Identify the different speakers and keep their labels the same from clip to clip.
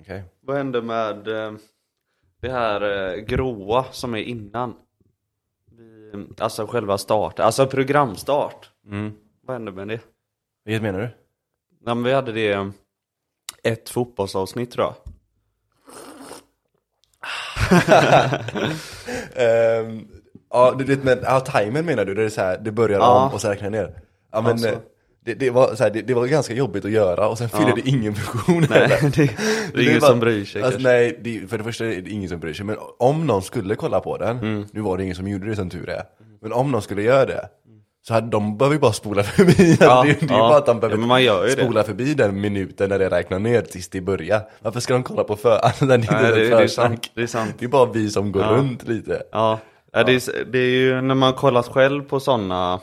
Speaker 1: Okej.
Speaker 2: Vad hände med eh, det här eh, gråa som är innan? Vi- Alltså själva start, alltså programstart.
Speaker 1: Mm.
Speaker 2: Vad hände med det?
Speaker 1: Vilket menar du?
Speaker 2: Nej, men vi hade det eh, ett fotbollsavsnitt tror jag.
Speaker 1: Ehm, ja, du vet men, ja, timern menar du? Där det är så här, det börjar
Speaker 2: Ja.
Speaker 1: om och så räknar jag ner? Ja men
Speaker 2: Alltså.
Speaker 1: eh, det, det, var, så här, det, det var ganska jobbigt att göra och sen fyllde det ingen funktion
Speaker 2: Nej,
Speaker 1: heller.
Speaker 2: det, det är ingen
Speaker 1: bara-
Speaker 2: som bryr sig
Speaker 1: alltså,
Speaker 2: kanske.
Speaker 1: Nej, det, för det första är det ingen som bryr sig, men om någon skulle kolla på den,
Speaker 2: Mm.
Speaker 1: nu var det ingen som gjorde det som tur är, men om någon skulle göra det, så hade de behöver ju bara spola förbi,
Speaker 2: Ja,
Speaker 1: det, är- det är
Speaker 2: ja.
Speaker 1: bara att de
Speaker 2: Ja, men man gör
Speaker 1: behöver
Speaker 2: ju det.
Speaker 1: spola förbi den minuten när det räknar ner tills det börjar. Varför ska de kolla på för, alltså, när det inte
Speaker 2: Nej,
Speaker 1: är
Speaker 2: det,
Speaker 1: ett
Speaker 2: det är
Speaker 1: försnack?
Speaker 2: sant. Det är sant.
Speaker 1: Det är bara vi som går
Speaker 2: Ja.
Speaker 1: runt lite.
Speaker 2: Ja, ja. Det, är, s- det är ju när man har kollat själv på sådana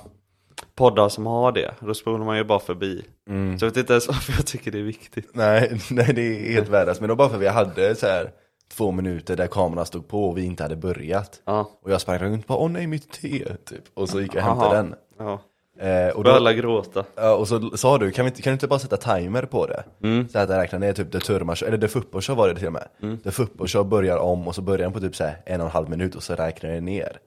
Speaker 2: poddar som har det, då spolar man ju bara förbi.
Speaker 1: Mm.
Speaker 2: Så jag vet inte ens varför jag tycker det är viktigt.
Speaker 1: Nej, nej det är helt värdelöst. Men det var bara för vi hade så här två minuter där kameran stod på och vi inte hade börjat.
Speaker 2: Ja.
Speaker 1: Och jag sprang runt och bara åh nej mitt te typ. Och så gick jag och hämtade
Speaker 2: Aha.
Speaker 1: den.
Speaker 2: Ja.
Speaker 1: Eh, och,
Speaker 2: Då
Speaker 1: då,
Speaker 2: alla gråta.
Speaker 1: ja, och så sa du, kan, vi inte, kan du inte bara sätta timer på det?
Speaker 2: Mm.
Speaker 1: Så att den räknar ner typ det turmarshow, eller det fupporshow var det till och med. Det fupporshow börjar om och så börjar den på typ så här en och en halv minut och så räknar den ner.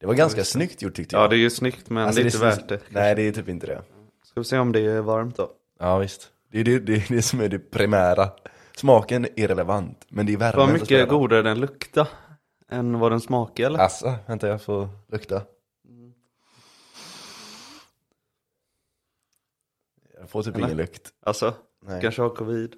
Speaker 1: Det var ganska snyggt gjort tyckte jag.
Speaker 2: Ja, det är ju snyggt men
Speaker 1: Alltså,
Speaker 2: det är inte värt det.
Speaker 1: Nej det är typ inte det.
Speaker 2: Ska vi se om det är varmt då.
Speaker 1: Ja visst. Det är det, det, är det som är det primära. Smaken är irrelevant, men det är värmen
Speaker 2: Vad
Speaker 1: som spelar
Speaker 2: mycket
Speaker 1: roll.
Speaker 2: godare den luktar än vad den smakar eller?
Speaker 1: Alltså, vänta jag får lukta. Jag får typ
Speaker 2: Eller?
Speaker 1: ingen lukt.
Speaker 2: Alltså,
Speaker 1: Nej.
Speaker 2: kanske Mm. har covid.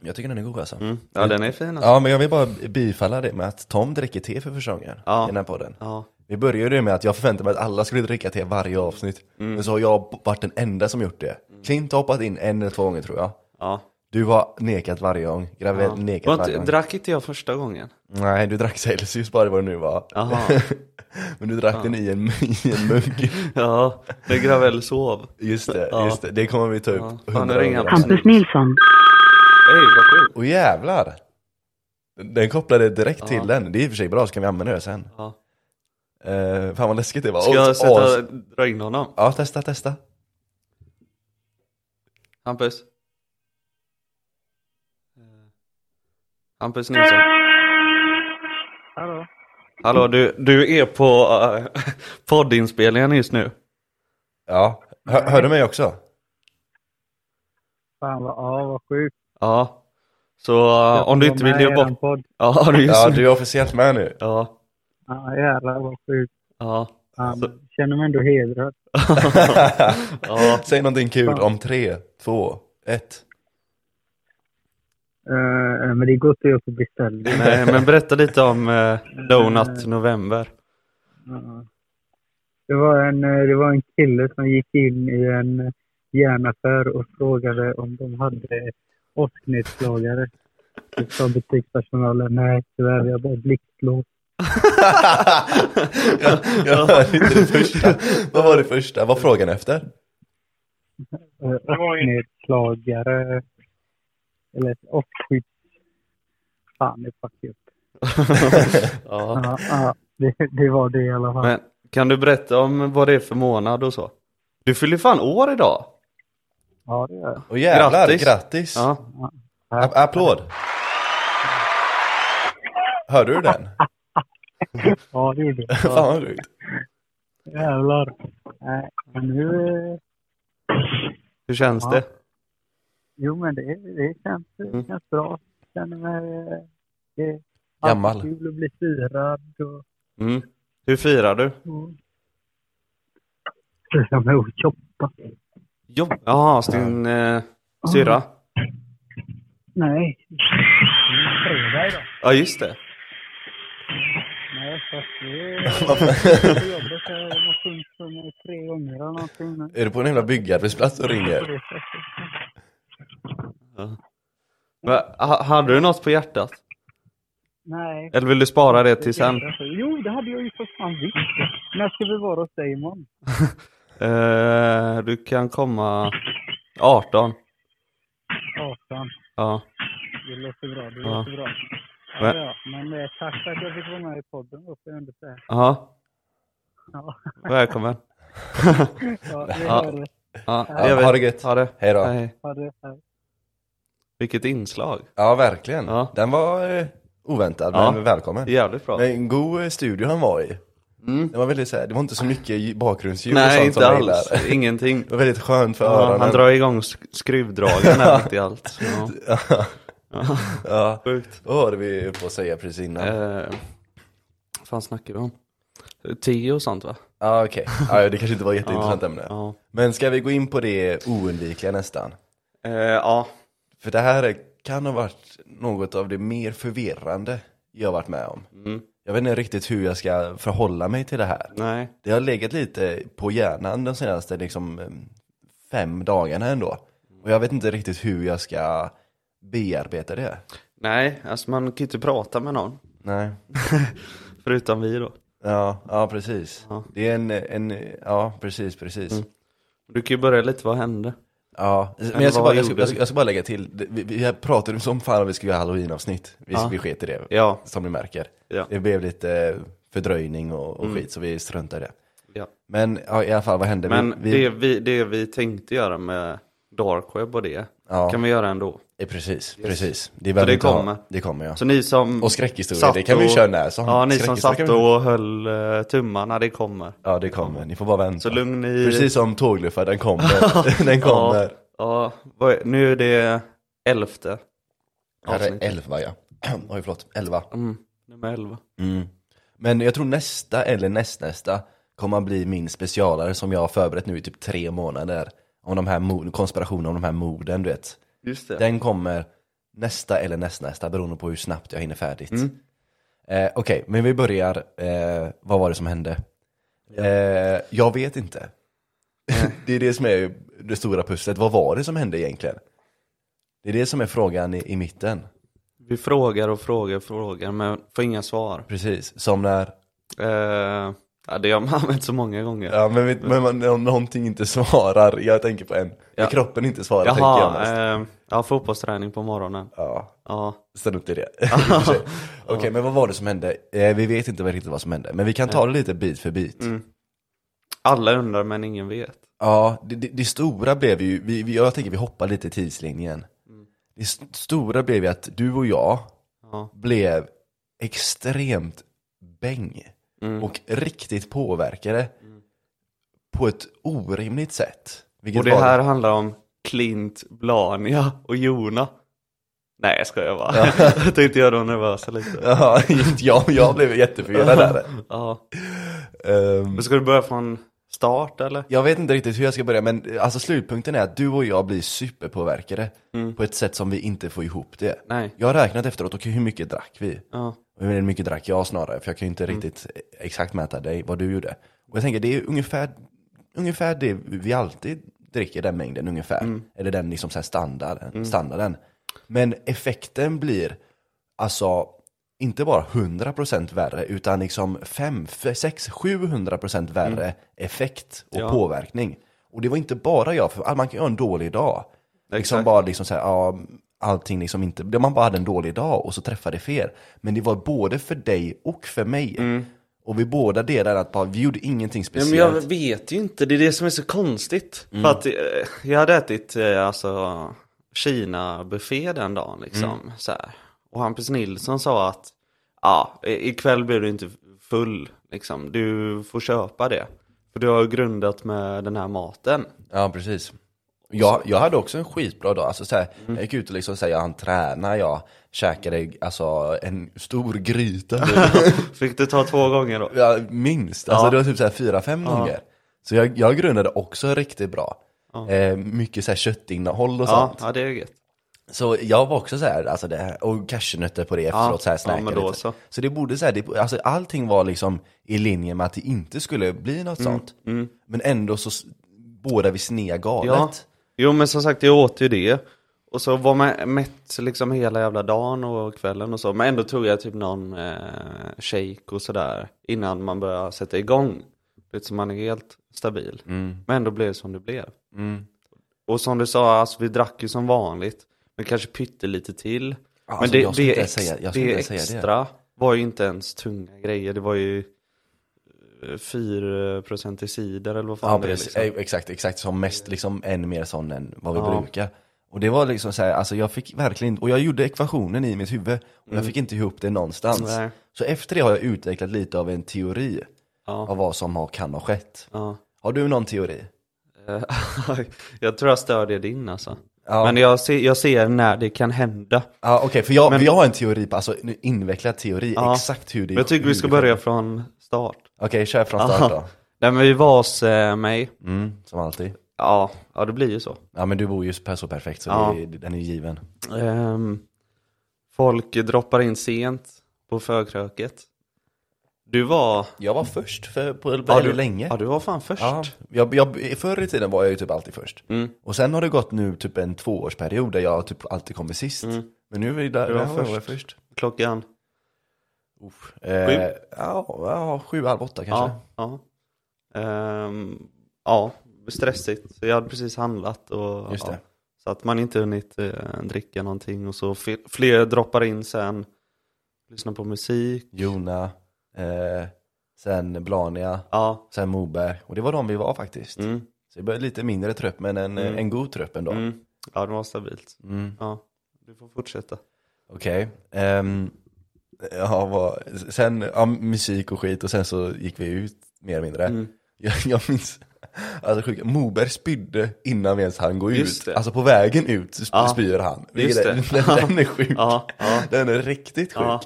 Speaker 1: Jag tycker den är god alltså.
Speaker 2: Mm. Ja, den är fin alltså.
Speaker 1: Ja men jag vill bara bifalla det med att Tom dricker te för första gången
Speaker 2: Ja.
Speaker 1: i den här podden.
Speaker 2: Ja.
Speaker 1: Vi började ju med att jag förväntade mig att alla skulle dricka te varje avsnitt.
Speaker 2: Mm.
Speaker 1: Men så har jag varit den enda som gjort det. Clint har hoppat in en eller två gånger tror jag.
Speaker 2: ja.
Speaker 1: Du har nekat varje gång. Gravel nekat
Speaker 2: Var
Speaker 1: varje
Speaker 2: inte,
Speaker 1: gång.
Speaker 2: drack inte jag första gången?
Speaker 1: Nej, du drack Celsius bara vad det nu var.
Speaker 2: Jaha.
Speaker 1: Men du drack den i en, i en mugg.
Speaker 2: ja, när Gravel sov.
Speaker 1: Just det,
Speaker 2: Ja.
Speaker 1: just det. Det kommer vi ta upp.
Speaker 2: Ja. Fan, nu
Speaker 1: 100
Speaker 2: ringer
Speaker 1: gånger.
Speaker 2: han.
Speaker 3: Hampus Nilsson.
Speaker 2: Ey, vad sjukt.
Speaker 1: Och jävlar! Den kopplade direkt
Speaker 2: Ja.
Speaker 1: till den. Det är i och för sig bra, så kan vi använda det sen.
Speaker 2: Ja.
Speaker 1: Uh, fan vad läskigt det var.
Speaker 2: Ska
Speaker 1: Och-
Speaker 2: jag sätta,
Speaker 1: och-
Speaker 2: dra in honom?
Speaker 1: Ja, testa, testa.
Speaker 2: Hampus? Eh, Hampus Nilsson?
Speaker 4: Hallå?
Speaker 2: Hallå, du, du är på eh, poddinspelningen just nu.
Speaker 1: Ja. Hör, hör du mig också?
Speaker 4: Fan vad, ja, vad sjukt.
Speaker 2: Ja. Så eh, om du inte vill ge bort...
Speaker 4: Podd.
Speaker 2: Ja, du är
Speaker 1: Ja,
Speaker 2: just nu.
Speaker 1: du är officiellt med nu.
Speaker 2: Ja.
Speaker 4: Ja, jävlar vad sjukt.
Speaker 2: Ja.
Speaker 4: Ja, men känner mig ändå hedrad.
Speaker 2: Ja.
Speaker 1: Säg någonting kul
Speaker 4: Fan.
Speaker 1: om tre, två, ett.
Speaker 4: Eh, men det går inte jag att beställa.
Speaker 2: Nej, men berätta lite om eh, Donut November.
Speaker 4: Ja. Det var, en, eh, det var en kille som gick in i en eh, järnaffär och frågade om de hade åsknedslagare. Då sa butikspersonalen nej, tyvärr, vi har bara blixtlås.
Speaker 1: jag, jag hörde inte det första. Vad var det första? Vad var frågan efter?
Speaker 4: Eh, åsknedslagare. Eller ett åskskydds... Fan, det fuckade upp.
Speaker 2: Ja.
Speaker 4: Ja, ja det, det var det i alla fall.
Speaker 2: Men kan du berätta om vad det är för månad och så? Du fyller fan år idag!
Speaker 4: Ja, det gör jag.
Speaker 1: Och jävlar, grattis!
Speaker 2: Grattis. Ja.
Speaker 1: A- applåd! Hörde du den?
Speaker 4: Ja, det gjorde jag.
Speaker 1: Fan vad sjukt.
Speaker 4: Jävlar. Nej, men nu... eh,
Speaker 2: Hur känns
Speaker 4: Ja.
Speaker 2: det?
Speaker 4: Jo, men det, det, känns, det känns bra. Jag känner mig... eh, Det är alltid
Speaker 1: Gammal.
Speaker 4: kul att bli firad och...
Speaker 2: Mm. Hur firar du?
Speaker 4: och fira med att shoppa.
Speaker 2: Jobb... Jaha, din eh, syrra?
Speaker 4: Nej. Fredag idag.
Speaker 2: Ja, just det.
Speaker 4: Nej, fast det är... på jobbet. så Jag måste ut för mig tre gånger eller någonting. men
Speaker 1: Är du på en jävla byggarbetsplats och
Speaker 4: på
Speaker 1: ringer?
Speaker 4: det sättet.
Speaker 2: Va- ha- Hade du något på hjärtat?
Speaker 4: Nej.
Speaker 2: Eller vill du spara det till sen?
Speaker 4: Jo, det hade jag ju för fan visst. När ska vi vara hos dig imorgon?
Speaker 2: Eh, du kan komma 18.
Speaker 4: 18.
Speaker 2: Ja.
Speaker 4: Det låter bra. Det
Speaker 2: Ja.
Speaker 4: låter bra. Ja,
Speaker 2: Va-
Speaker 4: ja. Men eh, tack för att jag fick vara med i podden. Då får jag ändå säga.
Speaker 2: ja.
Speaker 4: Ja.
Speaker 2: Välkommen.
Speaker 4: Ja, vi
Speaker 2: Ja.
Speaker 4: hör det.
Speaker 2: Ja,
Speaker 1: Ja,
Speaker 2: jag vet.
Speaker 1: ha det gött.
Speaker 2: Ha det.
Speaker 1: Hej då.
Speaker 2: Hej.
Speaker 4: Ha det. Hej.
Speaker 2: Vilket inslag.
Speaker 1: Ja, verkligen.
Speaker 2: Ja.
Speaker 1: Den var eh, oväntad,
Speaker 2: Ja.
Speaker 1: men välkommen.
Speaker 2: Jävligt bra.
Speaker 1: Men en god eh, studio han var i. Det, var väldigt, så här, det var inte så mycket ju- bakgrundsljud och
Speaker 2: Mm. Nej,
Speaker 1: sånt
Speaker 2: inte
Speaker 1: som jag
Speaker 2: alls.
Speaker 1: gillar.
Speaker 2: Ingenting.
Speaker 1: Det var väldigt skönt för
Speaker 2: Ja,
Speaker 1: öronen.
Speaker 2: han drar igång sk- skruvdragen här mitt i allt. Ja.
Speaker 1: ja.
Speaker 2: Sjukt.
Speaker 1: Vad var det vi på att säga precis innan? Ja,
Speaker 2: Eh, vad fan snackar vi om? Tio och sånt va?
Speaker 1: okej. Ja, det kanske inte var ett jätteintressant
Speaker 2: Ja,
Speaker 1: ämne.
Speaker 2: Ja.
Speaker 1: Men ska vi gå in på det oundvikliga nästan?
Speaker 2: Eh, ja.
Speaker 1: För det här är- kan ha varit något av det mer förvirrande jag har varit med om.
Speaker 2: Mm.
Speaker 1: Jag vet inte riktigt hur jag ska förhålla mig till det här.
Speaker 2: Nej.
Speaker 1: Det har legat lite på hjärnan de senaste liksom, eh, fem dagarna ändå. Och jag vet inte riktigt hur jag ska bearbeta det.
Speaker 2: Nej, alltså man kan ju inte prata med någon.
Speaker 1: Nej.
Speaker 2: Förutom vi då.
Speaker 1: Ja, ja precis.
Speaker 2: Ja. Mm.
Speaker 1: Det är en, en, ja precis, precis.
Speaker 2: Du kan ju börja lite, vad hände?
Speaker 1: Ja, men
Speaker 2: vad
Speaker 1: jag ska, bara, jag,
Speaker 2: gjorde
Speaker 1: ska,
Speaker 2: du?
Speaker 1: jag, ska, jag ska bara lägga till, det- vi, vi pratade ju som fan om vi skulle göra halloweenavsnitt. Vi,
Speaker 2: Ja.
Speaker 1: vi sket i det,
Speaker 2: Ja.
Speaker 1: som ni märker.
Speaker 2: Ja. Mm.
Speaker 1: Det blev lite eh, fördröjning och, och skit, så vi struntade i det.
Speaker 2: ja.
Speaker 1: Men ja, i alla fall, vad hände?
Speaker 2: Men
Speaker 1: vi, vi,
Speaker 2: Det, vi, det vi tänkte göra med dark web och det,
Speaker 1: Ja.
Speaker 2: kan vi göra ändå.
Speaker 1: eh, Precis, precis. Det, behöver
Speaker 2: det
Speaker 1: inte ha-
Speaker 2: kommer.
Speaker 1: Det kommer ja.
Speaker 2: Så ni som
Speaker 1: Och skräckhistorier, det kan vi
Speaker 2: och-
Speaker 1: köra när som.
Speaker 2: Ja, ni som
Speaker 1: Skräckhistorier
Speaker 2: satt
Speaker 1: kan vi-
Speaker 2: och höll eh, tummarna, det kommer.
Speaker 1: Ja, det kommer. Ni får bara vänta.
Speaker 2: Så lugn i...
Speaker 1: Precis som tågluffar, den kommer. den
Speaker 2: Ja,
Speaker 1: kommer.
Speaker 2: ja vad är, nu är det elfte
Speaker 1: Här är
Speaker 2: avsnittet.
Speaker 1: elva ja. Oj, förlåt. Elva.
Speaker 2: Mm, nummer elva.
Speaker 1: Mm. Men jag tror nästa eller nästnästa kommer att bli min specialare som jag har förberett nu i typ tre månader. Om de här mo- konspirationerna, om de här morden, du vet.
Speaker 2: Just det.
Speaker 1: Den kommer nästa eller nästnästa beroende på hur snabbt jag hinner färdigt.
Speaker 2: Mm.
Speaker 1: Eh, Okej, men vi börjar. Eh, vad var det som hände? Eh, jag vet inte. det är det som är det stora pusslet. Vad var det som hände egentligen? Det är det som är frågan i, i mitten.
Speaker 2: Vi frågar och frågar och frågar men får inga svar.
Speaker 1: Precis, som när
Speaker 2: Eh, ja, det har man använt så många gånger.
Speaker 1: Ja men, vet- men man, om någonting inte svarar, jag tänker på en, när
Speaker 2: Ja.
Speaker 1: kroppen inte svarar tänker jag
Speaker 2: Jaha,
Speaker 1: mest.
Speaker 2: eh, ja, fotbollsträning på morgonen.
Speaker 1: Ja,
Speaker 2: Ja,
Speaker 1: ställ upp till det. I och för sig. Okej men vad var det som hände? Eh, vi vet inte riktigt vad som hände, men vi kan ta det lite bit för bit.
Speaker 2: Mm. alla undrar men ingen vet.
Speaker 1: Ja, det, det, det stora blev ju, vi, vi, jag tänker vi hoppar lite i tidslinjen.
Speaker 2: Mm.
Speaker 1: Det st- stora blev ju att du och jag
Speaker 2: Ja.
Speaker 1: blev extremt bäng
Speaker 2: Mm.
Speaker 1: och riktigt påverkade på ett orimligt sätt. Vilket
Speaker 2: Och det
Speaker 1: var-
Speaker 2: här handlar om Clint, Blania och Jona. Nej, jag skojar bara. jag tänkte göra dem nervösa lite.
Speaker 1: Ja, inte jag, jag blev jätteförvirrad där.
Speaker 2: Ja.
Speaker 1: Ehm,
Speaker 2: Men ska du börja från start eller?
Speaker 1: jag vet inte riktigt hur jag ska börja, men eh, alltså slutpunkten är att du och jag blir superpåverkade på ett sätt som vi inte får ihop det.
Speaker 2: Nej.
Speaker 1: Jag har räknat efteråt, okej hur mycket drack vi?
Speaker 2: Ja.
Speaker 1: Och Hur mycket drack jag snarare? För jag kan ju inte riktigt exakt mäta dig, vad du gjorde. Och jag tänker, det är ungefär, ungefär det vi alltid dricker, den mängden ungefär. Eller den liksom så här standarden, standarden. Men effekten blir, alltså, inte bara 100% värre, utan liksom 5, 6, 700% värre effekt och
Speaker 2: Ja.
Speaker 1: påverkning. Och det var inte bara jag, för man kan ju ha en dålig dag. Liksom
Speaker 2: Exakt.
Speaker 1: bara liksom så här, ja, allting liksom inte, man bara hade en dålig dag och så träffade det fel. Men det var både för dig och för mig. Och vi båda delade att bara, vi gjorde ingenting
Speaker 2: Nej,
Speaker 1: speciellt.
Speaker 2: Mm. men jag vet ju inte, det är det som är så konstigt. För att eh, jag hade ätit eh, alltså, Kina-buffé den dagen liksom. Så här. Och Hampus Nilsson sa att ja, i- ikväll blir du inte full, liksom. du får köpa det. För du har ju grundat med den här maten.
Speaker 1: Ja, precis. Jag, jag hade också en skitbra dag. Alltså, så här,
Speaker 2: Mm.
Speaker 1: Jag gick ut och liksom, så här, jag hann träna, jag käkade alltså, en stor gryta.
Speaker 2: Fick du ta två gånger då?
Speaker 1: Ja, minst. Alltså
Speaker 2: Ja.
Speaker 1: det var typ så här fyra, fem gånger. Så jag, jag grundade också riktigt bra. Eh, mycket så här köttinnehåll och
Speaker 2: Ja,
Speaker 1: sånt.
Speaker 2: ja det är gött.
Speaker 1: Så jag var också så här, alltså det här och cashewnötter på det efteråt, så här
Speaker 2: ja,
Speaker 1: snackade
Speaker 2: men då
Speaker 1: lite. Så.
Speaker 2: så.
Speaker 1: det borde så här, det, alltså allting var liksom i linje med att det inte skulle bli något
Speaker 2: Mm,
Speaker 1: sånt. Men ändå så s- båda vi snea galet.
Speaker 2: Ja. Jo men som sagt jag åt ju det. Och så var man mätt liksom hela jävla dagen och kvällen och så. Men ändå tog jag typ någon eh, shake och sådär innan man började sätta igång. Du vet, Så man är helt stabil.
Speaker 1: Mm.
Speaker 2: Men ändå blev det som det blev. Och som du sa, alltså, vi drack ju som vanligt. Men kanske pyttelite till.
Speaker 1: Ja,
Speaker 2: men
Speaker 1: alltså,
Speaker 2: det,
Speaker 1: jag skulle
Speaker 2: det,
Speaker 1: inte
Speaker 2: ex-
Speaker 1: säga- jag skulle
Speaker 2: det
Speaker 1: inte säga det.
Speaker 2: extra var ju inte ens tunga grejer. Det var ju eh, 4% i cider eller vad fan
Speaker 1: Ja,
Speaker 2: det är.
Speaker 1: precis. E,
Speaker 2: Liksom.
Speaker 1: Eh, Exakt, exakt. Som mest liksom än mer sån än vad vi
Speaker 2: Ja.
Speaker 1: brukar. Och det var liksom så här, alltså jag fick verkligen inte, och jag gjorde ekvationen i mitt huvud och jag fick inte ihop det någonstans.
Speaker 2: Mm. Nej.
Speaker 1: Så efter det har jag utvecklat lite av en teori
Speaker 2: Ja.
Speaker 1: av vad som har, kan ha skett.
Speaker 2: Ja.
Speaker 1: Har du någon teori?
Speaker 2: Eh, jag tror jag stödjer din alltså.
Speaker 1: Ja.
Speaker 2: Men jag ser, jag ser när det kan hända.
Speaker 1: Ja okej, för jag,
Speaker 2: Men-
Speaker 1: för jag har en teori på, alltså en invecklad teori,
Speaker 2: Ja.
Speaker 1: exakt hur det
Speaker 2: Men jag tycker vi ska
Speaker 1: hur det-
Speaker 2: börja från start.
Speaker 1: Okej, kör från start då.
Speaker 2: Nej men vi var hos eh, mig.
Speaker 1: Mm, som alltid.
Speaker 2: Ja, ja det blir ju så.
Speaker 1: Ja men du bor ju per- så perfekt så
Speaker 2: Ja.
Speaker 1: det, är- den är ju given.
Speaker 2: Ehm, folk droppar in sent på förkröket. Du var...
Speaker 1: Jag var först för, på
Speaker 2: ja,
Speaker 1: väldigt
Speaker 2: du,
Speaker 1: länge.
Speaker 2: Ja, du var fan först.
Speaker 1: Ja, jag, jag, förr i tiden var jag ju typ alltid först.
Speaker 2: Mm.
Speaker 1: Och sen har det gått nu typ en tvåårsperiod där jag typ alltid kommer sist. Men nu är vi där,
Speaker 2: Du var
Speaker 1: där var jag
Speaker 2: först.
Speaker 1: först.
Speaker 2: Klockan.
Speaker 1: Uff. Eh, ja, ja, sju, halv åtta kanske.
Speaker 2: Ja, ja. Ehm, ja, stressigt. Jag hade precis handlat och
Speaker 1: Just det.
Speaker 2: Ja, så att man inte hunnit eh, dricka någonting och så fl- fler droppar in sen, lyssnar på musik.
Speaker 1: Jona, eh, sen Blania,
Speaker 2: Ja,
Speaker 1: sen Moberg. Och det var de vi var faktiskt.
Speaker 2: mm,
Speaker 1: Så det började lite mindre tröpp men en,
Speaker 2: Mm.
Speaker 1: en god tröpp ändå.
Speaker 2: mm. ja det var stabilt.
Speaker 1: Mm.
Speaker 2: Ja, du får fortsätta.
Speaker 1: Okej. ehm, ja, vad, sen, ja, musik och skit och sen så gick vi ut mer eller mindre.
Speaker 2: Mm.
Speaker 1: Jag, jag minns, alltså sjukt, Moberg spydde innan vi ens hann gå
Speaker 2: Just
Speaker 1: ut.
Speaker 2: det.
Speaker 1: Alltså på vägen ut sp-
Speaker 2: Ja.
Speaker 1: spyr han.
Speaker 2: Just
Speaker 1: Vilket är-
Speaker 2: det.
Speaker 1: Den, den är sjuk.
Speaker 2: Ja, ja.
Speaker 1: Den är riktigt sjuk.
Speaker 2: Ja.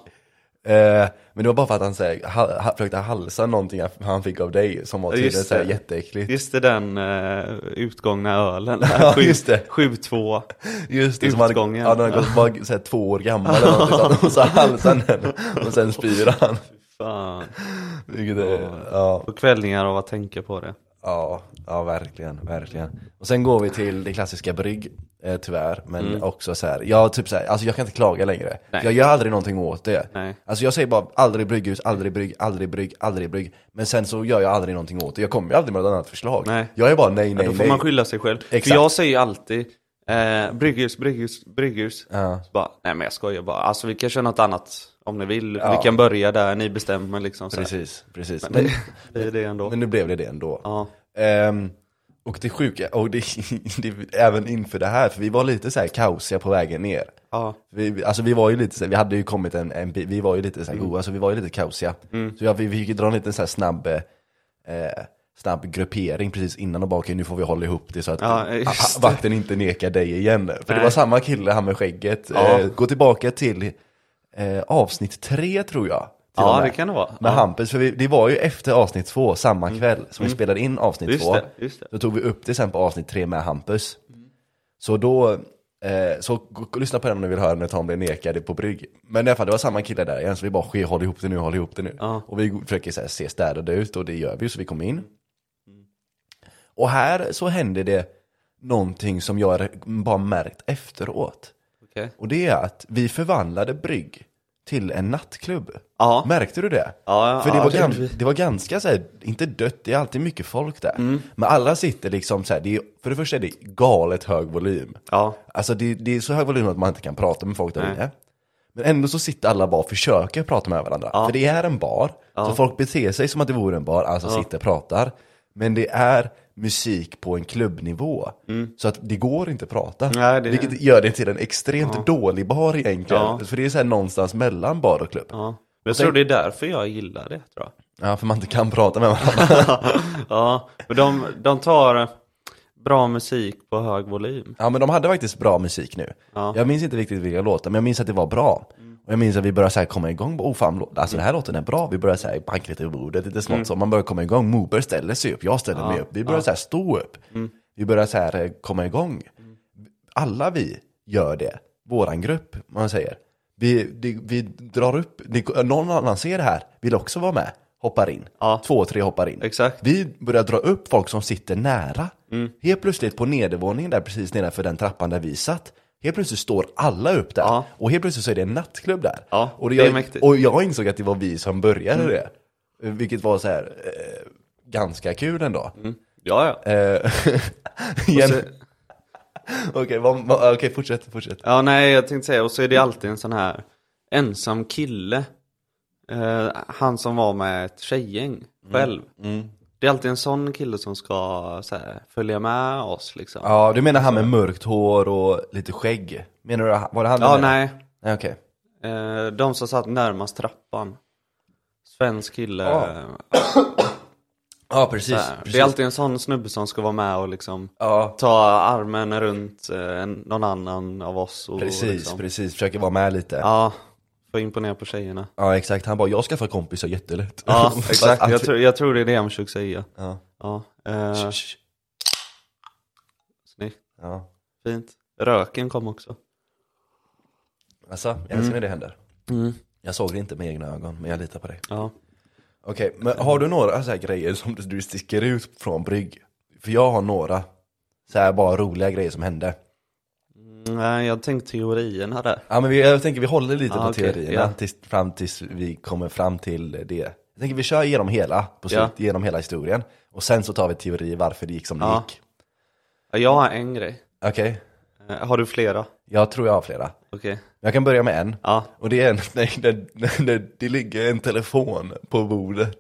Speaker 1: Eh, men det var bara för att han så här, ha, ha, försökte halsa någonting han fick av dig som var
Speaker 2: Ja,
Speaker 1: tydligen
Speaker 2: just
Speaker 1: så här,
Speaker 2: det.
Speaker 1: jätteäckligt.
Speaker 2: Just det, den eh, utgångna ölen.
Speaker 1: Ja, just det.
Speaker 2: 7-2.
Speaker 1: Just det, som hade,
Speaker 2: Utgången.
Speaker 1: ja, den hade gått bara så här, två år gammal eller någonting, så att- och så halsade han den och sen spyr han.
Speaker 2: Fan.
Speaker 1: Vilket är,
Speaker 2: Ja.
Speaker 1: ja,
Speaker 2: På kvällningar av att tänka på det.
Speaker 1: ja, ja, verkligen, verkligen. Och sen går vi till det klassiska brygg, eh, tyvärr. Men också så här, jag, typ så här, alltså jag kan inte klaga längre.
Speaker 2: Nej.
Speaker 1: Jag gör aldrig någonting åt det.
Speaker 2: Nej.
Speaker 1: Alltså jag säger bara aldrig brygghus, aldrig brygg, aldrig brygg, aldrig brygg. Men sen så gör jag aldrig någonting åt det. Jag kommer ju aldrig med något annat förslag.
Speaker 2: Nej.
Speaker 1: Jag är bara nej, nej,
Speaker 2: Då får
Speaker 1: nej.
Speaker 2: man skylla sig själv.
Speaker 1: Exakt.
Speaker 2: För jag säger ju alltid eh, brygghus, brygghus, brygghus.
Speaker 1: Ja.
Speaker 2: Så bara, nej men jag skojar bara. Alltså vi kan köra något annat om ni vill.
Speaker 1: Ja.
Speaker 2: Vi kan börja där, ni bestämmer liksom. Så här.
Speaker 1: Precis, precis. Men,
Speaker 2: Men det är det ändå.
Speaker 1: men nu blev det det ändå.
Speaker 2: Ja.
Speaker 1: Ehm, och det sjuka, och det, det, även inför det här, för vi var lite så här kaosiga på vägen ner.
Speaker 2: Ja.
Speaker 1: Vi, alltså vi var ju lite så vi hade ju kommit en, en bit, vi var ju lite så oh, alltså vi var ju lite kaosiga.
Speaker 2: Mm.
Speaker 1: Så jag, vi, vi fick ju dra en liten så snabb, eh, snabb gruppering precis innan och bara okej nu får vi hålla ihop det så att
Speaker 2: Ja,
Speaker 1: eh,
Speaker 2: just det.
Speaker 1: vakten inte nekar dig igen. För det
Speaker 2: Nej.
Speaker 1: var samma kille, han med skägget.
Speaker 2: Ja.
Speaker 1: Eh, gå tillbaka till eh, avsnitt tre tror jag. till och
Speaker 2: ja,
Speaker 1: med,
Speaker 2: det kan det vara.
Speaker 1: Med
Speaker 2: ja. Mm.
Speaker 1: Hampus, för vi, det var ju efter avsnitt två, samma kväll som vi spelade in avsnitt
Speaker 2: Just
Speaker 1: två.
Speaker 2: det, just det.
Speaker 1: Då tog vi upp det sen på avsnitt tre med Hampus. Så då, eh, så gå, gå, lyssna på den om ni vill höra när Tom blev nekad på brygg. Men i alla fall, det var samma kille där igen, så vi bara ske, håll ihop det nu, håll ihop det nu.
Speaker 2: Ja.
Speaker 1: Och vi försöker så här, se städade ut och det gör vi, så vi kom in. Och här så hände det någonting som jag bara märkt efteråt.
Speaker 2: Okej.
Speaker 1: Och det är att vi förvandlade brygg till en nattklubb.
Speaker 2: Ja.
Speaker 1: Märkte du det?
Speaker 2: Ja, ja,
Speaker 1: För det,
Speaker 2: ja,
Speaker 1: var
Speaker 2: det
Speaker 1: gan-
Speaker 2: gjorde vi.
Speaker 1: det var ganska så här, inte dött, det är alltid mycket folk där.
Speaker 2: Mm.
Speaker 1: Men alla sitter liksom så här, det är, för det första är det galet hög volym.
Speaker 2: Ja.
Speaker 1: Alltså det, det är så hög volym att man inte kan prata med folk där
Speaker 2: Nej.
Speaker 1: inne. Men ändå så sitter alla bara och försöker prata med varandra. För det är en bar, så folk beter sig som att det vore en bar, alltså sitter och pratar. Men det är musik på en klubbnivå. Så att det går inte att prata.
Speaker 2: Mm. Nej, det-
Speaker 1: Vilket gör det till en extremt dålig bar egentligen.
Speaker 2: Ja.
Speaker 1: För det är så här någonstans mellan bar och klubb. Ja.
Speaker 2: ja. Men jag tror det är därför jag gillar det, tror jag.
Speaker 1: för man inte kan prata med varandra.
Speaker 2: ja, men de, de tar bra musik på hög volym.
Speaker 1: Mm. Ja men de hade faktiskt bra musik nu.
Speaker 2: Ja. Mm.
Speaker 1: Jag minns inte riktigt vilka låtar, men jag minns att det var bra. Och jag minns att vi började så här komma igång, bara, oh fan, lå- alltså den här låten är bra. Vi började så här banka lite i bordet, lite
Speaker 2: Mm.
Speaker 1: smått så. Man börjar komma igång, Moberg ställer sig upp, jag ställer mig upp. Vi börjar så här stå upp.
Speaker 2: Mm.
Speaker 1: Vi börjar så här eh, komma igång. Alla vi gör det, våran grupp, man säger. Vi, det, vi drar upp, det, någon annan ser det här, vill också vara med, hoppar in.
Speaker 2: Ja.
Speaker 1: Två, tre hoppar in.
Speaker 2: Exakt.
Speaker 1: Vi börjar dra upp folk som sitter nära. Helt plötsligt på nedervåningen där precis nedanför den trappan där vi satt. Helt plötsligt står alla upp där.
Speaker 2: Ja.
Speaker 1: Och helt plötsligt så är det en nattklubb där.
Speaker 2: Ja,
Speaker 1: och, det Mm.
Speaker 2: det är
Speaker 1: jag,
Speaker 2: mäktigt.
Speaker 1: och jag insåg att det var vi som började det. Vilket var så här eh, ganska kul ändå.
Speaker 2: Ja, ja.
Speaker 1: Eh,
Speaker 2: Och
Speaker 1: igen.
Speaker 2: så,
Speaker 1: Okej, vad- vad- okej, fortsätt, fortsätt.
Speaker 2: ja, nej, jag tänkte säga, och så är det alltid en sån här ensam
Speaker 1: Mm,
Speaker 2: kille. Eh, han som var med ett tjejgäng själv. Det är alltid en sån kille som ska så här, följa med oss liksom. Ja,
Speaker 1: Ja, du menar han med mörkt hår och lite skägg? Menar du, var det han du menade?
Speaker 2: nej.
Speaker 1: Nej, okej.
Speaker 2: Eh, de som satt närmast trappan. Svensk kille. eh,
Speaker 1: Ja, Ja, precis.
Speaker 2: Där.
Speaker 1: precis.
Speaker 2: Det är alltid en sån snubbe som ska vara med och liksom
Speaker 1: Ja,
Speaker 2: ta armen runt eh, en- någon annan av oss. Och,
Speaker 1: precis,
Speaker 2: liksom.
Speaker 1: precis. Försöker vara med lite. Ja.
Speaker 2: Ja, få imponera på tjejerna.
Speaker 1: exakt. Han bara, jag skaffar kompisar jättelätt.
Speaker 2: Ja,
Speaker 1: Fast
Speaker 2: exakt.
Speaker 1: att-
Speaker 2: Jag, tror- jag tror det är det han försöker säga.
Speaker 1: Ja.
Speaker 2: Ja, eh,
Speaker 1: Sh- sh-
Speaker 2: snyggt.
Speaker 1: ja.
Speaker 2: Fint. Röken kom också.
Speaker 1: Alltså, jag älskar
Speaker 2: Mm.
Speaker 1: när det händer. Jag såg det inte med egna ögon, men jag litar på dig.
Speaker 2: Ja.
Speaker 1: Okej, men har du några så här grejer som du- du sticker ut från brygg? För jag har några, så här bara roliga grejer som hände.
Speaker 2: Mm, Nej, jag tänkte teorierna där.
Speaker 1: Ja men vi, jag tänker vi håller lite
Speaker 2: Ja,
Speaker 1: på
Speaker 2: Ah, okej,
Speaker 1: teorierna
Speaker 2: ja.
Speaker 1: tills, fram tills vi kommer fram till det. Jag tänker vi kör igenom hela, på slut,
Speaker 2: Ja.
Speaker 1: genom hela historien. Och sen så tar vi teori varför det gick som det
Speaker 2: Ja.
Speaker 1: gick.
Speaker 2: Ja, Jag har en grej.
Speaker 1: Okej,
Speaker 2: Eh, Har du flera?
Speaker 1: jag tror jag har flera.
Speaker 2: Okej.
Speaker 1: Jag kan börja med en.
Speaker 2: Ja.
Speaker 1: Och det är när, när, när, när det ligger en telefon på bordet.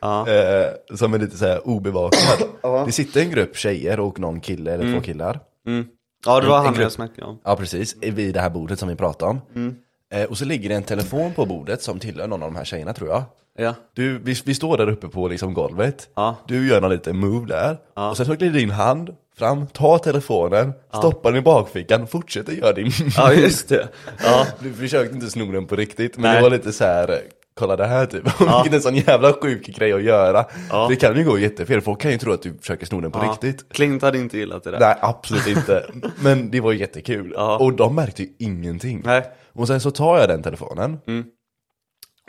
Speaker 2: Ja.
Speaker 1: Eh, som är lite så här obevakad. Det sitter en grupp tjejer och någon kille eller två killar.
Speaker 2: Mm. Ja, det var
Speaker 1: En- en
Speaker 2: han
Speaker 1: grupp.
Speaker 2: jag snackade om.
Speaker 1: Ja precis, vid det här bordet som vi pratade om.
Speaker 2: Mm.
Speaker 1: Eh, och så ligger det en telefon på bordet som tillhör någon av de här tjejerna tror jag.
Speaker 2: Ja.
Speaker 1: Du, vi, vi står där uppe på liksom golvet,
Speaker 2: Ja.
Speaker 1: du gör någon liten move där, och sen så glider din hand fram, tar telefonen, stoppar den i bakfickan, fortsätter göra din
Speaker 2: Ja, just det. Ja.
Speaker 1: Du försökte inte sno den på riktigt, men
Speaker 2: Nej.
Speaker 1: det var lite så här. eh, Kolla det här typ, vilken sån jävla sjuk grej att göra.
Speaker 2: Ja.
Speaker 1: Det kan ju gå jättefel, folk kan ju tro att du försöker sno den på
Speaker 2: ja.
Speaker 1: riktigt.
Speaker 2: Klint hade inte gillat det där.
Speaker 1: Nej, absolut inte. Men det var ju jättekul.
Speaker 2: Ja.
Speaker 1: Och de märkte ju ingenting.
Speaker 2: Nej. Mm.
Speaker 1: Och sen så tar jag den telefonen.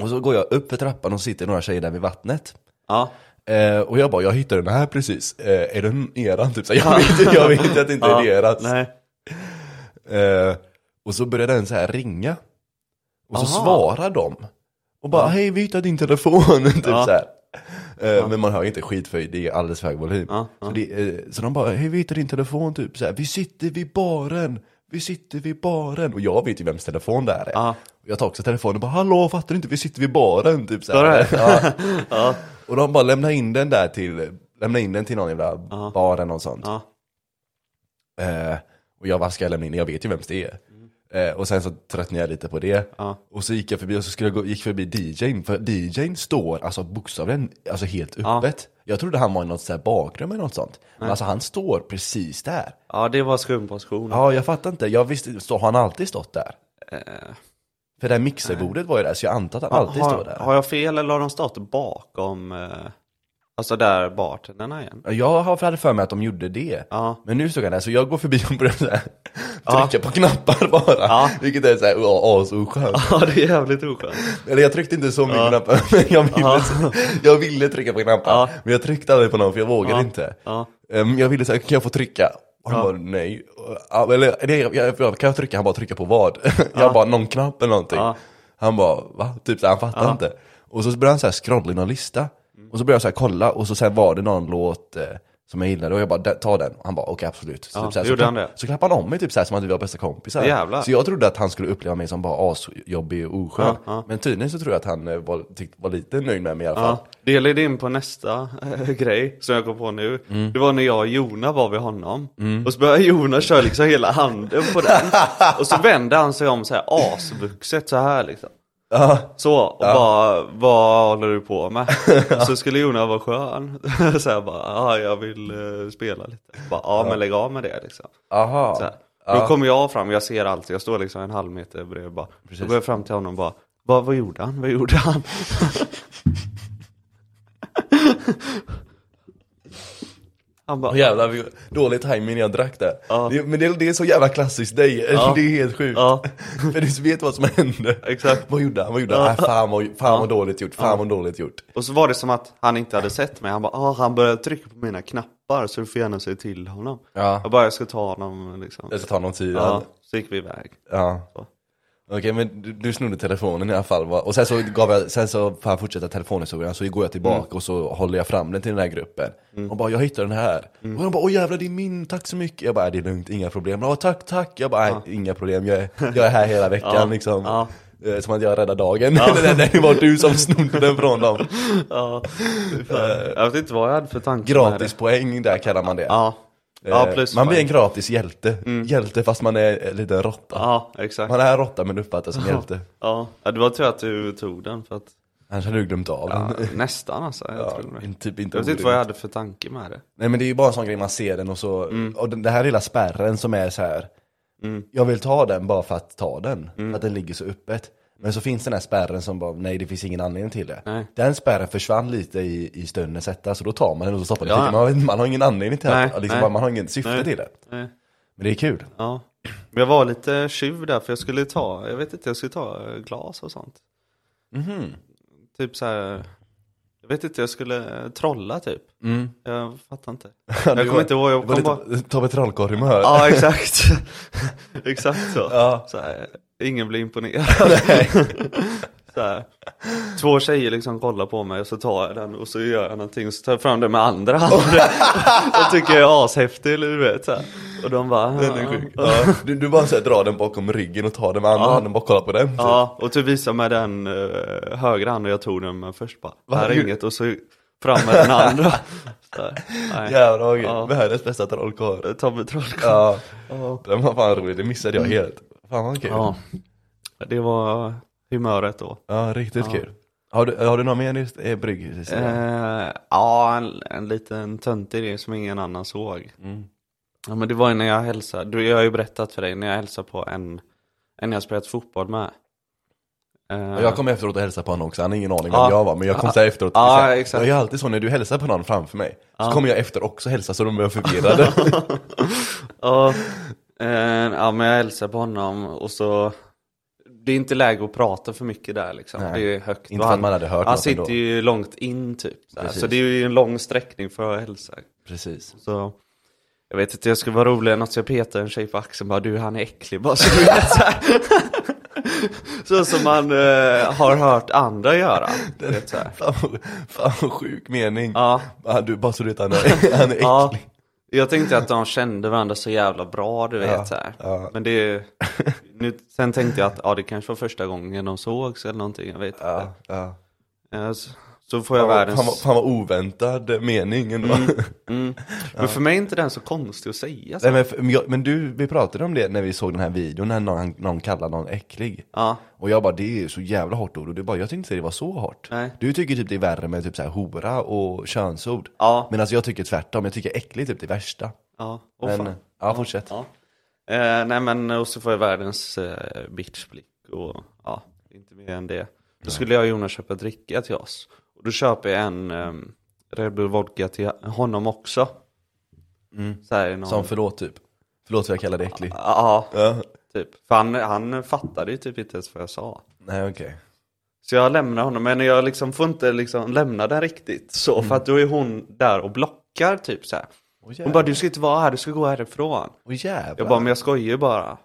Speaker 1: Och så går jag upp för trappan och sitter några tjejer där vid vattnet.
Speaker 2: Ja.
Speaker 1: Eh, och jag bara, jag hittade den här precis. Eh, är den eran? Typ så här, jag, vet, jag vet att det inte är deras.
Speaker 2: Nej.
Speaker 1: Eh, och så började den så här ringa. Och så
Speaker 2: Aha.
Speaker 1: svarar de. Och bara, hej vi hittade din telefon. typ
Speaker 2: Ja.
Speaker 1: så här. Eh, Men man hör ju inte skit för det är alldeles för hög volym.
Speaker 2: Ja, ja.
Speaker 1: Så, det, eh, så de bara, hej vi hittade din telefon. Typ så här, vi sitter vid baren. Vi sitter vid baren. Och jag vet ju vems telefon det här är.
Speaker 2: Ja.
Speaker 1: Och Jag tar också telefonen och bara, hallå fattar du inte, vi sitter vid baren. Typ så
Speaker 2: Står
Speaker 1: här.
Speaker 2: det?
Speaker 1: Ja.
Speaker 2: Ja.
Speaker 1: Och de bara lämnar in den där till, lämnar in den till någon jävla
Speaker 2: Ja.
Speaker 1: bar eller något sånt.
Speaker 2: Ja.
Speaker 1: Eh, och jag bara, ska jag lämna in den? Jag vet ju vems det är.
Speaker 2: Mm.
Speaker 1: Eh, och sen så tröttnade jag lite på det.
Speaker 2: Ja.
Speaker 1: Och så gick jag förbi och så skulle jag gå, gick förbi DJn, för DJn står alltså bokstavligen alltså helt öppet. Jag trodde han var i något så här bakrum eller något sånt. Men alltså han står precis där.
Speaker 2: Ja, det var skumposition.
Speaker 1: Ja, jag fattar inte. Jag visste, så har han alltid stått där?
Speaker 2: Eh,
Speaker 1: För det här mixerbordet var ju där, så jag antar att han alltid står
Speaker 2: har,
Speaker 1: där.
Speaker 2: har jag fel eller har de stått bakom, eh, alltså där bartenderna igen?
Speaker 1: Jag har hade för mig att de gjorde det.
Speaker 2: Ja.
Speaker 1: Men nu stod han där, så jag går förbi och börjar så här,
Speaker 2: Ja.
Speaker 1: trycka på knappar bara.
Speaker 2: Ja.
Speaker 1: Vilket är såhär asoskönt.
Speaker 2: Ja, det är jävligt oskönt.
Speaker 1: Eller jag tryckte inte så mycket
Speaker 2: Ja.
Speaker 1: på knappar, men jag ville,
Speaker 2: Ja.
Speaker 1: jag ville trycka på knappar.
Speaker 2: Ja.
Speaker 1: Men jag tryckte aldrig på någon för jag vågade
Speaker 2: Ja.
Speaker 1: inte.
Speaker 2: Ja.
Speaker 1: Ehm, jag ville säga, kan jag få trycka? Och han
Speaker 2: Ja.
Speaker 1: bara nej. Och, ja, Eller nej, jag, jag, jag, kan jag trycka? Han bara trycka på vad? Jag bara någon knapp eller någonting.
Speaker 2: Ja.
Speaker 1: Han bara va? Typ så här, han fattar inte. Och så började han så här scrolla i någon lista. Och så började jag så här kolla och så sen var det någon låt eh, som jag gillade och jag bara "Där, ta den. Och han bara okej absolut. Så,
Speaker 2: Ja,
Speaker 1: så, här,
Speaker 2: gjorde
Speaker 1: så,
Speaker 2: han
Speaker 1: klapp-
Speaker 2: det?
Speaker 1: så klappade han om mig typ så här som att vi var bästa kompisar.
Speaker 2: Jävlar.
Speaker 1: Så jag trodde att han skulle uppleva mig som bara asjobbig och oskön.
Speaker 2: Ja, ja.
Speaker 1: Men tydligen så tror jag att han eh, var, tyckte, var lite nöjd med mig i alla fall.
Speaker 2: Ja, det leder in på nästa eh, grej som jag kom på nu. Det var när jag och Jona var vid honom. Och så började Jona köra liksom hela handen på den. Och så vände han sig om så här asvuxet så här liksom. Så, och bara, vad håller du på med? Så skulle Jona vara skön. så här bara, ja jag vill eh, spela lite. Bara, ja men lägg av med det liksom.
Speaker 1: Aha.
Speaker 2: Så här. Då kommer jag fram, jag ser allt, jag står liksom en halv meter bredvid bara. Då går jag fram till honom och bara, vad, vad gjorde han? Vad gjorde han? han bara,
Speaker 1: Åh, jävlar, vi- dålig timing när jag drack där.
Speaker 2: Ja.
Speaker 1: Det, men det, det är så jävla klassiskt dig, det är helt sjukt.
Speaker 2: ja,
Speaker 1: För du vet vad som hände.
Speaker 2: Exakt.
Speaker 1: Vad gjorde han? Vad gjorde han? Äh, fan vad, fan vad dåligt gjort, fan vad dåligt gjort.
Speaker 2: och så var det som att han inte hade sett mig. Han bara, ah, han började trycka på mina knappar så du får gärna säga till honom.
Speaker 1: Ja.
Speaker 2: Jag bara, jag ska ta honom liksom.
Speaker 1: Jag ska ta någon tid.
Speaker 2: Ja,
Speaker 1: Ja.
Speaker 2: så gick vi iväg. Så.
Speaker 1: Okej men du, du snodde telefonen i alla fall va? Och sen så gav jag, sen så får jag fortsätta telefonhistorien, så går jag tillbaka och så håller jag fram den till den här gruppen.
Speaker 2: Mm.
Speaker 1: Och bara jag hittade den här. Och de bara åh jävlar det är min, tack så mycket. Jag bara det är lugnt, inga problem. Ja tack, tack. Jag bara "Nej, inga problem, jag är, jag är här hela veckan
Speaker 2: Ja.
Speaker 1: liksom.
Speaker 2: Ja.
Speaker 1: Eh, Som att jag räddade dagen. nej, nej, det var du som snodde den från dem.
Speaker 2: Ja, fy fan. Eh, jag vet inte vad jag hade för tanke med det.
Speaker 1: Gratispoäng, där kallar man det.
Speaker 2: Ja, ja
Speaker 1: Eh,
Speaker 2: plus
Speaker 1: man blir en
Speaker 2: poäng. Mm.
Speaker 1: gratis hjälte. Hjälte fast man är en liten råtta.
Speaker 2: Ja, exakt.
Speaker 1: Man är råtta men uppfattas som hjälte.
Speaker 2: Ja, ja, det var tur att du tog den för att
Speaker 1: Annars hade du glömt av
Speaker 2: ja,
Speaker 1: den.
Speaker 2: nästan alltså. Jag,
Speaker 1: Ja,
Speaker 2: tror det.
Speaker 1: in- typ inte
Speaker 2: jag vet inte
Speaker 1: orimligt.
Speaker 2: vad jag hade för tanke med det.
Speaker 1: Nej men det är ju bara en sån grej man ser den och så,
Speaker 2: Mm.
Speaker 1: och den, det här lilla spärren som är så här. jag vill ta den bara för att ta den,
Speaker 2: Mm.
Speaker 1: för att den ligger så öppet. Men så finns den här spärren som bara, nej det finns ingen anledning till det.
Speaker 2: Nej.
Speaker 1: Den spärren försvann lite i, i stundens hetta, så då tar man den och så stoppar den.
Speaker 2: Ja.
Speaker 1: i fickan. Man, vet- man har ingen anledning till
Speaker 2: Nej,
Speaker 1: det, liksom,
Speaker 2: nej.
Speaker 1: bara- man har ingen syfte
Speaker 2: Nej.
Speaker 1: till det.
Speaker 2: Nej.
Speaker 1: Men det är kul.
Speaker 2: Ja. Men Jag var lite tjuv där för jag skulle ta, jag vet inte, jag skulle ta eh, glas och sånt. Mhm. Typ så här. jag vet inte, jag skulle eh, trolla typ. Jag fattar inte. Jag kommer inte ihåg, jag
Speaker 1: Mm. Det var
Speaker 2: kom bara...
Speaker 1: lite Tobbe Trollkarl-humör.
Speaker 2: Ja, exakt. exakt så.
Speaker 1: Ja.
Speaker 2: så här, ingen blir imponerad. så här. Två tjejer liksom kollar på mig och så tar jag den och så gör jag någonting och så tar jag fram den med andra handen. jag tycker jag är ashäftig, eller du vet. Så här. Och de bara...
Speaker 1: Den är sjuk. Ja. Du, du bara så här, drar den bakom ryggen och tar den med andra handen och bara kollar på den. typ.
Speaker 2: Ja, och typ visar med den eh, högra handen jag tog den med först bara.
Speaker 1: Va?
Speaker 2: Här är
Speaker 1: Gjorde-
Speaker 2: inget och så fram med den andra. Så här, nej.
Speaker 1: Jävlar vad
Speaker 2: Ja.
Speaker 1: gött. Världens bästa trollkarl.
Speaker 2: Tobbe Trollkarl.
Speaker 1: Ja, den var fan rolig, det missade jag helt. Fan vad kul.
Speaker 2: Mm. Ja.
Speaker 1: Ja,
Speaker 2: Det var humöret då.
Speaker 1: riktigt kul. Har du, har du någon mer just, eh, brygg? Cecilia?
Speaker 2: Eh, ja, en, en liten töntig grej som ingen annan såg.
Speaker 1: Mm.
Speaker 2: Ja, men det var ju när jag hälsade, du, jag har ju berättat för dig, när jag hälsade på en, en jag spelat fotboll med. Eh,
Speaker 1: Jag kom efteråt och hälsade på honom också, han har ingen aning vem
Speaker 2: Ja.
Speaker 1: jag var men jag kom så här efteråt och
Speaker 2: Ja,
Speaker 1: så här,
Speaker 2: exakt. Ah.
Speaker 1: Jag är alltid så när du hälsar på någon framför mig Så kommer jag efter också hälsa så de blir förvirrade
Speaker 2: Ja, eh, ja, men jag hälsar på honom och så Det är inte läge att prata för mycket där liksom.
Speaker 1: Nej.
Speaker 2: Det är högt.
Speaker 1: Inte
Speaker 2: Och
Speaker 1: för att man hade hört
Speaker 2: Han
Speaker 1: något
Speaker 2: sitter
Speaker 1: ändå.
Speaker 2: ju långt in typ. Så, här.
Speaker 1: Precis.
Speaker 2: så det är ju en lång sträckning för att hälsa.
Speaker 1: Precis
Speaker 2: Så jag vet inte, jag skulle vara rolig något så jag petar en tjej på axeln bara du han är äcklig bara så, du vet, så, här. så som man eh, har hört andra göra. Du vet, så här.
Speaker 1: Fan vad- fan vad sjuk mening
Speaker 2: Ja.
Speaker 1: Ah, du, Bara så du vet, han är, han är äcklig
Speaker 2: Ja, jag tänkte att de kände varandra så jävla bra, du vet
Speaker 1: Ja,
Speaker 2: så här.
Speaker 1: ja.
Speaker 2: Men det, nu, sen tänkte jag att ja, det kanske var första gången de sågs eller någonting, jag vet inte.
Speaker 1: ja. Ja.
Speaker 2: Eh, Så, så får jag
Speaker 1: Fan, vad- fan, vad-
Speaker 2: världens...
Speaker 1: fan vad oväntad mening ändå
Speaker 2: Mm. Men för mig är inte den så konstig att säga. Så.
Speaker 1: Nej, men, för- men jag- men du, vi pratade om det när vi såg den här videon när någon, någon kallar någon äcklig
Speaker 2: Ja,
Speaker 1: Och jag bara, det är så jävla hårt ord och du bara, jag tyckte inte det var så hårt
Speaker 2: Nej.
Speaker 1: Du tycker typ det är värre med typ så här hora och könsord
Speaker 2: Ja.
Speaker 1: Men alltså jag tycker tvärtom, jag tycker äcklig är typ det värsta
Speaker 2: ja, åh
Speaker 1: Men,
Speaker 2: fan.
Speaker 1: ja fortsätt
Speaker 2: Ja. Eh, nej men, och så får jag världens eh, bitchblick och ja, inte mer än det. Då skulle jag och Jonas köpa dricka till oss. Och då köper jag en eh, Red Bull Vodka till honom också. Så här, någon...
Speaker 1: Som förlåt typ, förlåt för jag kallade dig äcklig
Speaker 2: Ja,
Speaker 1: Ja,
Speaker 2: typ. För han, han fattade ju typ inte ens vad jag sa.
Speaker 1: nej okej
Speaker 2: Så jag lämnar honom, men jag liksom får inte liksom lämna den riktigt så. För att då är hon där och blockar typ så här.
Speaker 1: Åh
Speaker 2: Hon bara
Speaker 1: jävlar,
Speaker 2: du ska inte vara här, du ska gå härifrån.
Speaker 1: Åh, jävlar.
Speaker 2: Jag bara, men jag skojar ju bara.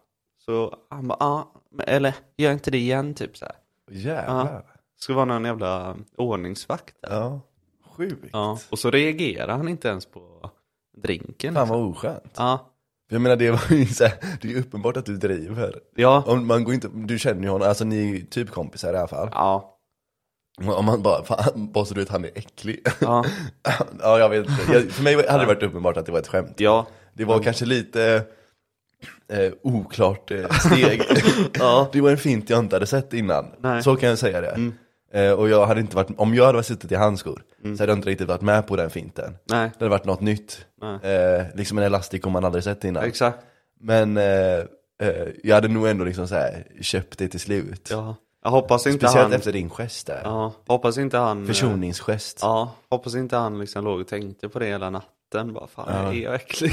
Speaker 2: Så han bara, ja, men- eller gör inte det igen typ så här.
Speaker 1: Åh, jävlar
Speaker 2: Ska vara någon jävla ordningsvakt där.
Speaker 1: Ja, sjukt
Speaker 2: Ja. Och så reagerar han inte ens på drinken.
Speaker 1: Fan
Speaker 2: liksom.
Speaker 1: vad oskönt
Speaker 2: Ja,
Speaker 1: Jag menar det var ju så här, det är ju uppenbart att du driver
Speaker 2: ja,
Speaker 1: om man går inte, du känner ju honom, alltså ni är ju typ kompisar i alla fall
Speaker 2: ja,
Speaker 1: Om man bara, fan, bara så du vet han är äcklig
Speaker 2: ja,
Speaker 1: Ja, jag vet inte. Jag, för mig hade det varit uppenbart att det var ett skämt.
Speaker 2: ja.
Speaker 1: Det var kanske lite eh, oklart eh, steg.
Speaker 2: Ja.
Speaker 1: Det var en fint jag inte hade sett innan.
Speaker 2: Nej. Mm.
Speaker 1: Så kan jag säga det. Eh, och jag hade inte varit, om jag hade suttit i hans skor
Speaker 2: Mm.
Speaker 1: så hade jag inte riktigt varit med på den finten.
Speaker 2: Nej,
Speaker 1: Det hade varit något nytt.
Speaker 2: Nej.
Speaker 1: Eh, liksom en elastico man aldrig sett innan.
Speaker 2: exakt.
Speaker 1: Men eh, eh, jag hade nog ändå liksom så här, köpt det till slut.
Speaker 2: Ja. Jag hoppas inte
Speaker 1: Speciellt
Speaker 2: han...
Speaker 1: efter din gest där.
Speaker 2: Ja, hoppas inte han... eh,
Speaker 1: Försoningsgest.
Speaker 2: Ja, hoppas inte han liksom låg och tänkte på det hela natten. Bara, fan, är jag äcklig?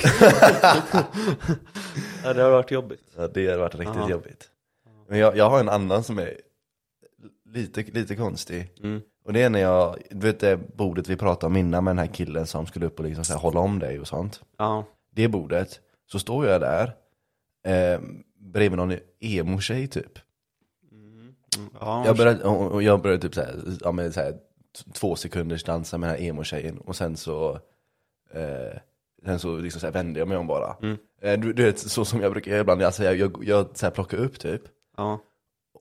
Speaker 2: ja, det har varit jobbigt.
Speaker 1: Ja, det hade varit riktigt
Speaker 2: Ja.
Speaker 1: jobbigt. Men jag, jag har en annan som är lite, lite konstig.
Speaker 2: Mm.
Speaker 1: Och det är när jag, du vet det bordet vi pratade om innan med den här killen som skulle upp och liksom så här, hålla om dig och sånt.
Speaker 2: Ja,
Speaker 1: Det bordet, så står jag där eh, bredvid någon emo-tjej typ.
Speaker 2: Mm. ja,
Speaker 1: Jag började, och och jag började typ så här, ja, men så här, t- två sekunders dansa med den här emo-tjejen och sen så eh, Sen så, liksom så här vände jag mig om
Speaker 2: Mm.
Speaker 1: bara. Eh, du, du vet, så som jag brukar göra ibland, alltså jag, jag, jag så här plockar upp typ.
Speaker 2: ja.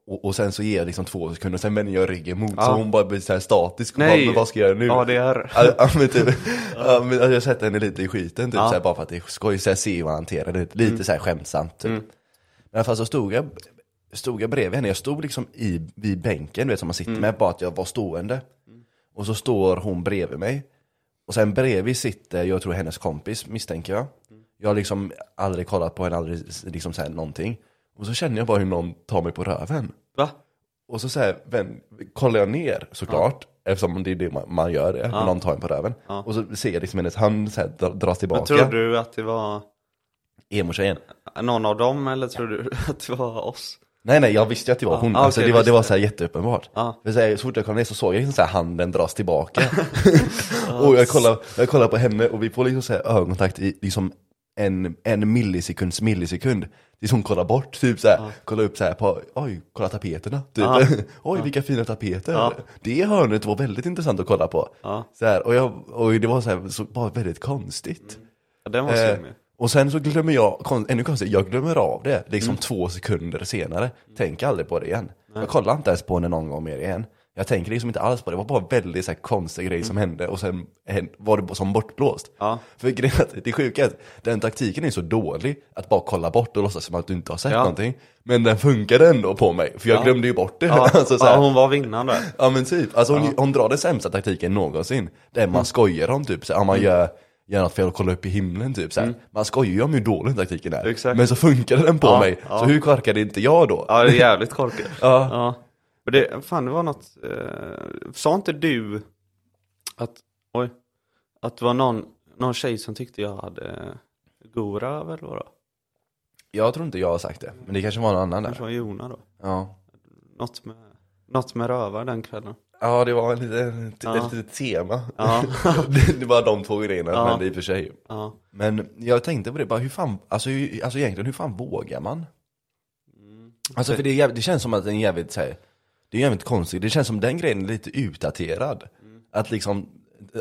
Speaker 1: och, och sen så ger jag liksom två sekunder, sen vänder jag ryggen mot så
Speaker 2: Ja.
Speaker 1: hon bara blir så här statisk och
Speaker 2: Nej.
Speaker 1: bara, men vad ska jag göra nu?
Speaker 2: ADR.
Speaker 1: Ja, ja, men typ, ja, men alltså jag sätter henne lite i skiten typ
Speaker 2: Ja. Mm.
Speaker 1: så här, bara för att det är skoj, så här, se hur man hanterar det, lite så här skämtsamt typ. Men i alla fall så stod jag, stod jag bredvid henne, jag stod liksom i, vid bänken du vet som man sitter
Speaker 2: Mm.
Speaker 1: med, bara att jag var stående. Och så står hon bredvid mig. Och sen bredvid sitter, jag tror hennes kompis misstänker jag.
Speaker 2: Mm.
Speaker 1: Jag har liksom aldrig kollat på henne, aldrig liksom så här någonting. Och så känner jag bara hur någon tar mig på röven.
Speaker 2: Va?
Speaker 1: Och så, så här, vän, kollar jag ner såklart, eftersom det är det man, man gör, det, när någon tar en på röven.
Speaker 2: Ja.
Speaker 1: Och så ser jag liksom hennes hand så här, dra- dras
Speaker 2: Men
Speaker 1: tillbaka.
Speaker 2: tror du att det var
Speaker 1: Emo-tjejen.
Speaker 2: någon av dem eller tror du att det var oss?
Speaker 1: Nej nej, jag visste ju att det var hon.
Speaker 2: ah,
Speaker 1: alltså,
Speaker 2: okej,
Speaker 1: det var, det
Speaker 2: visst.
Speaker 1: var så här jätteuppenbart.
Speaker 2: Ja.
Speaker 1: För så, här, så fort jag kom ner så såg jag liksom så här, handen dras tillbaka. och jag kollar, jag kollar på henne och vi får liksom så här, ögonkontakt i liksom en, en millisekunds millisekund. Tills hon kollar bort, typ så här, kollar upp så här på, oj, kolla tapeterna. Typ.
Speaker 2: Ja.
Speaker 1: oj, vilka fina tapeter.
Speaker 2: Ja.
Speaker 1: Det hörnet var väldigt intressant att kolla på.
Speaker 2: Ja.
Speaker 1: Så här, och, jag, och det var så, här, så bara väldigt konstigt.
Speaker 2: Ja, Den var
Speaker 1: Eh,
Speaker 2: slemmig.
Speaker 1: och sen så glömmer jag, kon- ännu konstigt, jag glömmer av det liksom
Speaker 2: Mm.
Speaker 1: två sekunder senare. Tänker aldrig på det igen. Jag kollar inte ens på henne någon gång mer igen. Jag tänker liksom inte alls på det, det var bara väldigt så här, konstig grej som hände och sen hän- var det som bortblåst.
Speaker 2: Mm. Ja.
Speaker 1: För grejen är att det sjuka är att den taktiken är så dålig, att bara kolla bort och låtsas som att du inte har sett
Speaker 2: Ja.
Speaker 1: någonting. Men den funkade ändå på mig, för jag glömde ju bort det.
Speaker 2: Ja,
Speaker 1: Alltså, så här-
Speaker 2: ja, hon var vinnaren där.
Speaker 1: Ja men typ, alltså hon, hon drar den sämsta taktiken någonsin. Där
Speaker 2: Mm.
Speaker 1: man skojar om typ, såhär, om man gör, gör något fel och kollar upp i himlen typ. Såhär. Man skojar ju om hur dålig den taktiken är.
Speaker 2: Mm. Exakt.
Speaker 1: Men så funkade den på
Speaker 2: Ja,
Speaker 1: mig,
Speaker 2: ja.
Speaker 1: så hur korkade inte jag då?
Speaker 2: Ja, det är jävligt korkat.
Speaker 1: Ja.
Speaker 2: Men det, fan det var något, eh, sa inte du att, oj, att det var någon, någon tjej som tyckte jag hade eh, god röv eller vadå?
Speaker 1: Jag tror inte jag har sagt det, men det kanske var någon annan där.
Speaker 2: Kanske var Jona då?
Speaker 1: Ja,
Speaker 2: Något med, något med rövar den kvällen.
Speaker 1: ja det var en liten, ett
Speaker 2: Ja.
Speaker 1: litet tema.
Speaker 2: Ja,
Speaker 1: det, det var de två grejerna som
Speaker 2: Ja.
Speaker 1: hände i och för sig.
Speaker 2: ja.
Speaker 1: Men jag tänkte på det, bara hur fan, alltså, hur, alltså egentligen hur fan vågar man?
Speaker 2: Mm.
Speaker 1: Alltså för det, är jäv- det känns som att den är jävligt så här, det är jävligt konstigt, det känns som den grejen är lite utdaterad.
Speaker 2: Mm.
Speaker 1: Att liksom,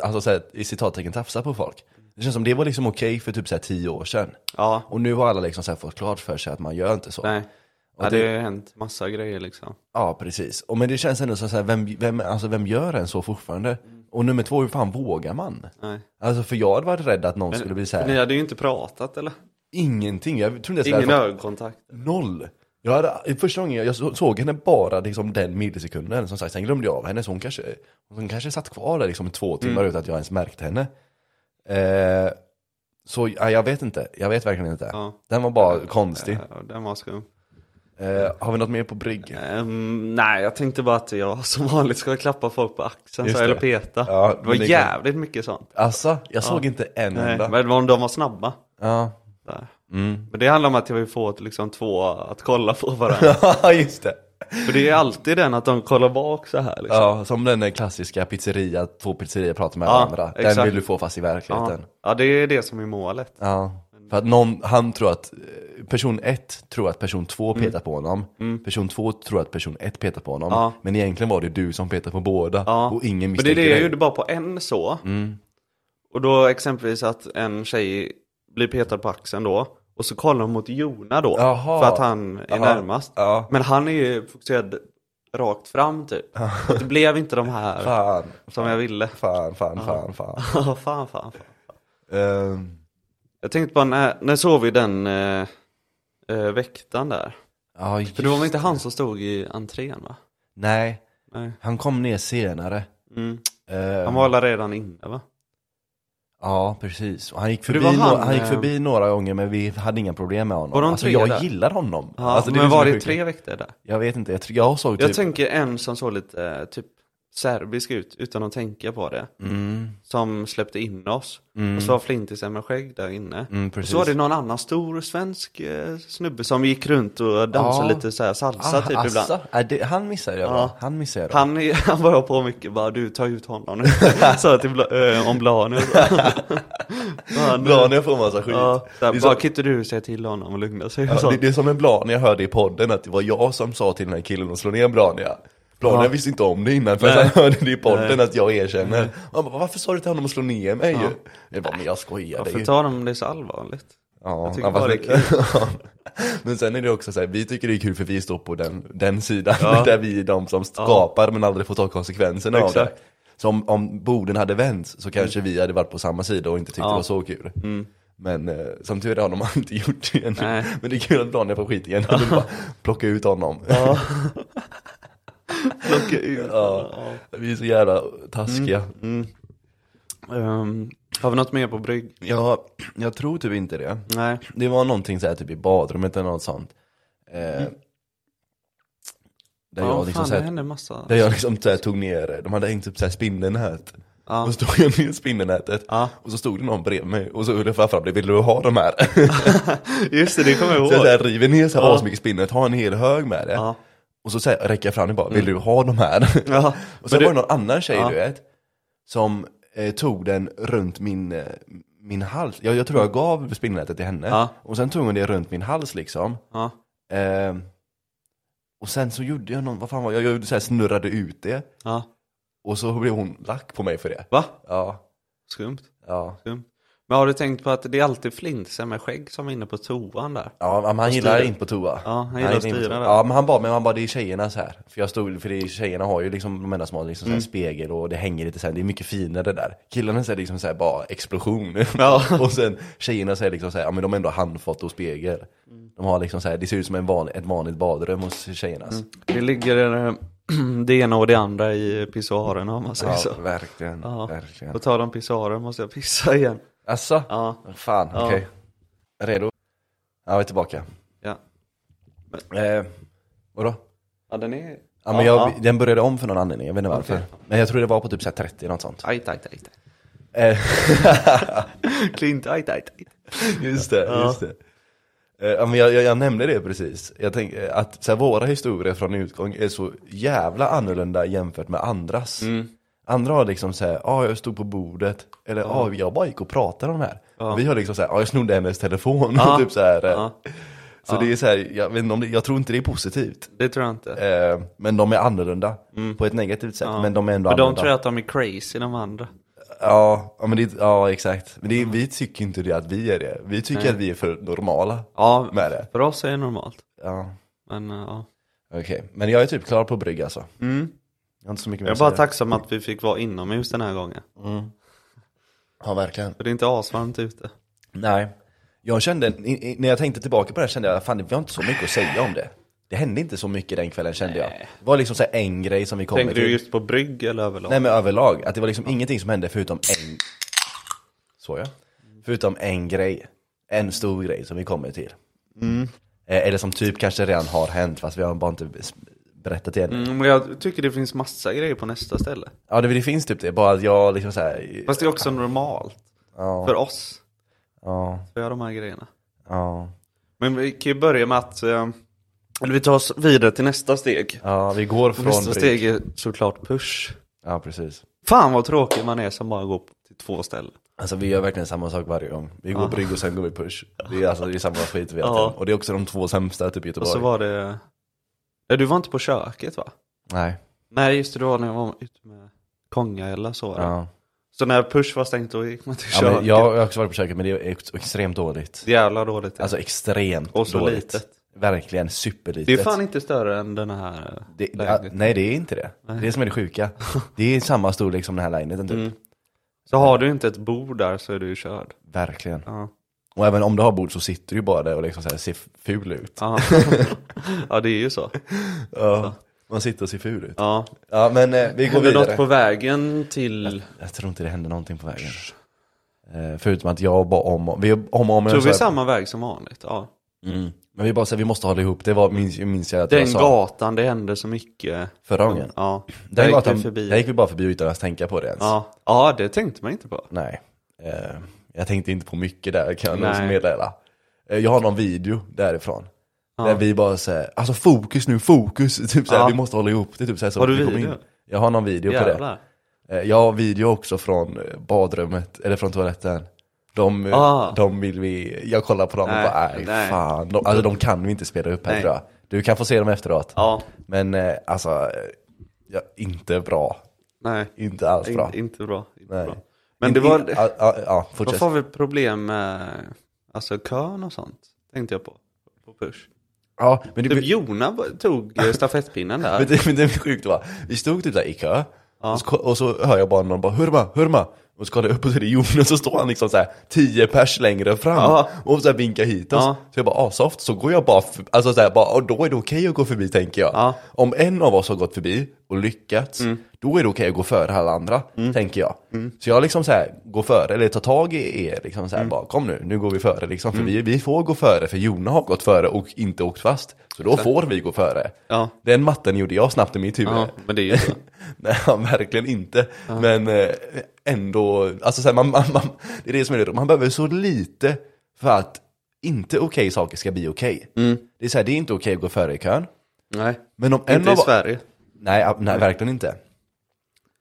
Speaker 1: alltså så här, i citattecken tafsa på folk. Det känns som det var liksom okej för typ så här tio år sedan.
Speaker 2: ja.
Speaker 1: Och nu har alla liksom så här fått klart för sig att man gör inte så.
Speaker 2: Nej.
Speaker 1: Och
Speaker 2: Ja,
Speaker 1: det-
Speaker 2: det har ju hänt massa grejer liksom.
Speaker 1: Ja precis, och men det känns ändå så här, vem, vem, alltså vem gör en så fortfarande?
Speaker 2: Mm.
Speaker 1: Och nummer två, hur fan vågar man?
Speaker 2: Nej.
Speaker 1: Alltså för jag hade varit rädd att någon skulle bli så här,
Speaker 2: Ni hade ju inte pratat eller?
Speaker 1: ingenting, jag tror inte ens jag
Speaker 2: Ingen
Speaker 1: hade fått-
Speaker 2: ögonkontakt.
Speaker 1: Noll! Jag hade, i första gången jag så- såg henne bara liksom den millisekunden, som sagt, sen glömde jag av henne så hon kanske, hon kanske satt kvar där liksom i två timmar
Speaker 2: Mm.
Speaker 1: utan att jag ens märkte henne. Eh, så ja, jag vet inte, jag vet verkligen inte.
Speaker 2: Ja.
Speaker 1: Den var bara konstig.
Speaker 2: Ja, den var skum.
Speaker 1: Eh, har vi något mer på brygg?
Speaker 2: Ehm, nej, jag tänkte bara att jag som vanligt ska klappa folk på axeln
Speaker 1: Just
Speaker 2: så, eller
Speaker 1: det.
Speaker 2: peta.
Speaker 1: Ja,
Speaker 2: det
Speaker 1: men
Speaker 2: var
Speaker 1: det kan-
Speaker 2: jävligt mycket sånt.
Speaker 1: Alltså, jag såg inte en
Speaker 2: Nej,
Speaker 1: enda.
Speaker 2: men de, de var snabba.
Speaker 1: Ja.
Speaker 2: Där.
Speaker 1: Mm.
Speaker 2: Men det handlar om att jag vill få ett, liksom, två att kolla på varandra.
Speaker 1: just det.
Speaker 2: För det är alltid den att de kollar bak så här. Liksom.
Speaker 1: Ja, som den där klassiska pizzeria, två pizzerior pratar med
Speaker 2: Ja,
Speaker 1: varandra. Den
Speaker 2: exakt.
Speaker 1: vill du få fast i verkligheten.
Speaker 2: ja, det är det som är målet.
Speaker 1: Ja, för att någon, han tror att eh, person ett tror att person två
Speaker 2: Mm.
Speaker 1: petar på honom. Person två tror att person ett petar på honom.
Speaker 2: Ja.
Speaker 1: Men egentligen var det du som petade på båda
Speaker 2: Ja.
Speaker 1: och ingen
Speaker 2: Men det är
Speaker 1: misstänker
Speaker 2: det jag
Speaker 1: dig. Mm.
Speaker 2: gjorde bara på en så. Och då exempelvis att en tjej blir petad på axeln då. Och så kollar hon mot Jona då.
Speaker 1: Jaha.
Speaker 2: För att han är
Speaker 1: Ja.
Speaker 2: närmast.
Speaker 1: Ja.
Speaker 2: Men han är ju fokuserad rakt fram typ. Och det blev inte de här
Speaker 1: Fan,
Speaker 2: som jag ville.
Speaker 1: fan, fan, fan, fan.
Speaker 2: fan, fan, fan.
Speaker 1: Ehm,
Speaker 2: Jag tänkte bara, när, när såg vi den eh, eh, väktaren där?
Speaker 1: ja, just...
Speaker 2: För det var väl inte han som stod i entrén va?
Speaker 1: Nej,
Speaker 2: Nej.
Speaker 1: han kom ner senare.
Speaker 2: Mm.
Speaker 1: Ehm,
Speaker 2: Han var väl redan inne va?
Speaker 1: Ja, precis. Och han gick,
Speaker 2: det
Speaker 1: förbi
Speaker 2: var
Speaker 1: han,
Speaker 2: han,
Speaker 1: han gick
Speaker 2: eh,
Speaker 1: förbi några gånger men vi hade inga problem med honom.
Speaker 2: Var de
Speaker 1: alltså,
Speaker 2: tre
Speaker 1: jag
Speaker 2: där?
Speaker 1: gillar honom.
Speaker 2: Ja,
Speaker 1: alltså, är
Speaker 2: men
Speaker 1: som
Speaker 2: var
Speaker 1: är
Speaker 2: det
Speaker 1: sjukt.
Speaker 2: tre väktare där?
Speaker 1: Jag vet inte, jag, tror- jag såg
Speaker 2: Jag
Speaker 1: typ...
Speaker 2: tänker en som såg lite eh, typ serbisk ut utan att tänka på det.
Speaker 1: Mm,
Speaker 2: Som släppte in oss.
Speaker 1: Mm.
Speaker 2: Och så var flintisen med skägg där inne.
Speaker 1: mm,
Speaker 2: Och
Speaker 1: precis.
Speaker 2: så var det någon annan stor svensk eh, snubbe som gick runt och dansade
Speaker 1: Ja.
Speaker 2: lite så här salsa
Speaker 1: Ah,
Speaker 2: typ ibland.
Speaker 1: Assa? Nej, det, han missade jag
Speaker 2: Ja.
Speaker 1: va? Han missade jag då.
Speaker 2: Han, är- han var på mycket bara du tar ut honom nu. Sa till bla, äh, om Blanu. Fan,
Speaker 1: Blania får massa skit.
Speaker 2: Ja, så här,
Speaker 1: det,
Speaker 2: bara
Speaker 1: är som,
Speaker 2: kan inte du säga till honom och lugna sig?
Speaker 1: ja,
Speaker 2: Så-
Speaker 1: det, det är som en Blania jag hörde i podden, att det var jag som sa till den här killen att slå ner Blania. Blania
Speaker 2: Ja.
Speaker 1: visste inte om det innan, för att
Speaker 2: Nej.
Speaker 1: han hörde det i podden
Speaker 2: Nej.
Speaker 1: att jag erkänner. Han bara, varför sa du till honom att slå ner mig? Jag bara, men jag skojade
Speaker 2: Varför
Speaker 1: ju.
Speaker 2: tar de det så allvarligt?
Speaker 1: Ja,
Speaker 2: Jag tycker
Speaker 1: ja, fast
Speaker 2: bara det är
Speaker 1: Ja. Men sen är det också så här, vi tycker det är kul för vi står på den, den sidan
Speaker 2: Ja.
Speaker 1: där vi är de som skapar men aldrig får ta konsekvenserna av det.
Speaker 2: Exakt. Mm.
Speaker 1: Så om, om borden hade vänt så kanske vi hade varit på samma sida och inte tyckt det
Speaker 2: Ja. Mm.
Speaker 1: var så kul. Men eh, som tur är har de inte gjort det ännu.
Speaker 2: Nej.
Speaker 1: Men det är kul att Daniel får skit igen och du bara plocka ut honom.
Speaker 2: Plocka ut. Mm.
Speaker 1: Ja. Vi är så jävla taskiga.
Speaker 2: Ehm, har vi något mer på brygg?
Speaker 1: Ja, jag tror typ inte det.
Speaker 2: Nej.
Speaker 1: Det var någonting så här typ i badrummet eller något sånt. Eh, Där
Speaker 2: Mm. ja,
Speaker 1: jag liksom
Speaker 2: fan,
Speaker 1: så här,
Speaker 2: det hände massa.
Speaker 1: Där jag liksom så här tog ner, de hade hängt upp så här spindelnät.
Speaker 2: Ja.
Speaker 1: Och så tog jag ner spindelnätet.
Speaker 2: Ja.
Speaker 1: Och så stod det någon bredvid mig och så höll jag fram det, vill du ha de här?
Speaker 2: Just det, det kommer jag
Speaker 1: så jag så
Speaker 2: ihåg.
Speaker 1: här river ner så här
Speaker 2: Ja.
Speaker 1: asmycket spindelnät, har en hel hög med det.
Speaker 2: Ja.
Speaker 1: Och så, så här räcker jag fram det bara, vill du ha de här?
Speaker 2: Ja.
Speaker 1: och
Speaker 2: Men
Speaker 1: sen var
Speaker 2: du-
Speaker 1: det någon annan tjej
Speaker 2: Ja.
Speaker 1: du vet, som eh, tog den runt min, eh, min hals. Jag, jag tror jag gav spindelnätet till henne.
Speaker 2: Ja.
Speaker 1: Och sen tog hon det runt min hals liksom.
Speaker 2: Ja.
Speaker 1: Eh, och sen så gjorde jag någon, vad fan var jag, jag gjorde så här, snurrade ut det.
Speaker 2: ja.
Speaker 1: Och så blev hon lack på mig för det.
Speaker 2: Va?
Speaker 1: Ja,
Speaker 2: Skumt.
Speaker 1: ja.
Speaker 2: skumt. Mm. Men har du tänkt på att det är alltid flintsen med skägg som är inne på toan där?
Speaker 1: Ja, men han gillar
Speaker 2: styra.
Speaker 1: inte på toa.
Speaker 2: Ja, han gillar att
Speaker 1: inte på
Speaker 2: styra
Speaker 1: toa.
Speaker 2: där.
Speaker 1: Ja, men han bara, men han bara, det är tjejerna så här. För jag stod, för det är, tjejerna har ju liksom, de enda som har
Speaker 2: Mm.
Speaker 1: liksom så här spegel och det hänger lite så här, det är mycket finare där. Killarna säger liksom så här, bara explosion.
Speaker 2: Ja.
Speaker 1: och sen tjejerna säger liksom så här, ja men de har ändå handfat och spegel.
Speaker 2: Mm.
Speaker 1: De har liksom så här, det ser ut som en van, ett vanligt badrum hos tjejernas.
Speaker 2: Det ligger eh, det ena och det andra i pissoarerna om man säger
Speaker 1: Ja,
Speaker 2: så.
Speaker 1: verkligen,
Speaker 2: Ja.
Speaker 1: verkligen.
Speaker 2: På tal om pissoarer måste jag pissa igen.
Speaker 1: Asså?
Speaker 2: Ja.
Speaker 1: Fan,
Speaker 2: Ja.
Speaker 1: okej. Redo? Ja, vi är tillbaka.
Speaker 2: Ja,
Speaker 1: Eh, vadå?
Speaker 2: ja den är...
Speaker 1: Ja, men jag, Den började om för någon anledning, jag vet inte varför. Men jag tror det var på typ så här 30 något sånt.
Speaker 2: Ajt, ajt, ajt.
Speaker 1: Eh,
Speaker 2: Klint, ajt, ajt. ajt.
Speaker 1: just det, just det. Eh, ja, men jag, jag, jag nämnde det precis. Jag tänkte eh, att så här, våra historier från utgång är så jävla annorlunda jämfört med andras. Andra har liksom såhär, ja ah, jag stod på bordet, eller Mm. ja ah, jag bara gick och pratade om det här. Och Vi har liksom såhär, ja ah, jag snodde hennes telefon.
Speaker 2: Ja.
Speaker 1: typ så här, eh.
Speaker 2: Ja.
Speaker 1: så det är så här, jag, vet inte om det, jag tror inte det är positivt.
Speaker 2: Det tror jag inte.
Speaker 1: Eh, men de är annorlunda på ett negativt sätt. Men de är ändå
Speaker 2: Mm. För de
Speaker 1: annorlunda.
Speaker 2: tror att de är crazy de andra.
Speaker 1: Ja, ja, men det, ja exakt. Men det, vi tycker inte det att vi är det. Vi tycker att vi är för normala
Speaker 2: Ja,
Speaker 1: med det.
Speaker 2: för oss är det normalt.
Speaker 1: Ja,
Speaker 2: Men eh, ja.
Speaker 1: okej. Men jag är typ klar på brygg alltså. Jag har inte så mycket mer
Speaker 2: Mm. Jag är
Speaker 1: att
Speaker 2: bara
Speaker 1: säga.
Speaker 2: tacksam att vi fick vara inomhus den här gången.
Speaker 1: Ja, verkligen.
Speaker 2: För det är inte asvarmt ute.
Speaker 1: Nej. Jag kände, i- i- när jag tänkte tillbaka på det här kände jag, fan vi har inte så mycket att säga om det. Det hände inte så mycket den kvällen kände jag. Det var liksom så här en grej som vi kom
Speaker 2: Tänker
Speaker 1: till.
Speaker 2: du just på brygg eller överlag?
Speaker 1: Nej men överlag, att det var liksom ingenting som hände förutom en... Så ja. Förutom en grej. En stor grej som vi kommer till.
Speaker 2: Mm.
Speaker 1: Eh, Eller som typ kanske redan har hänt fast vi har bara inte s- berättat det ännu.
Speaker 2: Mm, men jag tycker det finns massa grejer på nästa ställe.
Speaker 1: Ja det, det finns typ det, bara att jag liksom såhär...
Speaker 2: Fast det är också normalt.
Speaker 1: Ja,
Speaker 2: För oss.
Speaker 1: ja,
Speaker 2: För de här grejerna.
Speaker 1: ja.
Speaker 2: Men vi kan ju börja med att eh, eller vi tar oss vidare till nästa steg.
Speaker 1: Ja vi går
Speaker 2: nästa
Speaker 1: från
Speaker 2: steg
Speaker 1: brygg.
Speaker 2: är såklart push.
Speaker 1: Ja precis.
Speaker 2: Fan vad tråkig man är som bara går till två ställen.
Speaker 1: Alltså vi gör verkligen samma sak varje gång. Vi går brygg och sen går vi push. Det är alltså det är samma skit vi har
Speaker 2: Ah. Ja.
Speaker 1: haft. Och det är också de två sämsta typ
Speaker 2: Och
Speaker 1: i Göteborg.
Speaker 2: så var det... Ja, du var inte på köket va?
Speaker 1: Nej.
Speaker 2: Nej just det, det var när jag var ute med Konga eller så. var det.
Speaker 1: Ja.
Speaker 2: Så när push var stängt då gick man till
Speaker 1: Ja,
Speaker 2: köket.
Speaker 1: men jag har också varit på köket men det är ex- extremt dåligt.
Speaker 2: Jävla dåligt.
Speaker 1: Alltså extremt
Speaker 2: Och så
Speaker 1: dåligt.
Speaker 2: litet.
Speaker 1: Verkligen superlitet.
Speaker 2: det är fan inte större än den här
Speaker 1: Det- ja,
Speaker 2: lägenheten.
Speaker 1: nej det är inte det. Det är det som är det sjuka. Det är samma storlek som den här lägenheten
Speaker 2: Mm.
Speaker 1: typ.
Speaker 2: Så har du inte ett bord där så är du ju körd.
Speaker 1: Verkligen.
Speaker 2: Ja.
Speaker 1: Och även om du har bord så sitter du ju bara där och liksom så här ser ful ut.
Speaker 2: Ja. ja det är ju så.
Speaker 1: Ja. Man sitter och ser ful ut.
Speaker 2: Ja.
Speaker 1: Ja men eh, vi går
Speaker 2: Hände något
Speaker 1: vidare.
Speaker 2: på vägen till...
Speaker 1: Jag tror inte det hände någonting på vägen. Eh, förutom att jag bara om och... Vi om och om
Speaker 2: Tog vi samma väg som vanligt? Ja.
Speaker 1: Mm. Men vi bara så här, vi måste hålla ihop. Det var, minns, minns jag att jag
Speaker 2: Den
Speaker 1: sa
Speaker 2: gatan, det hände så mycket.
Speaker 1: förra gången.
Speaker 2: Ja, där
Speaker 1: Den
Speaker 2: gick vi
Speaker 1: gatan,
Speaker 2: förbi.
Speaker 1: där gick vi bara förbi utan att ens tänka på det ens.
Speaker 2: Ja. ja, det tänkte man inte på.
Speaker 1: Nej, eh, jag tänkte inte på mycket där kan jag nog
Speaker 2: Nej.
Speaker 1: meddela. Eh, jag har någon video därifrån. Där vi bara säger, alltså fokus nu, fokus! Typ såhär,
Speaker 2: Ja.
Speaker 1: vi måste hålla ihop det. Typ såhär, så
Speaker 2: Har du
Speaker 1: vi kommer
Speaker 2: video?
Speaker 1: Jag har någon video på
Speaker 2: Jävlar.
Speaker 1: det. Eh, jag har video också från eh, badrummet, eller från toaletten. De, eh,
Speaker 2: Ah.
Speaker 1: de vill vi, jag kollar på dem
Speaker 2: Nej,
Speaker 1: och bara, nej,
Speaker 2: nej.
Speaker 1: fan. De, alltså de kan vi inte spela upp här
Speaker 2: Nej.
Speaker 1: tror jag. Du kan få se dem efteråt.
Speaker 2: Ja,
Speaker 1: Men eh, alltså, eh, ja, inte bra.
Speaker 2: nej.
Speaker 1: Inte alls bra.
Speaker 2: Inte, inte bra. Inte
Speaker 1: Nej.
Speaker 2: bra. Men det var...
Speaker 1: ah, Ja, ja, ja, fortsätt.
Speaker 2: Varför har vi problem med Alltså kön och sånt tänkte jag på. På push.
Speaker 1: Ja, men det,
Speaker 2: Typ Jona var- tog eh, stafettpinnen
Speaker 1: men
Speaker 2: där.
Speaker 1: det, men det är sjukt va? Vi stod typ där i kö, och, så, och så hör jag bara någon bara 'Hurma, hurma' och så kollar jag upp och så är det Jonas och så står han liksom såhär 10 pers längre fram
Speaker 2: Ja.
Speaker 1: och så här vinkar hit oss.
Speaker 2: Ja.
Speaker 1: Så jag bara 'Ah soft' så går jag bara, för, alltså så här, bara och då är det okej att gå förbi tänker jag.
Speaker 2: Ja. Mm.
Speaker 1: Om en av oss har gått förbi och lyckats, då är det okej att gå före alla andra, tänker jag. Så jag liksom så här, går före, eller tar tag i er, liksom
Speaker 2: Mm.
Speaker 1: så här, bara kom nu, nu går vi före liksom. För vi, vi får gå före, för Jona har gått före och inte åkt fast. Så då får vi gå före.
Speaker 2: Ja.
Speaker 1: Den matten gjorde jag snabbt i mitt huvud.
Speaker 2: Ja, men det är ju så.
Speaker 1: Nej, verkligen inte. Men eh, ändå, alltså så här, man, man, man, det är det som är det. Man behöver så lite för att inte okej saker ska bli okej. Det är så här, det är inte okej att gå före i kön.
Speaker 2: Nej,
Speaker 1: Men om en
Speaker 2: Mm. inte i
Speaker 1: av,
Speaker 2: Sverige. Mm.
Speaker 1: Nej, ab- nej, verkligen inte.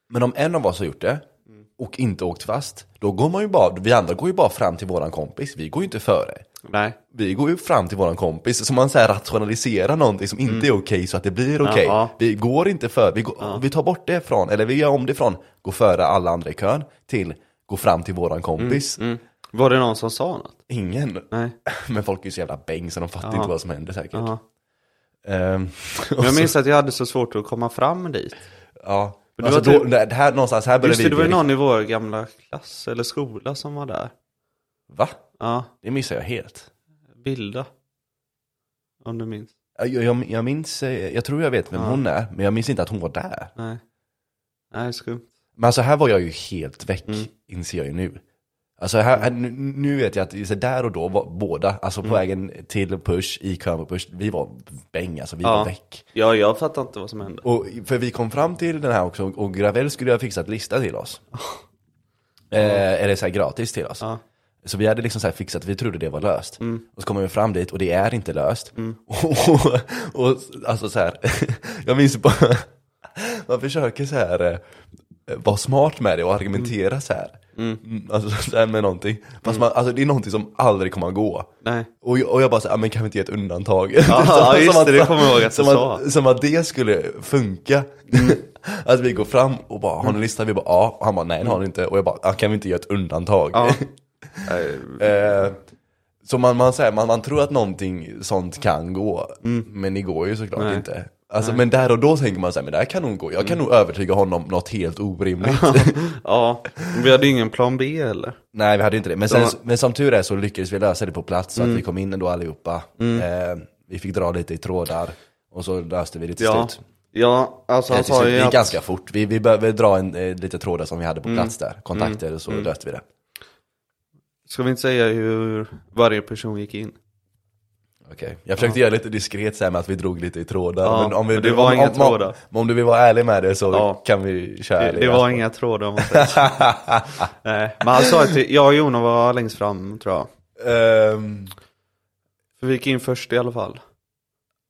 Speaker 1: Men om en av oss har gjort det
Speaker 2: Mm.
Speaker 1: och inte åkt fast, då går man ju bara, vi andra går ju bara fram till våran kompis, vi går ju inte före.
Speaker 2: Nej.
Speaker 1: Vi går ju fram till våran kompis, så man så här rationaliserar någonting som inte är okej så att det blir okej.
Speaker 2: Mm. Ja.
Speaker 1: Vi går inte före, vi, går, vi tar bort det från, eller vi gör om det från gå före alla andra i kön till gå fram till våran kompis.
Speaker 2: Mm. Var det någon som sa något?
Speaker 1: Ingen.
Speaker 2: Nej.
Speaker 1: Men folk är ju så jävla bäng så de fattar
Speaker 2: Ja.
Speaker 1: inte vad som händer säkert.
Speaker 2: Ja.
Speaker 1: Ehm, och
Speaker 2: Men jag
Speaker 1: så-
Speaker 2: minns att jag hade så svårt att komma fram dit.
Speaker 1: Ja.
Speaker 2: Men det
Speaker 1: Alltså
Speaker 2: var
Speaker 1: då, det här, någonstans här börjar
Speaker 2: Just
Speaker 1: vi
Speaker 2: det, det var ju
Speaker 1: bli-
Speaker 2: någon i vår gamla klass eller skola som var där.
Speaker 1: Va?
Speaker 2: Ja,
Speaker 1: Det missar jag helt.
Speaker 2: Bilda. Om du minns.
Speaker 1: Jag, jag, jag minns, eh, jag tror jag vet vem
Speaker 2: Ja.
Speaker 1: hon är, men jag minns inte att hon var där.
Speaker 2: Nej. Nej, skumt.
Speaker 1: Men alltså här var jag ju helt väck,
Speaker 2: Mm.
Speaker 1: inser jag ju nu. Alltså här, här, nu, nu vet jag att så där och då var båda, alltså
Speaker 2: Mm.
Speaker 1: på vägen till push, i kön på push, vi var bäng, alltså vi
Speaker 2: Ja.
Speaker 1: var väck.
Speaker 2: Ja, jag fattar inte vad som hände.
Speaker 1: Och, för vi kom fram till den här också, och Gravel skulle ju ha fixat lista till oss. Eh, eller så här gratis till oss.
Speaker 2: Ja.
Speaker 1: Så vi hade liksom så här fixat, vi trodde det var löst.
Speaker 2: Mm.
Speaker 1: Och så kommer vi fram dit och det är inte löst. Och, och, och alltså så här, jag minns bara, man försöker så här eh, vara smart med det och argumentera så här. Mm, Alltså så här med någonting.
Speaker 2: Mm.
Speaker 1: Fast man, alltså, det är någonting som aldrig kommer att gå.
Speaker 2: Nej.
Speaker 1: Och jag, och jag bara såhär, men kan vi inte ge ett undantag?
Speaker 2: ja, just det, det kommer jag ihåg att du
Speaker 1: som
Speaker 2: sa. Mm.
Speaker 1: att, som att det skulle funka. att vi går fram och bara, har ni en lista? Vi bara, ja. Och han bara, nej det har ni inte. Och jag bara, "Ah, kan vi inte göra ett undantag?
Speaker 2: Mm. Ja. Eh,
Speaker 1: Eh, så man, man, säger, man, man tror att någonting sånt kan gå, men det går ju såklart
Speaker 2: Mm. Nej. Mm.
Speaker 1: inte. Alltså, men där och då tänker man så här, men det här kan nog gå. Jag kan nog övertyga honom om något helt orimligt.
Speaker 2: ja, vi hade ingen plan B eller?
Speaker 1: Nej, vi hade ju inte det. Men, sen,
Speaker 2: Så- Mm.
Speaker 1: men som tur är så lyckades vi lösa det på plats så att vi kom in ändå allihopa. Eh, vi fick dra lite i trådar och så löste vi det till
Speaker 2: Ja.
Speaker 1: slut.
Speaker 2: Ja, alltså
Speaker 1: Eh,
Speaker 2: han
Speaker 1: till
Speaker 2: sa
Speaker 1: slut. Det
Speaker 2: ju
Speaker 1: gick
Speaker 2: att... Mm.
Speaker 1: ganska fort. Vi, vi behövde dra en, eh, lite trådar som vi hade på plats där, kontakter och så löste vi det.
Speaker 2: Ska vi inte säga hur varje person gick in?
Speaker 1: Okej. Jag försökte göra lite diskret så här med att vi drog lite i trådar.
Speaker 2: Ja, men det var
Speaker 1: om,
Speaker 2: inga
Speaker 1: om, om,
Speaker 2: trådar.
Speaker 1: Men om du vill vara ärlig med det så
Speaker 2: Ja.
Speaker 1: kan vi köra
Speaker 2: Det, det
Speaker 1: ärliga
Speaker 2: var
Speaker 1: spår.
Speaker 2: inga trådar om man säger så. Nej, men han sa att jag och Jona var längst fram tror jag.
Speaker 1: Ehm,
Speaker 2: För vi gick in först i alla fall.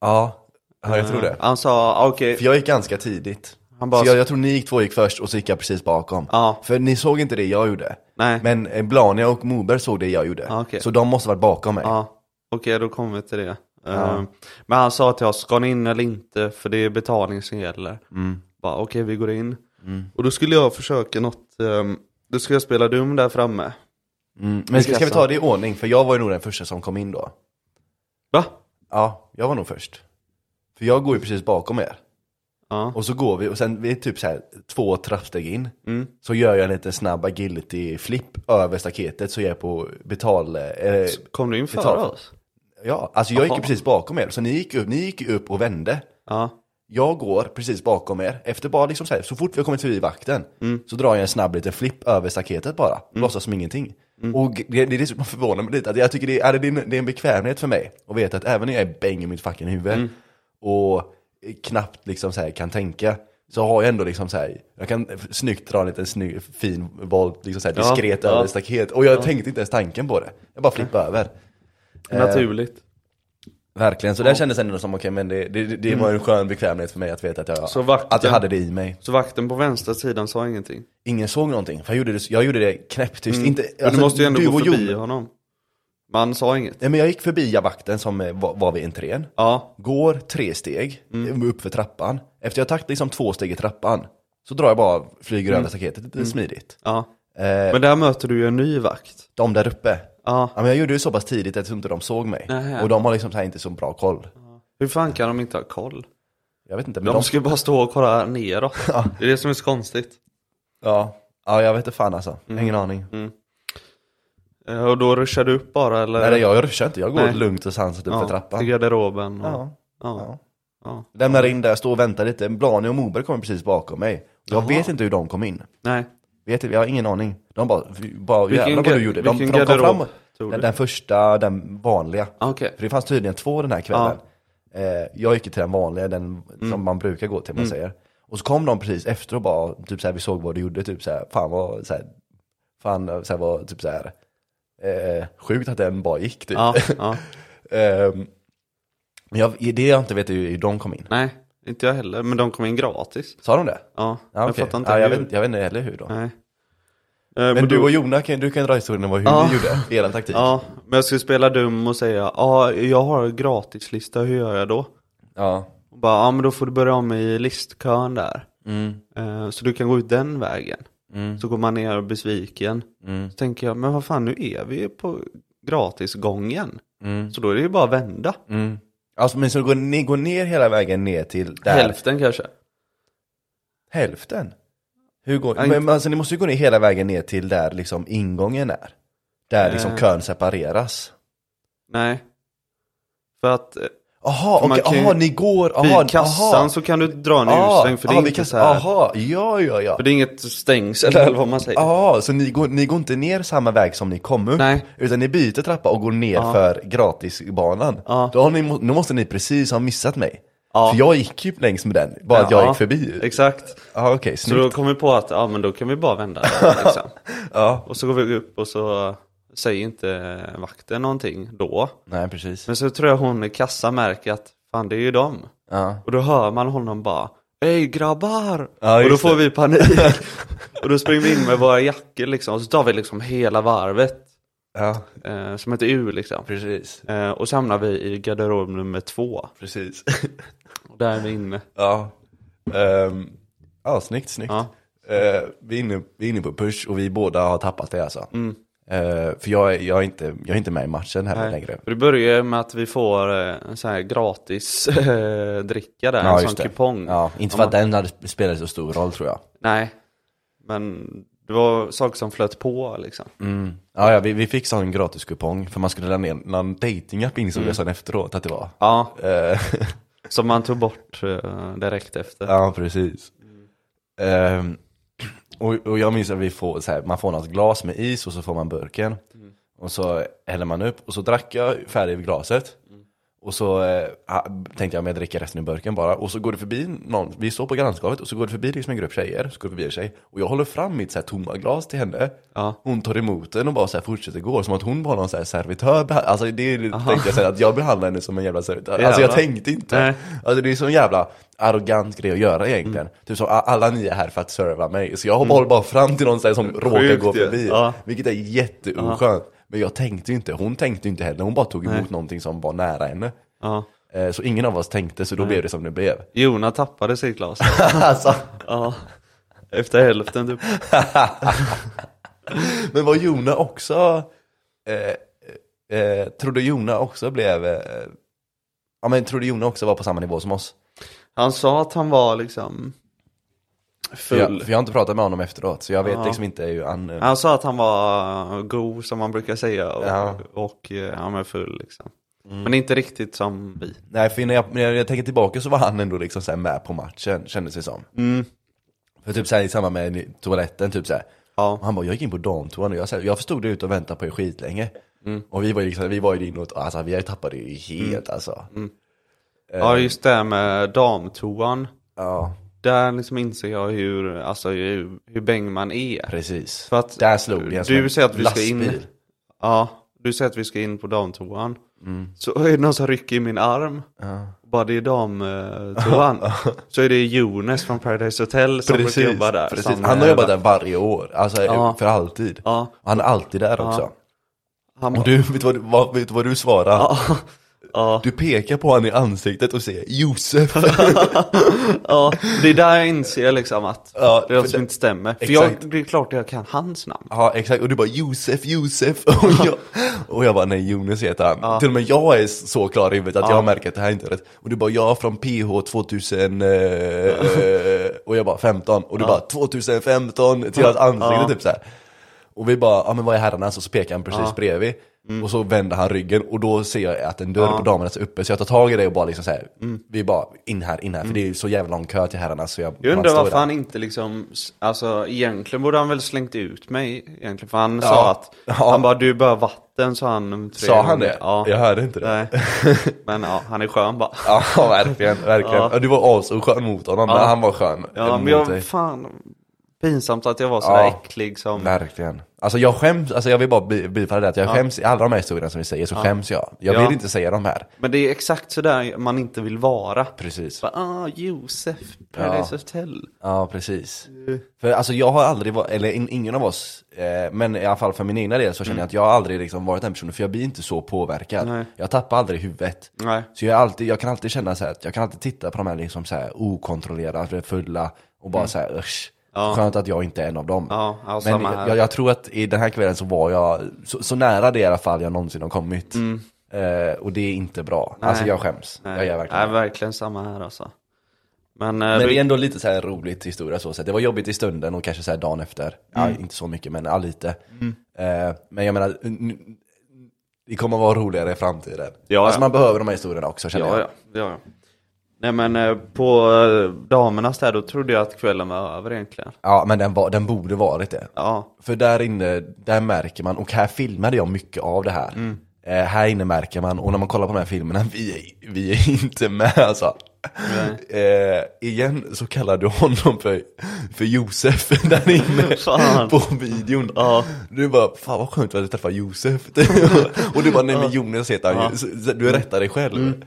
Speaker 1: ja. ja, jag tror
Speaker 2: Eh,
Speaker 1: det.
Speaker 2: Han sa, ah, okej.
Speaker 1: För jag gick ganska tidigt.
Speaker 2: Han bara,
Speaker 1: Så jag, jag tror ni gick två gick först och så gick jag precis bakom.
Speaker 2: Ja.
Speaker 1: För ni såg inte det jag gjorde.
Speaker 2: nej.
Speaker 1: Men eh, Blania och Moberg såg det jag gjorde.
Speaker 2: Ja, okej.
Speaker 1: Så de måste varit bakom mig.
Speaker 2: Ja, ah, okej då kommer vi till det. Eh, Men han sa till oss, ska ni in eller inte? För det är betalning som gäller.
Speaker 1: Mm.
Speaker 2: Bara, okej vi går in. Och då skulle jag försöka något, ehm, då skulle jag spela dum där framme.
Speaker 1: Mm. Men ska, ska vi ta det i ordning? För jag var ju nog den första som kom in då.
Speaker 2: Va?
Speaker 1: Ja, jag var nog först. För jag går ju precis bakom er.
Speaker 2: Ja.
Speaker 1: Och så går vi och sen, vi är typ så här två trappsteg in.
Speaker 2: Mm.
Speaker 1: Så gör jag en liten snabb agility flip över staketet så jag är på betal... Eh,
Speaker 2: Kom du in före
Speaker 1: Betala.
Speaker 2: oss?
Speaker 1: ja, alltså jag gick
Speaker 2: Jaha.
Speaker 1: ju precis bakom er. Så ni gick upp, ni gick ju upp och vände.
Speaker 2: Ja.
Speaker 1: Jag går precis bakom er. Efter bara liksom så här, så fort vi har kommit förbi vakten så drar jag en snabb liten flipp över staketet bara. Låtsas som ingenting. Och det, det är det som förvånar mig lite. Att jag tycker det är, det, är en, det är en bekvämhet för mig att veta att även när jag är bäng i mitt fucking huvud och knappt liksom så här kan tänka så har jag ändå liksom så här, jag kan snyggt dra en liten snygg, fin boll, liksom så här
Speaker 2: Ja,
Speaker 1: diskret
Speaker 2: ja.
Speaker 1: över staket. Och jag tänkte inte ens tanken på det. Jag bara flippade över. Ehm.
Speaker 2: Naturligt.
Speaker 1: Verkligen, så där kändes ändå som okej men det, det, det var en skön bekvämlighet för mig att veta att jag,
Speaker 2: Mm. Så vakten-
Speaker 1: att jag hade det i mig.
Speaker 2: Så vakten på vänstra sidan sa ingenting.
Speaker 1: Ingen såg någonting, för jag gjorde det, jag gjorde det knäpptyst. Inte,
Speaker 2: Mm.
Speaker 1: alltså,
Speaker 2: Men du måste ju ändå gå
Speaker 1: och
Speaker 2: förbi
Speaker 1: Jon-
Speaker 2: honom. Men han sa inget.
Speaker 1: Nej men jag gick förbi ja, vakten som eh, var, var vid entrén.
Speaker 2: Ja.
Speaker 1: Går tre steg
Speaker 2: Mm.
Speaker 1: eh, upp för trappan. Efter jag tagit liksom två steg i trappan så drar jag bara, flyger över staketet lite smidigt.
Speaker 2: Ja.
Speaker 1: Eh,
Speaker 2: Mm. Men där möter du ju en ny vakt.
Speaker 1: de där uppe.
Speaker 2: Ja.
Speaker 1: Ja, men jag gjorde det så pass tidigt att inte de såg mig.
Speaker 2: Nähä.
Speaker 1: Och de har liksom så här inte så bra koll.
Speaker 2: Hur fan kan de inte ha koll?
Speaker 1: Jag vet inte, men
Speaker 2: De,
Speaker 1: de...
Speaker 2: ska ju bara stå och kolla neråt.
Speaker 1: Ja.
Speaker 2: Det är det som är så konstigt.
Speaker 1: Ja. ja, jag vet inte fan alltså.
Speaker 2: Mm.
Speaker 1: Ingen aning.
Speaker 2: Eh, Och då ruschar du upp bara eller?
Speaker 1: Nej, jag ruschar inte. Jag går
Speaker 2: Eh, Nej.
Speaker 1: lugnt och sansat upp
Speaker 2: ja,
Speaker 1: för trappan.
Speaker 2: Till garderoben. Och,
Speaker 1: Ja.
Speaker 2: ja.
Speaker 1: Ja.
Speaker 2: ja.
Speaker 1: Lämnar in där, står och väntar lite. Blani och Moberg kommer precis bakom mig. Jag
Speaker 2: Jaha.
Speaker 1: vet inte hur de kom in.
Speaker 2: Nej.
Speaker 1: Vet inte, jag har ingen aning. De bara, bara
Speaker 2: Vilken
Speaker 1: jävlar vad
Speaker 2: ga-
Speaker 1: du gjorde. De,
Speaker 2: vilken
Speaker 1: för de kom
Speaker 2: garderob
Speaker 1: fram,
Speaker 2: tog
Speaker 1: den,
Speaker 2: du?
Speaker 1: den första, den vanliga.
Speaker 2: Ah, Okej.
Speaker 1: För det fanns tydligen två den här kvällen. Eh, jag gick ju till den vanliga, den
Speaker 2: Mm.
Speaker 1: som man brukar gå till man säger. Och så kom de precis efter och bara, typ såhär, vi såg vad du gjorde, typ såhär, fan vad, såhär, fan såhär, vad, typ såhär, eh, sjukt att den bara gick typ.
Speaker 2: Ja, ja.
Speaker 1: Ehm, men jag, det jag inte vet är ju hur de kom in.
Speaker 2: Nej, inte jag heller. Men de kom in gratis.
Speaker 1: Sa de det?
Speaker 2: Ja,
Speaker 1: Ja,
Speaker 2: jag
Speaker 1: okej.
Speaker 2: fattar inte
Speaker 1: ja, jag,
Speaker 2: hur.
Speaker 1: vet, inte- jag vet inte heller hur då.
Speaker 2: Nej. Eh,
Speaker 1: Men du
Speaker 2: då-
Speaker 1: och Jona, kan, du kan dra historien om vad- hur
Speaker 2: Ja.
Speaker 1: ni gjorde, er taktik.
Speaker 2: Ja, men jag skulle spela dum och säga ja, jag har en gratislista, hur gör jag då?
Speaker 1: Ja.
Speaker 2: Och bara, ja men då får du börja om i listkön där.
Speaker 1: Mm.
Speaker 2: Eh, Så du kan gå ut den vägen.
Speaker 1: Mm.
Speaker 2: Så går man ner och besviken.
Speaker 1: Mm.
Speaker 2: Så tänker jag, men vad fan nu är vi ju på gratisgången.
Speaker 1: Mm.
Speaker 2: Så då är det ju bara att vända.
Speaker 1: Mm. Alltså, men så går ni går ner hela vägen ner till där?
Speaker 2: Hälften kanske.
Speaker 1: Hälften? Hur går,
Speaker 2: Ja,
Speaker 1: men alltså ni måste ju gå ner hela vägen ner till där liksom ingången är. Där liksom
Speaker 2: Eh.
Speaker 1: kön separeras.
Speaker 2: Nej. För att eh,
Speaker 1: Jaha,
Speaker 2: För man
Speaker 1: okej,
Speaker 2: kan ju-
Speaker 1: aha, ni går, aha,
Speaker 2: vid kassan
Speaker 1: aha.
Speaker 2: så kan du dra en ursväng för det är
Speaker 1: aha,
Speaker 2: inte
Speaker 1: vid kass-
Speaker 2: så här.
Speaker 1: Aha, ja, ja, ja.
Speaker 2: För det är inget stängsel eller vad man säger.
Speaker 1: Aha, så ni går, ni går inte ner samma väg som ni kom upp,
Speaker 2: Nej.
Speaker 1: utan ni byter trappa och går ner
Speaker 2: Ja.
Speaker 1: för gratisbanan.
Speaker 2: Ja.
Speaker 1: Då har ni, nu måste ni precis ha missat mig.
Speaker 2: Ja.
Speaker 1: För jag gick ju längs med den, bara att jag
Speaker 2: Ja,
Speaker 1: gick förbi.
Speaker 2: Exakt.
Speaker 1: Ja, okej,
Speaker 2: Så
Speaker 1: snyggt.
Speaker 2: då kom vi på att ja, men då kan vi bara vända där, liksom.
Speaker 1: Ja.
Speaker 2: Och så går vi upp och så säger inte vakten någonting då.
Speaker 1: Nej, precis.
Speaker 2: Men så tror jag hon i kassan märker att fan det är ju dem.
Speaker 1: Ja.
Speaker 2: Och då hör man honom bara Hej grabbar!
Speaker 1: Ja,
Speaker 2: och då
Speaker 1: just
Speaker 2: får
Speaker 1: det.
Speaker 2: vi panik. och då springer vi in med våra jackor liksom. Och så tar vi liksom hela varvet.
Speaker 1: ja,
Speaker 2: Eh, som ett U liksom.
Speaker 1: precis.
Speaker 2: Eh, och så hamnar vi i garderob nummer två.
Speaker 1: Precis.
Speaker 2: Och där är vi inne.
Speaker 1: ja. Ehm, ja, snyggt, snyggt.
Speaker 2: Ja.
Speaker 1: Eh, vi, är inne, vi är inne på push och vi båda har tappat det alltså.
Speaker 2: Mm.
Speaker 1: Eh, för jag, är- jag, är inte, jag är inte med i matchen här längre.
Speaker 2: Och det börjar ju med att vi får eh, en sån här gratis eh, dricka där, en sån
Speaker 1: just det.
Speaker 2: kupong.
Speaker 1: Ja, inte för att den hade spelat så stor roll tror jag.
Speaker 2: Nej, men det var saker som flöt på liksom.
Speaker 1: Mm. Ja, ja vi, vi fick sån gratiskupong för man skulle ladda ner någon datingapp insåg
Speaker 2: Mm.
Speaker 1: jag sen efteråt att det var.
Speaker 2: Ja,
Speaker 1: Eh,
Speaker 2: som man tog bort eh, direkt efter.
Speaker 1: ja, precis. Ehm, och, och jag minns att vi får, så här, man får något glas med is och så får man burken.
Speaker 2: Mm.
Speaker 1: Och så häller man upp och så drack jag färdigt ur glaset.
Speaker 2: Mm.
Speaker 1: Och så eh, ah, tänkte jag, men jag dricker resten ur burken bara. Och så går det förbi någon, vi står på grannskapet och så går det förbi liksom en grupp tjejer, så går det förbi en tjej. Och jag håller fram mitt så här, tomma glas till henne.
Speaker 2: Ja.
Speaker 1: Hon tar emot den och bara så här, fortsätter gå, som att hon var någon så här servitör. beha- Alltså det är- tänkte jag säga, att jag behandlar henne som en jävla servitör. Alltså jag
Speaker 2: Jävlar.
Speaker 1: tänkte inte.
Speaker 2: Nej. Mm.
Speaker 1: Alltså det är så en jävla arrogant grej att göra egentligen. Typ som "Ah, alla ni är här för att serva mig. Så jag håller bara fram till någon så här, som råkar
Speaker 2: Sjukt
Speaker 1: gå
Speaker 2: ju.
Speaker 1: förbi.
Speaker 2: Ja.
Speaker 1: Vilket är jätteoskönt. Men jag tänkte ju inte, hon tänkte ju inte heller, hon bara tog emot
Speaker 2: Nej.
Speaker 1: någonting som var nära henne.
Speaker 2: Ja.
Speaker 1: Eh, Så ingen av oss tänkte, så då blev det som det blev.
Speaker 2: Jona tappade sitt glas.
Speaker 1: alltså,
Speaker 2: ja. Efter hälften typ.
Speaker 1: men var Jona också, eh, eh, trodde Jona också blev, eh, ja men trodde Jona också var på samma nivå som oss?
Speaker 2: Han sa att han var liksom
Speaker 1: För jag,
Speaker 2: full.
Speaker 1: för jag har inte pratat med honom efteråt, så jag vet
Speaker 2: Ja.
Speaker 1: liksom inte hur han, eh,
Speaker 2: Han sa att han var god som man brukar säga och,
Speaker 1: Ja.
Speaker 2: och eh, ja, men full liksom. Men inte riktigt som vi.
Speaker 1: nej för när jag, när jag tänker tillbaka så var han ändå liksom så här med på matchen, kändes det som.
Speaker 2: Mm.
Speaker 1: För typ såhär i samband med toaletten, typ såhär,
Speaker 2: Ja.
Speaker 1: Och han bara, jag gick in på damtoan och jag, så här, jag stod där ute och väntade på er skitlänge.
Speaker 2: Mm.
Speaker 1: Och vi var ju liksom, vi var ju inåt, alltså vi tappade ju helt alltså.
Speaker 2: Mm. Ja just det här med damtoan.
Speaker 1: Ja,
Speaker 2: Där liksom inser jag hur, alltså, hur, hur bäng man är.
Speaker 1: precis.
Speaker 2: För att
Speaker 1: Där slog det en som
Speaker 2: du
Speaker 1: en
Speaker 2: säger att vi ska in.
Speaker 1: lastbil.
Speaker 2: Ja, du säger att vi ska in på damtoan.
Speaker 1: Mm.
Speaker 2: Så är det någon som rycker i min arm. Bara det är damtoan. så är det Jonas från Paradise Hotel som brukar jobba där.
Speaker 1: precis.
Speaker 2: Som,
Speaker 1: Han har
Speaker 2: eh,
Speaker 1: jobbat där varje år, alltså
Speaker 2: Ja.
Speaker 1: för alltid.
Speaker 2: Ja.
Speaker 1: Och Han är alltid där också.
Speaker 2: Han
Speaker 1: Och
Speaker 2: bara,
Speaker 1: du, vet du vad, vad, vet du vad du svarar?
Speaker 2: ja. Ja.
Speaker 1: Du pekar på honom i ansiktet och säger Josef.
Speaker 2: ja, det är där jag inser liksom att
Speaker 1: Ja,
Speaker 2: det är
Speaker 1: för
Speaker 2: något som
Speaker 1: det-
Speaker 2: inte stämmer. För
Speaker 1: Exakt.
Speaker 2: jag, det är klart att jag kan hans namn.
Speaker 1: ja exakt, och du bara Josef, Josef. Och jag, och jag bara nej Jonas heter han. Till och med jag är så klar i huvudet att jag märker att det här är inte är rätt. Och du bara jag från PH 2000 eh, eh, och jag bara 15. Och du bara 2015 till hans ansikte typ så här. Och vi bara, ja men vad är herrarnas? Och så pekar han precis bredvid.
Speaker 2: Mm.
Speaker 1: Och så vänder han ryggen och då ser jag att en dörr på damernas är uppe. Så jag tar tag i det och bara liksom såhär,
Speaker 2: Mm.
Speaker 1: vi bara in här, in här. För det är ju så jävla lång kö till herrarnas. Så jag,
Speaker 2: Jag
Speaker 1: man
Speaker 2: undrar
Speaker 1: står
Speaker 2: varför
Speaker 1: där.
Speaker 2: han inte liksom, s- alltså egentligen borde han väl slängt ut mig egentligen. För han
Speaker 1: Ja.
Speaker 2: sa att,
Speaker 1: Ja.
Speaker 2: han bara du behöver vatten sa han. om tre
Speaker 1: Sa han
Speaker 2: gånger.
Speaker 1: det?
Speaker 2: Ja.
Speaker 1: Jag hörde inte det.
Speaker 2: Nej. Men ja, han är skön bara.
Speaker 1: Ja verkligen, verkligen.
Speaker 2: Ja.
Speaker 1: Ja. Du var as och skön mot honom, men han var skön
Speaker 2: Ja,
Speaker 1: mot
Speaker 2: men
Speaker 1: dig.
Speaker 2: jag, fan, pinsamt att jag var sådär
Speaker 1: Ja.
Speaker 2: äcklig som...
Speaker 1: Verkligen. Alltså jag skäms, alltså jag vill bara bi- bifalla det att jag skäms i alla de här historierna som vi säger så skäms jag. Jag
Speaker 2: Ja.
Speaker 1: vill inte säga de här.
Speaker 2: Men det är exakt sådär man inte vill vara.
Speaker 1: Precis.
Speaker 2: Bara, ah, Josef, Paradise Hotel.
Speaker 1: Ja, precis.
Speaker 2: Mm.
Speaker 1: För alltså jag har aldrig varit, eller in, ingen av oss, eh, men i alla fall för min egna del så känner jag att jag har aldrig liksom varit den personen, för jag blir inte så påverkad.
Speaker 2: Mm. Nej.
Speaker 1: Jag tappar aldrig huvudet.
Speaker 2: Nej.
Speaker 1: Så jag, är alltid, jag kan alltid känna så här, att jag kan alltid titta på de här liksom så här okontrollerade, fulla och bara så här usch.
Speaker 2: Mm. Ja.
Speaker 1: Skönt att jag inte är en av dem.
Speaker 2: Ja, ja,
Speaker 1: men
Speaker 2: samma här.
Speaker 1: jag, jag tror att i den här kvällen så var jag så, så nära det i alla fall jag någonsin har kommit. Eh, och det är inte bra. Alltså jag skäms. Jag gör verkligen
Speaker 2: Mm. Nej, verkligen samma här alltså. Men, eh,
Speaker 1: men
Speaker 2: vi-
Speaker 1: det är ändå lite så här roligt historia så sett. Det var jobbigt i stunden och kanske så här dagen efter.
Speaker 2: Mm.
Speaker 1: Ja, inte så mycket men ja, lite. Eh, men jag menar, n- det kommer vara roligare i framtiden.
Speaker 2: Ja,
Speaker 1: alltså
Speaker 2: ja.
Speaker 1: man behöver de här historierna också känner
Speaker 2: Ja,
Speaker 1: jag.
Speaker 2: ja, ja, ja. Nej men eh, på eh, damernas där, då trodde jag att kvällen var över egentligen.
Speaker 1: Ja, men den, var, den borde varit det.
Speaker 2: Ja,
Speaker 1: För där inne, där märker man, och här filmade jag mycket av det här.
Speaker 2: Mm.
Speaker 1: Eh, här inne märker man, och när man kollar på de här filmerna, vi är, vi är inte med alltså. Eh, igen så kallar du honom för, för Josef där inne
Speaker 2: Fan.
Speaker 1: på videon.
Speaker 2: Ja.
Speaker 1: Du bara, fan vad skönt att träffa Josef. och du bara, nej men Jonas heter han ju. Så- så Du rättar dig själv.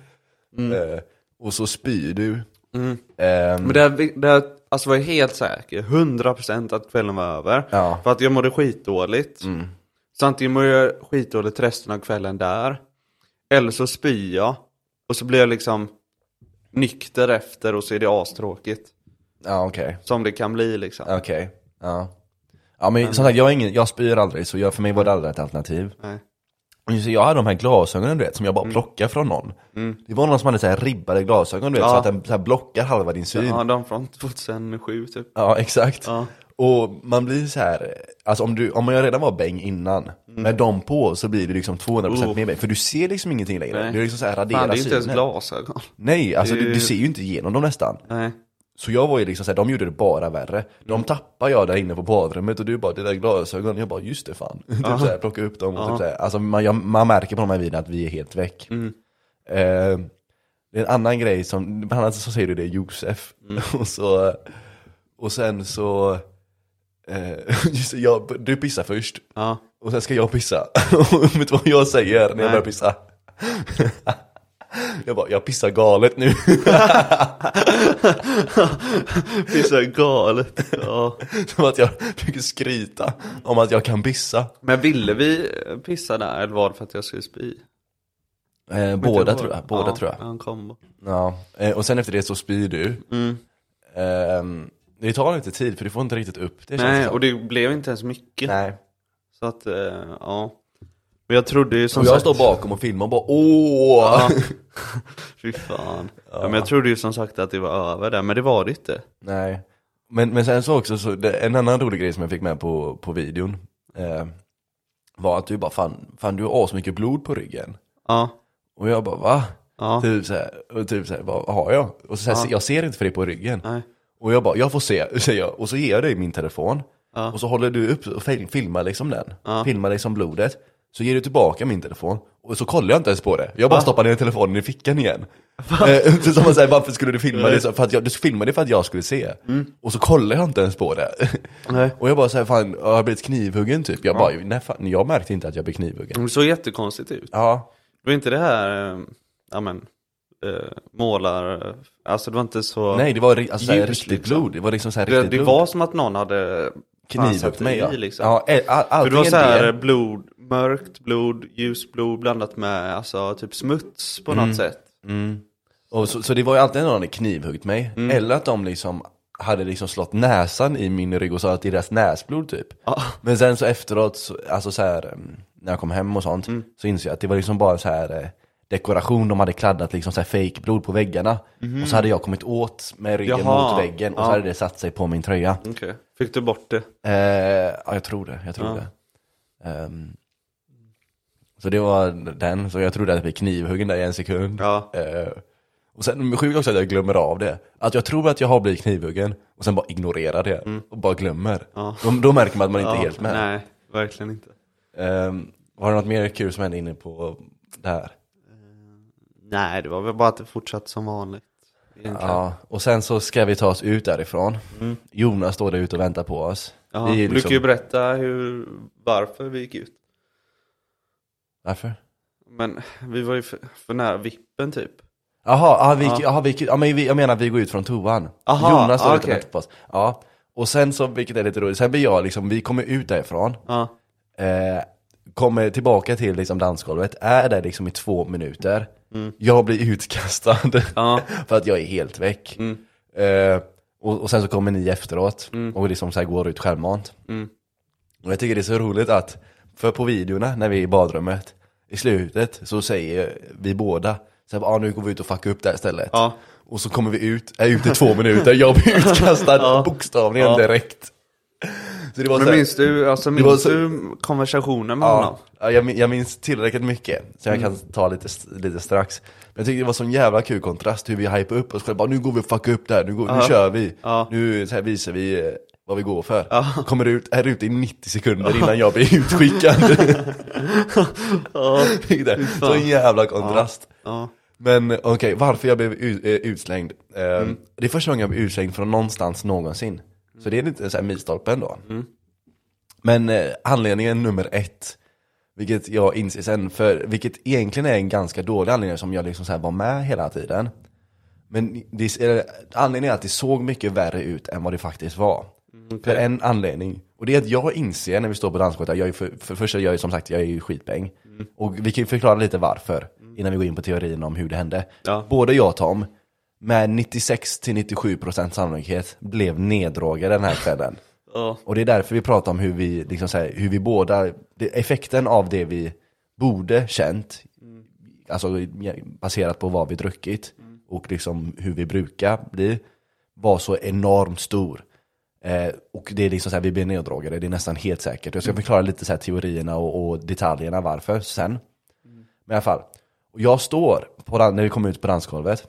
Speaker 2: Mm.
Speaker 1: Eh, och så spyr du. Ehm,
Speaker 2: Mm. men det, det alltså var jag helt säker, 100% att kvällen var över.
Speaker 1: Ja. Mm.
Speaker 2: För att jag mådde skitdåligt. Så antingen mår jag skitdåligt resten av kvällen där, eller så spyr jag, och så blir jag liksom nykter efter och så är det astråkigt.
Speaker 1: ja okej.
Speaker 2: Som det kan bli liksom.
Speaker 1: Okej, ja. Ja men som sagt, jag, är ingen, jag spyr aldrig så jag, för mig var det aldrig ett alternativ.
Speaker 2: Nej.
Speaker 1: Och Så jag hade de här glasögonen du vet, som jag bara
Speaker 2: Mm.
Speaker 1: plockade från någon. Det var någon som hade så här ribbade glasögon du vet,
Speaker 2: Ja.
Speaker 1: så att den så här blockar halva din syn.
Speaker 2: Ja,
Speaker 1: Ja,
Speaker 2: de från 2007 typ.
Speaker 1: exakt.
Speaker 2: Ja.
Speaker 1: Och man blir så här, alltså om, du, om jag redan var bäng innan, med dem på så blir det liksom 200%
Speaker 2: Mm. Oh.
Speaker 1: mer bäng. För du ser liksom ingenting längre.
Speaker 2: Nej.
Speaker 1: Du är liksom så här raderar
Speaker 2: Fan, det är ju inte ens
Speaker 1: synen.
Speaker 2: glasögon.
Speaker 1: Nej, alltså
Speaker 2: Det är
Speaker 1: du, du
Speaker 2: ju-
Speaker 1: ser ju inte igenom dem nästan.
Speaker 2: Nej.
Speaker 1: Så jag var ju liksom såhär, de gjorde det bara värre. De tappade jag där inne på badrummet och du bara, det där glasögonen. Jag bara, just det fan. typ såhär, plocka upp dem och typ såhär. Alltså man, jag, man märker på de här videorna att vi är helt väck. Eh, det är en annan grej som, bland annat så säger du det Josef. och, så, och sen så, eh, just det, jag, du pissar först.
Speaker 2: Ja.
Speaker 1: Och sen ska jag pissa. Och vet du vad jag säger när
Speaker 2: Nej.
Speaker 1: jag börjar pissa? jag bara, jag pissar galet nu.
Speaker 2: Det är så galet. Ja.
Speaker 1: Som att jag försöker skryta om att jag kan pissa.
Speaker 2: Men ville vi pissa där eller var det för att jag skulle spy?
Speaker 1: Eh, båda tror jag. Båda
Speaker 2: ja,
Speaker 1: tror jag.
Speaker 2: Han kom.
Speaker 1: Ja. Eh, och sen efter det så spyr du.
Speaker 2: Mm.
Speaker 1: Ehm, det tar lite tid för du får inte riktigt upp det känns
Speaker 2: Nej,
Speaker 1: som.
Speaker 2: och det blev inte ens mycket.
Speaker 1: Nej.
Speaker 2: Så att, eh, ja. Men jag trodde ju som
Speaker 1: Och jag
Speaker 2: sagt...
Speaker 1: står bakom och filmar och bara åh!
Speaker 2: Ja. Fy fan. Ja. men jag trodde ju som sagt att det var över där, men det var det inte.
Speaker 1: Nej. Men, men sen så också, så, det, en annan rolig grej som jag fick med på, på videon eh, var att du bara fan, fan du har asmycket blod på ryggen.
Speaker 2: Ja.
Speaker 1: Och jag bara va?
Speaker 2: Ja.
Speaker 1: Typ såhär, och typ såhär, vad har jag? Och så såhär, jag ser inte för det på ryggen.
Speaker 2: Nej.
Speaker 1: Och jag bara, jag får se, säger jag. Och så ger jag dig min telefon. Och så håller du upp och fil- filmar liksom den. Filmar liksom blodet. Så ger du tillbaka min telefon. Och så kollar jag inte ens på det. Jag bara stoppar ner telefonen i fickan igen. Eh, så som man säger, varför skulle du filma det? Så-
Speaker 2: Mm.
Speaker 1: För att jag, du filmade det för att jag skulle se. Och så kollar jag inte ens på det.
Speaker 2: Nej.
Speaker 1: Och jag bara såhär, fan, jag har blivit knivhuggen typ. Jag bara, nej fan, jag märkte inte att jag blev knivhuggen.
Speaker 2: Det såg jättekonstigt ut.
Speaker 1: Ja,
Speaker 2: Det var inte det här, eh, ja men, eh, målar... Alltså det var inte så...
Speaker 1: nej det var ri- alltså, såhär,
Speaker 2: Ljus,
Speaker 1: riktigt
Speaker 2: liksom.
Speaker 1: blod. Det var liksom såhär
Speaker 2: det,
Speaker 1: riktigt
Speaker 2: det
Speaker 1: blod.
Speaker 2: var som att någon hade... fan, satt
Speaker 1: knivhuggt mig
Speaker 2: i,
Speaker 1: ja.
Speaker 2: liksom.
Speaker 1: ja all, all,
Speaker 2: För det var
Speaker 1: antingen
Speaker 2: så här
Speaker 1: det-
Speaker 2: blod, mörkt blod, ljusblod blandat med alltså typ smuts på något sätt.
Speaker 1: Mm. Och så, så det var ju alltid någon hade knivhuggit mig,
Speaker 2: Mm.
Speaker 1: eller att de liksom hade liksom slått näsan i min rygg och sa att det är deras näsblod typ.
Speaker 2: Ja.
Speaker 1: Men sen så efteråt, så, alltså så här, mm, när jag kom hem och sånt,
Speaker 2: Mm.
Speaker 1: så insåg jag att det var liksom bara så här eh, dekoration, de hade kladdat liksom så här fejkblod på väggarna. Och så hade jag kommit åt med ryggen
Speaker 2: Mhm. Jaha.
Speaker 1: mot väggen och så
Speaker 2: Ja.
Speaker 1: hade det satt sig på min tröja.
Speaker 2: Okej, fick du bort det?
Speaker 1: Eh, ja, jag tror det. Jag tror
Speaker 2: Ja.
Speaker 1: det. Ehm, så det var den, så jag trodde att jag fick knivhuggen där i en sekund.
Speaker 2: Ja.
Speaker 1: Eh, och sen sjukt också att jag glömmer av det. Att jag tror att jag har blivit knivhuggen och sen bara ignorerar det och bara glömmer.
Speaker 2: Ja.
Speaker 1: Då, då märker man att man inte
Speaker 2: Mm. ja,
Speaker 1: är helt med.
Speaker 2: Nej, verkligen inte.
Speaker 1: Ehm, var det något mer kul som hände inne på det här?
Speaker 2: Nej, det var väl bara att det fortsatte som vanligt. Egentligen.
Speaker 1: Ja, och sen så ska vi ta oss ut därifrån. Jonas står där ute och väntar på oss.
Speaker 2: Mm. Ja,
Speaker 1: Vi är
Speaker 2: Du
Speaker 1: liksom-
Speaker 2: kan ju berätta hur, varför vi gick ut.
Speaker 1: Varför?
Speaker 2: Men vi var ju för, för nära vippen typ.
Speaker 1: Jaha, ah, vi, ja. vi, ja, men vi, jag menar vi går ut från toan.
Speaker 2: Aha,
Speaker 1: Jonas står
Speaker 2: ah,
Speaker 1: lite och
Speaker 2: okej.
Speaker 1: väntar på oss. Ja. Och sen så, vilket är lite roligt, sen blir jag liksom, vi kommer ut därifrån,
Speaker 2: Ja,
Speaker 1: eh, kommer tillbaka till liksom dansgolvet, är där liksom i två minuter. Jag blir utkastad
Speaker 2: Mm. Ja. Mm.
Speaker 1: för att jag är helt väck. Eh, och, och sen så kommer ni efteråt och liksom så här går ut självmant.
Speaker 2: Mm.
Speaker 1: Och jag tycker det är så roligt att, för på videorna när vi är i badrummet, i slutet så säger vi båda så här, ah, nu går vi ut och fuckar upp det här stället.
Speaker 2: Ja.
Speaker 1: Och så kommer vi ut, är ute i två minuter, jag blir utkastad bokstavligen direkt. Så det var så
Speaker 2: men
Speaker 1: här-
Speaker 2: minns du, alltså,
Speaker 1: var
Speaker 2: minns
Speaker 1: så-
Speaker 2: du konversationen med honom? Mm.
Speaker 1: Ja, ja, jag, min- jag minns tillräckligt mycket, så jag kan ta lite, lite strax. Men jag tyckte det var sån jävla kul kontrast hur vi hypade upp oss själva, bara, nu går vi och fuckar upp det här, nu, går, nu kör vi.
Speaker 2: Ja.
Speaker 1: Nu så här visar vi eh, vad vi går för. Kommer ut, är ute i 90 sekunder innan jag blir utskickad. Vilket är Sån jävla kontrast.
Speaker 2: Ja.
Speaker 1: Men okej, varför jag blev u- eh, utslängd. Eh, Det är första gången jag blev utslängd från någonstans någonsin. Så det är lite så här milstolpe ändå. Men eh, anledningen nummer ett, vilket jag inser sen, för, vilket egentligen är en ganska dålig anledning som jag liksom så här var med hela tiden. Men det, eller, anledningen är att det såg mycket värre ut än vad det faktiskt var. För en anledning, och det är att jag inser när vi står på dansgolvet, att jag är för, för det första, jag är som sagt, jag är ju skitbäng. Och vi kan ju förklara lite varför, innan vi går in på teorin om hur det hände.
Speaker 2: Ja.
Speaker 1: Både jag och Tom, med 96-97% sannolikhet, blev neddrogade den här kvällen.
Speaker 2: Ja.
Speaker 1: Och det är därför vi pratar om hur vi, liksom så här, hur vi båda, det, effekten av det vi borde känt, alltså baserat på vad vi druckit och liksom hur vi brukar bli, var så enormt stor. Eh, och det är liksom så här, vi blir neddragade, det är nästan helt säkert. Jag ska
Speaker 2: Mm.
Speaker 1: förklara lite så här teorierna och, och detaljerna varför sen. Men i alla fall, och jag står, på, dan- när vi kommer ut på dansgolvet,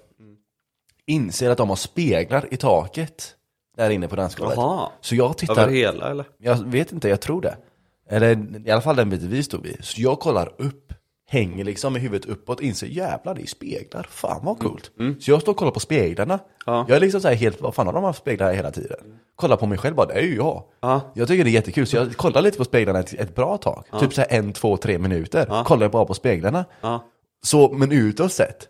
Speaker 1: inser att de har speglar i taket där inne på dansgolvet.
Speaker 2: Jaha.
Speaker 1: Så jag tittar,
Speaker 2: Över hela eller?
Speaker 1: jag vet inte, jag tror det. Eller i alla fall den biten vi stod vid. Så jag kollar upp, hänger liksom med huvudet uppåt, inser jävlar det är speglar, fan vad coolt. Så jag står och kollar på speglarna.
Speaker 2: Mm, Ja.
Speaker 1: Jag är liksom så här helt, vad fan har de haft speglar här hela tiden? Kollar på mig själv bara, det är ju jag.
Speaker 2: Ja.
Speaker 1: Jag tycker det är jättekul, så jag kollar lite på speglarna ett, ett bra tag. Typ så här en, två, tre minuter. Kollar jag bara på speglarna.
Speaker 2: Ja.
Speaker 1: Så, men utåt sett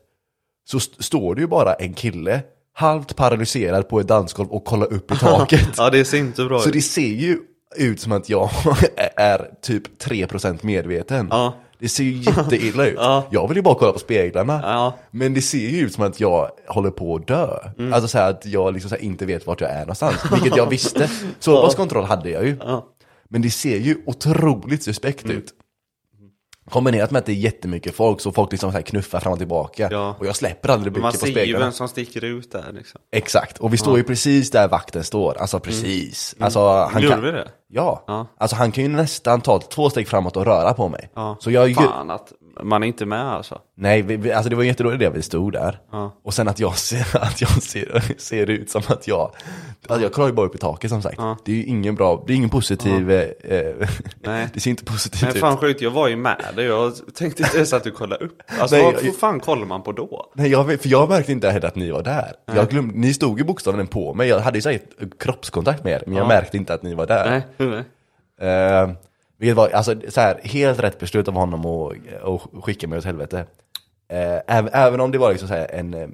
Speaker 1: så st- står det ju bara en kille, halvt paralyserad på ett dansgolv och kollar upp i taket.
Speaker 2: Ja, det ser inte bra
Speaker 1: Så
Speaker 2: ut.
Speaker 1: det ser ju ut som att jag är typ 3% medveten.
Speaker 2: Ja.
Speaker 1: Det ser ju jätteilla ut.
Speaker 2: Ja.
Speaker 1: Jag vill ju bara kolla på speglarna.
Speaker 2: Ja.
Speaker 1: Men det ser ju ut som att jag håller på att dö.
Speaker 2: Mm.
Speaker 1: Alltså så här att jag liksom så här inte vet vart jag är någonstans. Vilket jag visste. Så pass kontroll hade jag ju.
Speaker 2: Ja. Mm.
Speaker 1: Men det ser ju otroligt suspekt ut. Kombinerat med att det är jättemycket folk så folk liksom så här knuffar fram och tillbaka.
Speaker 2: Ja.
Speaker 1: Och jag släpper aldrig
Speaker 2: Man
Speaker 1: blicken på
Speaker 2: ser ju
Speaker 1: speglarna.
Speaker 2: vem som sticker ut där liksom.
Speaker 1: Exakt, och vi står ju precis där vakten står, alltså precis.
Speaker 2: Mm.
Speaker 1: Alltså, han
Speaker 2: Gjorde
Speaker 1: kan...
Speaker 2: vi det?
Speaker 1: Ja.
Speaker 2: Ja.
Speaker 1: alltså han kan ju nästan ta två steg framåt och röra på mig.
Speaker 2: Ja.
Speaker 1: Så jag är ju...
Speaker 2: Fan att man är inte med alltså.
Speaker 1: Nej, vi, vi, alltså det var en jättedålig idé att vi stod där.
Speaker 2: Ja.
Speaker 1: Och sen att jag ser, att jag ser, ser ut som att jag... Alltså jag kollar ju bara upp i taket som sagt. Det är ju ingen bra, det är ingen positiv... Eh, eh,
Speaker 2: Nej.
Speaker 1: det ser inte positivt
Speaker 2: Men
Speaker 1: ut.
Speaker 2: fan sjukt, jag var ju med dig. Jag tänkte inte ens att du kollade upp. Alltså
Speaker 1: Nej,
Speaker 2: vad
Speaker 1: jag-
Speaker 2: fan kollar man på då?
Speaker 1: Nej, jag, vet- för jag märkte inte heller att ni var där. Jag glömde, ni stod ju bokstavligen på mig, jag hade ju så här kroppskontakt med er, men jag
Speaker 2: Ja.
Speaker 1: märkte inte att ni var där.
Speaker 2: Nej, nej.
Speaker 1: Eh, vilket var alltså, så här, helt rätt beslut av honom att att skicka mig åt helvete. Eh, även, även om det var liksom så här en... eh,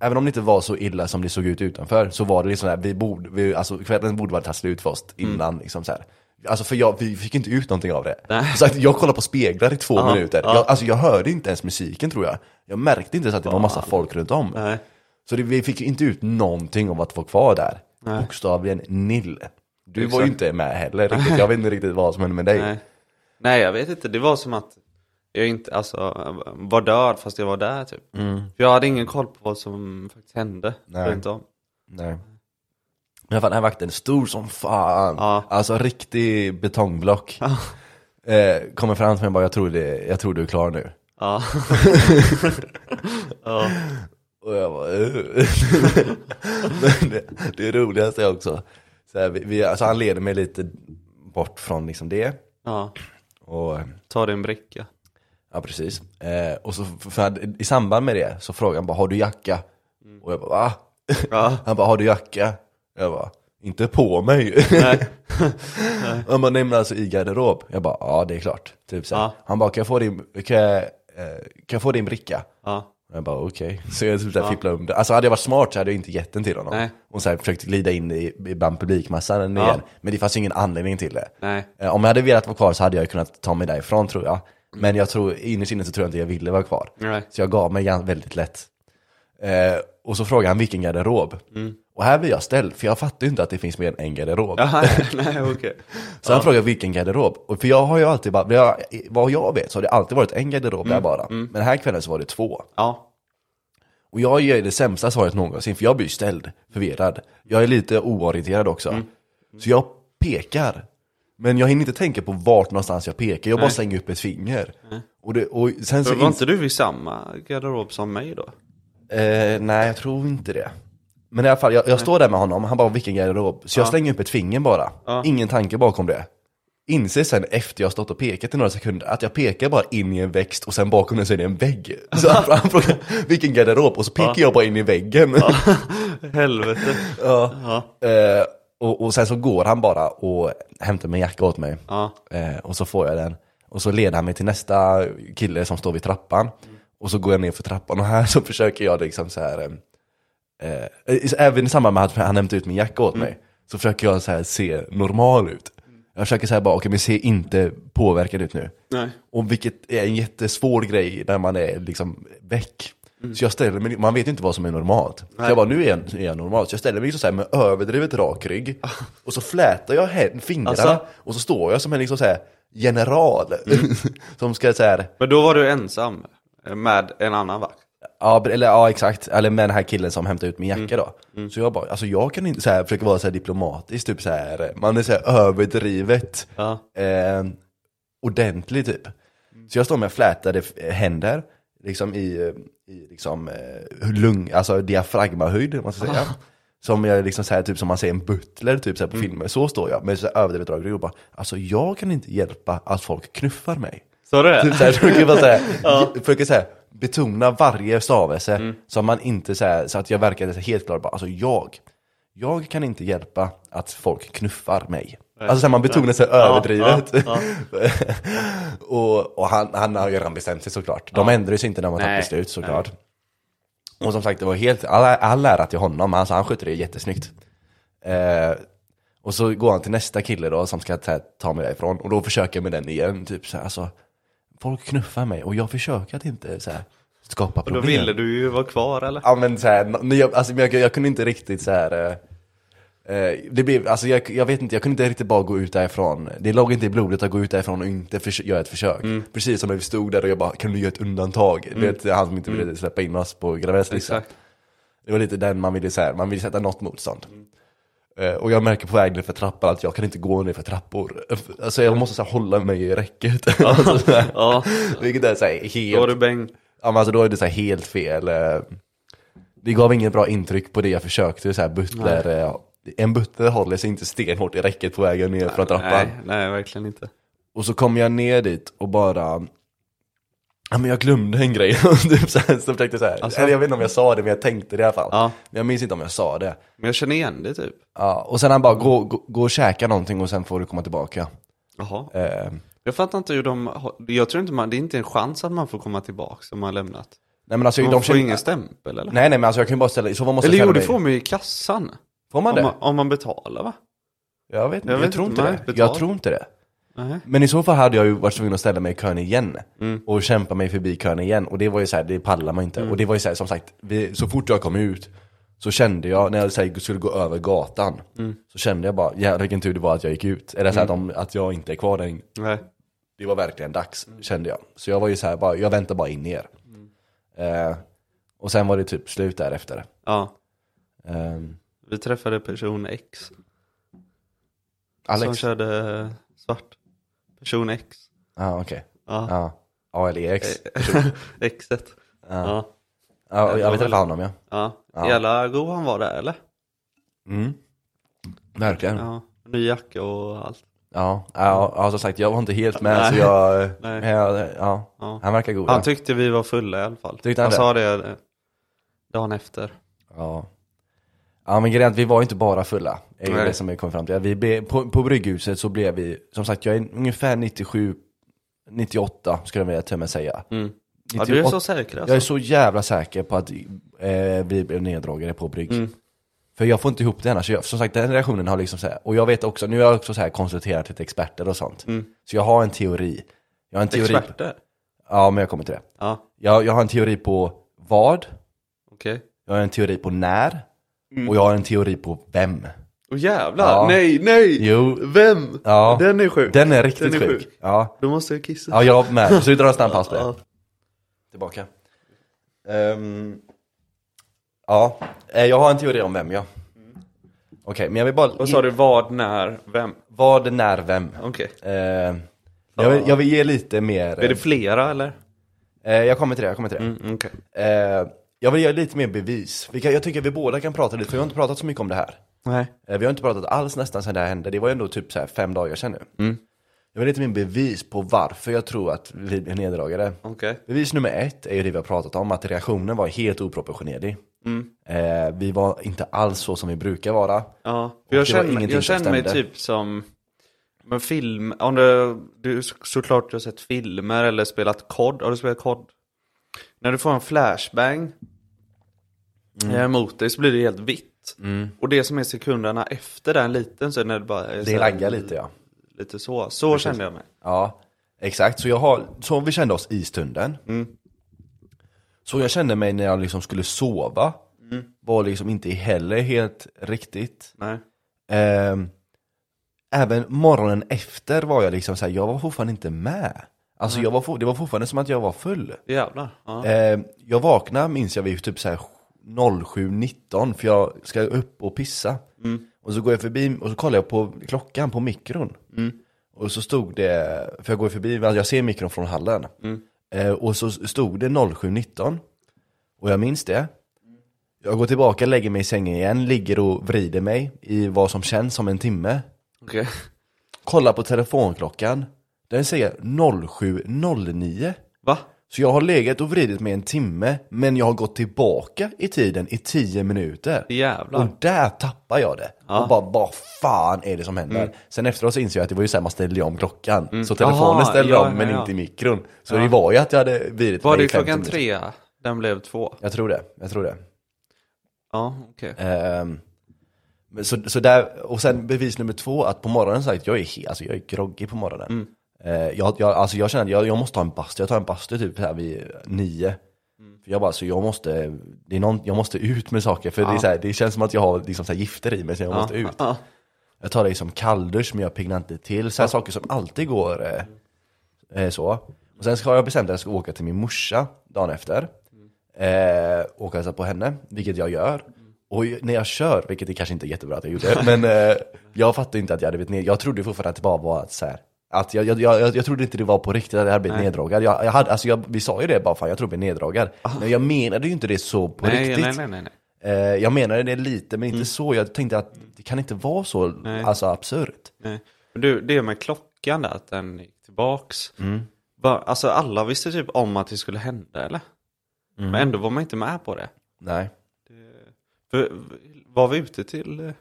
Speaker 1: Även om det inte var så illa som det
Speaker 2: Mm.
Speaker 1: såg ut utanför så var det liksom så här, vi borde, vi, alltså kvällen borde varit tagit slut för oss innan. Liksom så här. Alltså för jag, vi fick inte ut någonting av det.
Speaker 2: Nej.
Speaker 1: Som Sagt, jag kollade på speglar i två
Speaker 2: Ja,
Speaker 1: minuter.
Speaker 2: ja.
Speaker 1: Jag, alltså jag hörde inte ens musiken tror jag. Jag märkte inte ens att det var massa folk runt om.
Speaker 2: Nej.
Speaker 1: Så det, vi fick ju inte ut någonting om att vara kvar där.
Speaker 2: Nej.
Speaker 1: Bokstavligen nil. Du var
Speaker 2: Exakt.
Speaker 1: ju inte med heller riktigt. Jag vet inte riktigt vad som hände med dig.
Speaker 2: Nej. Nej, jag vet inte. Det var som att jag inte, alltså, var död fast jag var där typ. För jag hade ingen koll på vad som faktiskt hände
Speaker 1: Mm. Nej.
Speaker 2: runt om.
Speaker 1: Nej. Men i alla fall, den här vakten, stor som fan.
Speaker 2: Ja.
Speaker 1: Alltså riktig betongblock. Eh, kommer fram till mig och bara, jag tror, det, jag tror du är klar nu.
Speaker 2: Ja. ja.
Speaker 1: Och jag bara, "Ugh." Men det, det roligaste är också, så här, vi, vi, alltså han leder mig lite bort från liksom det.
Speaker 2: ja.
Speaker 1: Och,
Speaker 2: Ta din bricka.
Speaker 1: ja precis. Eh, och så, för, för, i samband med det så frågar han bara, har du jacka?
Speaker 2: Mm.
Speaker 1: Och jag bara, va?
Speaker 2: Ja.
Speaker 1: Han bara, har du jacka? Jag bara, inte på mig.
Speaker 2: Nej.
Speaker 1: Han bara, nej men alltså i garderob. Jag bara, ja det är klart. Typ så här.
Speaker 2: Ja.
Speaker 1: Han bara, kan jag få din, kan jag, eh, kan jag få din bricka?
Speaker 2: Ja.
Speaker 1: Och Jag bara okej, så jag typ såhär fipplade om det. Alltså hade jag varit smart så hade jag inte gett den till honom.
Speaker 2: Nej.
Speaker 1: Och såhär försökt glida in i, i- bland publikmassan
Speaker 2: Ja.
Speaker 1: igen. Men det fanns ju ingen anledning till det.
Speaker 2: Nej.
Speaker 1: Eh, Om jag hade velat vara kvar så hade jag kunnat ta mig därifrån tror jag. Men jag tror, innerst inne så tror jag inte jag ville vara kvar.
Speaker 2: Nej.
Speaker 1: Så jag gav mig gan- väldigt lätt. Eh, och så frågade han vilken garderob. Och här blir jag ställd, för jag fattar ju inte att det finns mer än en garderob.
Speaker 2: Ja, nej, okej.
Speaker 1: Så han frågade vilken garderob. Och för jag har ju alltid bara, jag, vad jag vet så har det alltid varit en garderob där bara. Men den här kvällen så var det två.
Speaker 2: Ja.
Speaker 1: Och jag ger det sämsta svaret någonsin, för jag blir ställd, förvirrad. Jag är lite oorienterad också. Så jag pekar. Men jag hinner inte tänka på vart någonstans jag pekar, jag bara slänger upp ett finger. Och, det, och sen så...
Speaker 2: Var inte du i samma garderob som mig då?
Speaker 1: Eh, nej, jag tror inte det. Men i alla fall, jag, jag står där med honom, han bara vilken garderob. Så jag slänger upp ett finger bara. Ingen tanke bakom det. Inser sen efter jag har stått och pekat i några sekunder att jag pekar bara in i en växt och sen bakom den så är det en vägg. Så han, han frågar vilken garderob och så pekar jag bara in i väggen.
Speaker 2: Helvete.
Speaker 1: Ja. Eh, och, och sen så går han bara och hämtar min jacka åt mig.
Speaker 2: Ja.
Speaker 1: Eh, och så får jag den. Och så leder han mig till nästa kille som står vid trappan. Och så går jag ner för trappan och här så försöker jag liksom så här. eh, Eh, i- även i samband med att han hämtade ut min jacka åt mig. Så försöker jag så här se normal ut. Jag försöker säga bara, okej men se inte påverkad ut nu.
Speaker 2: Nej.
Speaker 1: Och vilket är en jättesvår grej när man är liksom väck. Så jag ställer mig, man vet ju inte vad som är normalt. Så jag bara, nu är jag, är jag normal. Så jag ställer mig liksom så här med överdrivet rak rygg. Och så flätar jag hän- fingrarna.
Speaker 2: Alltså.
Speaker 1: Och så står jag som en liksom så här general. som ska så här,
Speaker 2: Men då var du ensam med en annan vakt?
Speaker 1: ja, eller ja exakt, eller med den här killen som hämtar ut min jacka då. Så jag bara, alltså jag kan inte så här, försöka vara så här diplomatisk, typ så här, man är så här överdrivet.
Speaker 2: Ja.
Speaker 1: eh, ordentlig typ. Så jag står med flätade eh, händer, liksom i, eh, i liksom, eh, lung, alltså diafragmahöjd, om man ska säga. Som jag liksom säger, typ som man ser en butler typ så här på filmer, så står jag med så här överdrivet drag och bara, alltså jag kan inte hjälpa att folk knuffar mig.
Speaker 2: Så du
Speaker 1: Typ såhär, försöker bara såhär, försöker såhär betona varje stavelse så att man inte såhär, så att jag verkade så helt klar bara, alltså jag, jag kan inte hjälpa att folk knuffar mig. Alltså såhär, man betonar sig överdrivet. och och han, han har ju redan bestämt sig såklart. De ändrar sig inte när man tar
Speaker 2: Nej.
Speaker 1: beslut såklart. Och som sagt, det var helt, all, all ära till honom, alltså, han skötte det jättesnyggt. Eh, och så går han till nästa kille då som ska ta, ta mig därifrån och då försöker jag med den igen, typ så här, alltså Folk knuffar mig och jag försöker att inte så här, skapa
Speaker 2: Då
Speaker 1: problem.
Speaker 2: ville du ju vara kvar eller?
Speaker 1: Ja men så här, men jag, alltså, men jag, jag kunde inte riktigt så här. eh, eh, Det blev, alltså jag, jag vet inte, jag kunde inte riktigt bara gå ut därifrån. Det låg inte i blodet att gå ut därifrån och inte förs- göra ett försök.
Speaker 2: Mm.
Speaker 1: Precis som när vi stod där och jag bara, kan du göra ett undantag? Du vet, han som inte ville släppa in oss på Gravels liksom.
Speaker 2: Mm. Exakt.
Speaker 1: Det var lite den man ville, så här, man ville sätta något motstånd. Eh, Och jag märker på vägen för trappan att jag kan inte gå ner för trappor. Alltså jag måste så här, hålla mig i räcket. Alltså, så här.
Speaker 2: Ja.
Speaker 1: Vilket är så här,
Speaker 2: Då var
Speaker 1: helt
Speaker 2: du bänk.
Speaker 1: Ja men alltså då är det så här helt fel. eh, Det gav inget bra intryck på det jag försökte. Så här butler, eh, en butler håller sig inte stenhårt i räcket på vägen ner från trappan.
Speaker 2: Nej, nej, verkligen inte.
Speaker 1: Och så kom jag ner dit och bara Ja men jag glömde en grej, typ så, här, så försökte jag så här.
Speaker 2: Alltså?
Speaker 1: Eller jag vet inte om jag sa det men jag tänkte det i alla fall.
Speaker 2: Ja.
Speaker 1: Men jag minns inte om jag sa det.
Speaker 2: Men jag känner igen det typ.
Speaker 1: Ja, och sen han bara, gå, gå, gå och käka någonting och sen får du komma tillbaka.
Speaker 2: Jaha.
Speaker 1: Eh,
Speaker 2: Jag fattar inte hur de, har- jag tror inte man, det är inte en chans att man får komma tillbaka om man har lämnat.
Speaker 1: nej men alltså
Speaker 2: Man
Speaker 1: de
Speaker 2: får
Speaker 1: känner-
Speaker 2: ingen stämpel eller?
Speaker 1: Nej nej men alltså jag kan ju bara ställa, så vad måste
Speaker 2: eller
Speaker 1: jag
Speaker 2: jo,
Speaker 1: ställa
Speaker 2: det
Speaker 1: mig?
Speaker 2: får man ju i kassan.
Speaker 1: Får man
Speaker 2: Om
Speaker 1: det?
Speaker 2: man, om man betalar va?
Speaker 1: Jag vet inte,
Speaker 2: Jag
Speaker 1: jag,
Speaker 2: vet
Speaker 1: tror
Speaker 2: inte,
Speaker 1: inte
Speaker 2: man
Speaker 1: det.
Speaker 2: har inte
Speaker 1: Jag
Speaker 2: betalt.
Speaker 1: tror inte det.
Speaker 2: Nej.
Speaker 1: Men i så fall hade jag ju varit tvungen att ställa mig i kön igen
Speaker 2: Mm.
Speaker 1: och kämpa mig förbi kön igen. Och det var ju så här, det pallar man inte. Och det var ju så här, som sagt, vi, så fort jag kom ut så kände jag, när jag så här, skulle gå över gatan,
Speaker 2: Mm.
Speaker 1: så kände jag bara, jävlar vilken tur det var att jag gick ut. Eller så här, att, de, att jag inte är kvar där inne.
Speaker 2: Nej.
Speaker 1: Det var verkligen dags,
Speaker 2: Mm.
Speaker 1: kände jag. Så jag var ju så här, bara, jag väntar bara in er. Eh, och sen var det typ slut därefter.
Speaker 2: Ja,
Speaker 1: Eh,
Speaker 2: vi träffade person X som
Speaker 1: Alex? Ja,
Speaker 2: körde svart. Person X.
Speaker 1: ah, okej.
Speaker 2: Ja, Eh,
Speaker 1: Ja. Ja, eller Ex.
Speaker 2: Exet.
Speaker 1: Ja,
Speaker 2: Ja.
Speaker 1: Ja, och jag
Speaker 2: eh,
Speaker 1: vill träffa honom ja.
Speaker 2: Ja.
Speaker 1: Ja.
Speaker 2: Jävla god han var där eller?
Speaker 1: Mm. Verkligen.
Speaker 2: Ja. Ny jacka och allt.
Speaker 1: Ja, ja, ja som sagt jag var inte helt med
Speaker 2: Nej.
Speaker 1: så jag,
Speaker 2: Nej.
Speaker 1: men jag ja,
Speaker 2: Ja.
Speaker 1: han verkar god.
Speaker 2: Han
Speaker 1: Ja.
Speaker 2: tyckte vi var fulla i alla fall.
Speaker 1: Tyckte han
Speaker 2: han
Speaker 1: det?
Speaker 2: sa det eh, dagen efter.
Speaker 1: Ja. ja men grejen är att vi var inte bara fulla, är ju
Speaker 2: Nej.
Speaker 1: det som vi kom fram till. Vi blev, på, på brygghuset så blev vi, som sagt jag är ungefär 97, 98 skulle jag vilja till och med säga.
Speaker 2: Ja, du är så säker
Speaker 1: Mm. Typ Jag är
Speaker 2: alltså.
Speaker 1: så jävla säker på att eh, vi blev neddragade på brygg.
Speaker 2: Mm.
Speaker 1: För jag får inte ihop det annars. Jag, som sagt, den reaktionen har liksom så här, och jag vet också, nu har jag också så här konsulterat lite experter och sånt.
Speaker 2: Mm.
Speaker 1: Så jag har en teori. Jag har en teori.
Speaker 2: Experter?
Speaker 1: Ja, men jag kommer till det.
Speaker 2: Ja,
Speaker 1: Jag, jag har en teori på vad,
Speaker 2: okej.
Speaker 1: jag har en teori på när,
Speaker 2: Mm.
Speaker 1: och jag har en teori på vem.
Speaker 2: Åh jävlar,
Speaker 1: Ja.
Speaker 2: nej, nej!
Speaker 1: Jo,
Speaker 2: Vem?
Speaker 1: Ja.
Speaker 2: Den är sjuk.
Speaker 1: den är riktigt
Speaker 2: Den är
Speaker 1: sjuk. Ja.
Speaker 2: Då måste jag kissa.
Speaker 1: ja, jag med. Så vi drar en snabb paus på det.
Speaker 2: Ja.
Speaker 1: Tillbaka. Ehm, ja, Eh, jag har en teori om vem, ja. Okej, men jag vill bara...
Speaker 2: Vad sa du, vad, när, vem?
Speaker 1: Vad, när, vem?
Speaker 2: Okej.
Speaker 1: Ehm, jag, vill, jag vill ge lite mer...
Speaker 2: Är det flera eller?
Speaker 1: Eh, jag kommer till det, jag kommer till det.
Speaker 2: Mm, okej.
Speaker 1: Eh, jag vill ge lite mer bevis. Vi kan, jag tycker vi båda kan prata lite, för vi har inte pratat så mycket om det här.
Speaker 2: Nej.
Speaker 1: Eh, Vi har inte pratat alls nästan sedan det här hände. Det var ju ändå typ så här fem dagar sedan nu.
Speaker 2: Mm.
Speaker 1: Jag vill lite mer bevis på varför jag tror att vi blev neddragade.
Speaker 2: Okej.
Speaker 1: Bevis nummer ett är ju det vi har pratat om, att reaktionen var helt oproportionerlig. Eh, vi var inte alls så som vi brukar vara.
Speaker 2: Ja.
Speaker 1: det var
Speaker 2: Jag känner,
Speaker 1: ingenting
Speaker 2: jag
Speaker 1: som
Speaker 2: känner mig
Speaker 1: stämde.
Speaker 2: typ som... Men film, om du, du såklart du har sett filmer eller spelat kod, har du spelat kod? När du får en flashbang
Speaker 1: Mm.
Speaker 2: eh, mot dig så blir det helt vitt. Och det som är sekunderna efter den liten så är det när det bara är så
Speaker 1: Det
Speaker 2: här-
Speaker 1: laggar lite ja.
Speaker 2: Lite så, så kände jag mig.
Speaker 1: Ja, exakt. Så, jag har, så vi kände oss i stunden. Så jag kände mig när jag liksom skulle sova. Var liksom inte heller helt riktigt.
Speaker 2: Nej.
Speaker 1: Ehm, även morgonen efter var jag liksom såhär, jag var fortfarande inte med. Alltså jag var, for- det var fortfarande som att jag var full.
Speaker 2: Jävlar. Ja.
Speaker 1: Ehm, jag vaknade minns jag vid typ såhär 07.19 för jag ska upp och pissa. Och så går jag förbi och så kollar jag på klockan på mikron. Och så stod det, för jag går förbi, alltså jag ser mikron från hallen. Ehm, och så stod det 07.19. Och jag minns det. Jag går tillbaka, lägger mig i sängen igen, ligger och vrider mig i vad som känns som en timme.
Speaker 2: Okej.
Speaker 1: Kollar på telefonklockan. Den säger 07.09.
Speaker 2: Va?
Speaker 1: Så jag har legat och vridit mig en timme, men jag har gått tillbaka i tiden i 10 minuter.
Speaker 2: Jävlar.
Speaker 1: Och där tappar jag det. Och bara, vad fan är det som händer?
Speaker 2: Mm.
Speaker 1: Sen efteråt så inser jag att det var ju så här man ställde om klockan. Så telefonen
Speaker 2: Aha,
Speaker 1: ställde
Speaker 2: Mm. ja,
Speaker 1: om, men
Speaker 2: ja, ja.
Speaker 1: inte mikron. Så det var ju att jag hade vridit
Speaker 2: Var
Speaker 1: mig
Speaker 2: det
Speaker 1: i 15
Speaker 2: klockan
Speaker 1: minuter.
Speaker 2: tre? Den blev två.
Speaker 1: Jag tror det, jag tror det.
Speaker 2: Ja, okej.
Speaker 1: Ehm, men så, så där, och sen bevis nummer två, att på morgonen så att jag är, he- alltså jag är groggy på morgonen. Eh, jag, jag, alltså jag känner att jag, jag måste ta en bastu, jag tar en bastu typ här vid nio. För jag bara, så jag måste, det är någon, jag måste ut med saker, för det, är så här, det känns som att jag har liksom så här gifter i mig så jag måste ut.
Speaker 2: Ja.
Speaker 1: Jag tar liksom kalldusch men jag piggnar inte till, så här saker som alltid går eh, eh, så. Och sen ska jag bestämt att jag ska åka till min morsa dagen efter. Eh, åka och hälsa på henne, vilket jag gör. Och ju- när jag kör, vilket det kanske inte är jättebra att jag gjorde, men eh, jag fattade inte att jag hade blivit ned. Jag trodde fortfarande att det bara var att så här, att jag, jag, jag, jag trodde inte det var på riktigt att jag hade blivit neddragad. Jag, jag hade, alltså jag, vi sa ju det bara, fan jag tror jag blev neddragad. Men jag menade ju inte det så på
Speaker 2: Ah. Nej,
Speaker 1: riktigt.
Speaker 2: nej, nej, nej, nej.
Speaker 1: Eh, jag menade det lite, men inte
Speaker 2: Mm.
Speaker 1: så. Jag tänkte att det kan inte vara så alltså, absurt.
Speaker 2: nej. Men Du, det med klockan där, att den gick tillbaks. Var, alltså alla visste typ om att det skulle hända eller? Men
Speaker 1: Mm.
Speaker 2: ändå var man inte med på det.
Speaker 1: Nej,
Speaker 2: För, var vi ute till... eh,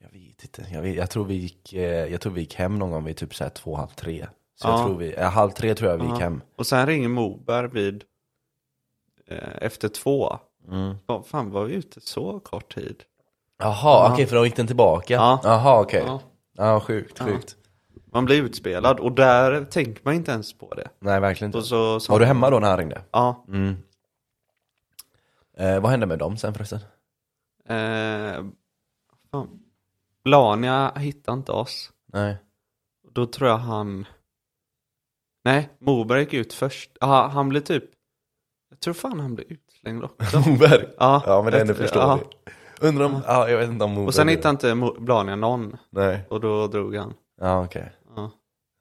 Speaker 1: jag vet inte. Jag, vet, jag, tror, vi gick, eh, jag tror vi gick hem någon gång vid typ så här två, halv tre. Så jag
Speaker 2: Ja.
Speaker 1: tror vi, eh, halv tre tror jag vi gick hem.
Speaker 2: Och sen ringer Moberg vid... Eh, efter två. Vad Fan, var vi ute så kort tid?
Speaker 1: Jaha, okej, för då gick den tillbaka.
Speaker 2: Ja.
Speaker 1: Jaha, okej.
Speaker 2: Ja.
Speaker 1: Ja, sjukt, sjukt.
Speaker 2: Man blir utspelad och där tänker man inte ens på det.
Speaker 1: Nej, verkligen
Speaker 2: Och
Speaker 1: inte.
Speaker 2: så, så, Mm.
Speaker 1: Var du hemma då när han ringde?
Speaker 2: Ja.
Speaker 1: Eh, vad hände med dem sen förresten?
Speaker 2: Eh, fan. Blania hittade inte oss.
Speaker 1: Nej.
Speaker 2: Då tror jag han... Nej, Moberg gick ut först. Ah, han blev typ... Jag tror fan han blev utslängd också.
Speaker 1: Moberg?
Speaker 2: Ja.
Speaker 1: Ja, men det är ändå
Speaker 2: Jag- ja.
Speaker 1: förståeligt. Undrar om, ja, jag vet inte om Moberg...
Speaker 2: Och sen hittade inte Mo- Blania någon.
Speaker 1: Nej,
Speaker 2: Och då drog han.
Speaker 1: ja okej.
Speaker 2: Ja.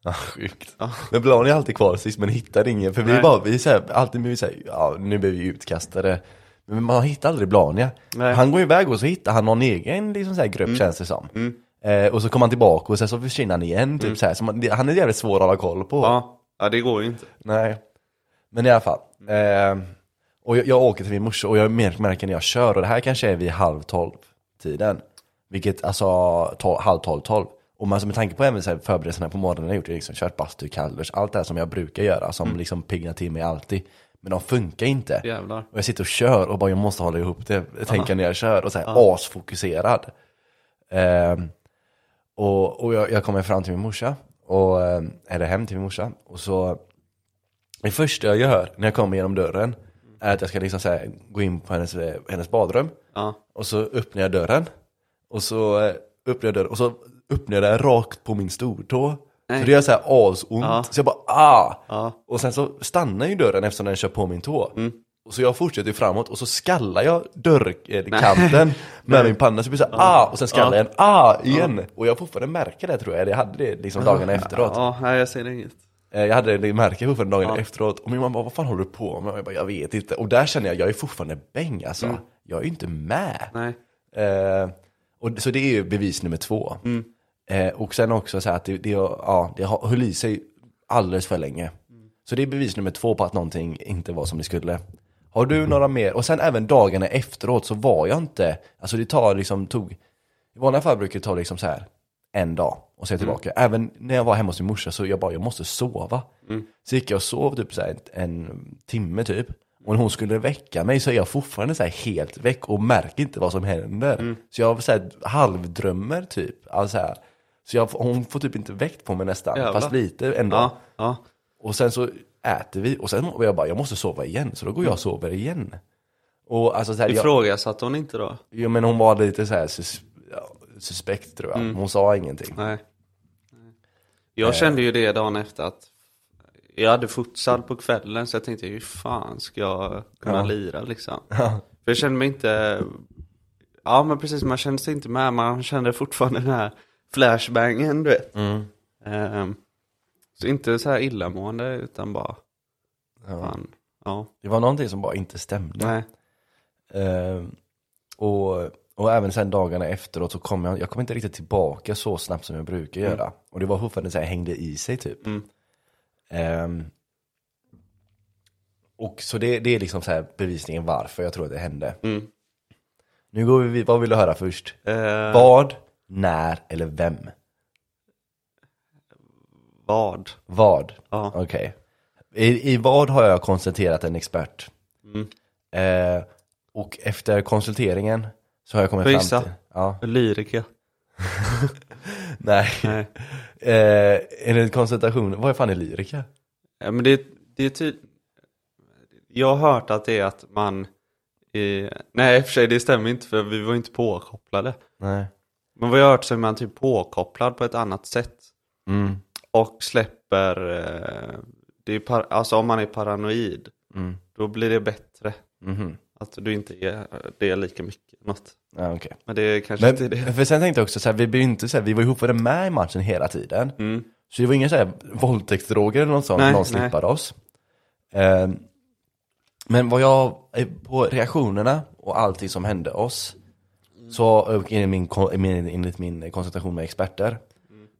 Speaker 1: Ja, sjukt.
Speaker 2: Ja.
Speaker 1: Men Blani är alltid kvar sist men hittar ingen. För vi
Speaker 2: Nej.
Speaker 1: är bara, vi är så här, alltid blir vi säger, ja nu blir vi utkastade. Men man hittar aldrig Blania.
Speaker 2: Nej. Mm.
Speaker 1: Han går iväg och så hittar han någon egen liksom så här grupp känns det som. Eh, och så kommer han tillbaka och sen så försvinner han igen. Typ så här. Så man, det- han är jävligt svår att hålla koll på.
Speaker 2: Mm. Ja, ja det går ju inte.
Speaker 1: Nej. Men i alla fall. Eh, och jag, jag åker till min morsa och jag mär- märker när jag kör och det här kanske är vid halv tolv tiden. Vilket alltså tol, halv tolv, tolv. Och man, alltså, med tanke på även så här, förberedelserna på morgonen jag gjort, jag har liksom kört bastu, kalldusch, allt det här som jag brukar göra som liksom piggnar till mig alltid. Men de funkar inte.
Speaker 2: Jävlar.
Speaker 1: Och jag sitter och kör och bara jag måste hålla ihop det, tänker när jag kör och så här asfokuserad. Ehm, och och jag, jag kommer fram till min morsa, och, ehm, eller hem till min morsa. Och så, det första jag gör när jag kommer genom dörren är att jag ska liksom så här, gå in på hennes, eh, hennes badrum.
Speaker 2: Ja.
Speaker 1: Och så öppnar jag dörren. Och så eh, öppnar jag dörren och så öppnar jag den rakt på min stortå.
Speaker 2: Nej.
Speaker 1: Så det gör så här asont.
Speaker 2: Ja.
Speaker 1: Så jag bara ah!
Speaker 2: Ja.
Speaker 1: Och sen så stannar ju dörren eftersom den kör på min tå.
Speaker 2: Mm.
Speaker 1: Och så jag fortsätter ju framåt och så skallar jag dörrkanten med min panna. Så det blir så här, ah! Och sen skallar jag en ah igen. Och jag fortfarande märker det tror jag. Eller jag hade det liksom dagarna efteråt.
Speaker 2: Ja, nej, jag ser inget.
Speaker 1: Eh, Jag hade det märke fortfarande dagen efteråt och min mamma bara, vad fan håller du på med? Och jag bara, jag vet inte. Och där känner jag, jag är fortfarande bäng alltså.
Speaker 2: Mm.
Speaker 1: Jag är ju inte med.
Speaker 2: Nej.
Speaker 1: Eh, och, så det är ju bevis nummer två. Eh, och sen också så här att det, det, ja, det har- höll i sig alldeles för länge. Så det är bevis nummer två på att någonting inte var som det skulle. Har du några mer? Och sen även dagarna efteråt så var jag inte, alltså det tar liksom, tog, i vanliga fall brukar det ta liksom så här en dag och sen tillbaka. Även när jag var hemma hos min morsa så jag bara, jag måste sova. Så gick jag och sov typ så här en, en timme typ. Och när hon skulle väcka mig så är jag fortfarande så här helt väck och märker inte vad som händer.
Speaker 2: Mm.
Speaker 1: Så jag så här, halvdrömmer typ. Alltså så här. Så jag, hon får typ inte väckt på mig nästan,
Speaker 2: Jävlar.
Speaker 1: fast lite ändå.
Speaker 2: Ja, ja.
Speaker 1: Och sen så äter vi och sen och jag bara, jag måste sova igen. Så då går jag och
Speaker 2: Mm.
Speaker 1: sover igen. Och alltså så här, jag,
Speaker 2: Ifrågasatte hon inte då?
Speaker 1: jo, men hon var lite så här sus, ja, suspekt tror jag.
Speaker 2: Mm.
Speaker 1: Hon sa ingenting.
Speaker 2: Nej. Jag kände ju det dagen efter att jag hade futsal på kvällen så jag tänkte hur fan ska jag kunna
Speaker 1: Ja.
Speaker 2: lira liksom. För jag kände mig inte, ja men precis man kände sig inte med, man kände fortfarande den här flashbangen du vet. Ehm, så inte så här illamående utan bara, fan, ja,
Speaker 1: Det var någonting som bara inte stämde.
Speaker 2: nej,
Speaker 1: Eh, och, och även sen dagarna efteråt så kom jag, jag kom inte riktigt tillbaka så snabbt som jag brukar göra. Och det var fortfarande så här, hängde i sig typ. Ehm, och så det, det är liksom så här bevisningen varför jag tror att det hände. Nu går vi, vid- vad vill du höra först?
Speaker 2: Eh.
Speaker 1: Vad, när eller vem?
Speaker 2: vad?
Speaker 1: Vad?
Speaker 2: Ja.
Speaker 1: Okej. I, I vad har jag konsulterat en expert? Eh, och efter konsulteringen så har jag kommit
Speaker 2: Får jag
Speaker 1: fram
Speaker 2: gissa?
Speaker 1: till... Ja.
Speaker 2: Lyrika.
Speaker 1: Nej.
Speaker 2: Nej.
Speaker 1: Eh, enligt konsultation, vad fan är lyrika?
Speaker 2: Ja, men det, det är tyd... Jag har hört att det är att man... Eh... Nej, i och för sig det stämmer inte för vi var inte påkopplade.
Speaker 1: Nej.
Speaker 2: Men vad jag har hört så är man typ påkopplad på ett annat sätt.
Speaker 1: Mm.
Speaker 2: Och släpper... Eh... Det är par... Alltså om man är paranoid,
Speaker 1: Mm.
Speaker 2: då blir det bättre.
Speaker 1: Mhm.
Speaker 2: Att du inte är det är lika mycket. Något.
Speaker 1: Ja, okej.
Speaker 2: Men det är kanske inte är det.
Speaker 1: Men, för sen tänkte jag också så här, vi, blir ju inte, så här, vi var ju ihopade med i matchen hela tiden. Så det var inga så här våldtäktsdroger eller något sånt,
Speaker 2: Mm. Nej,
Speaker 1: någon
Speaker 2: nej.
Speaker 1: slippade oss. Eh, men vad jag, eh, på reaktionerna och allting som hände oss, så och enligt min, kon- min- enligt min konsultation med experter,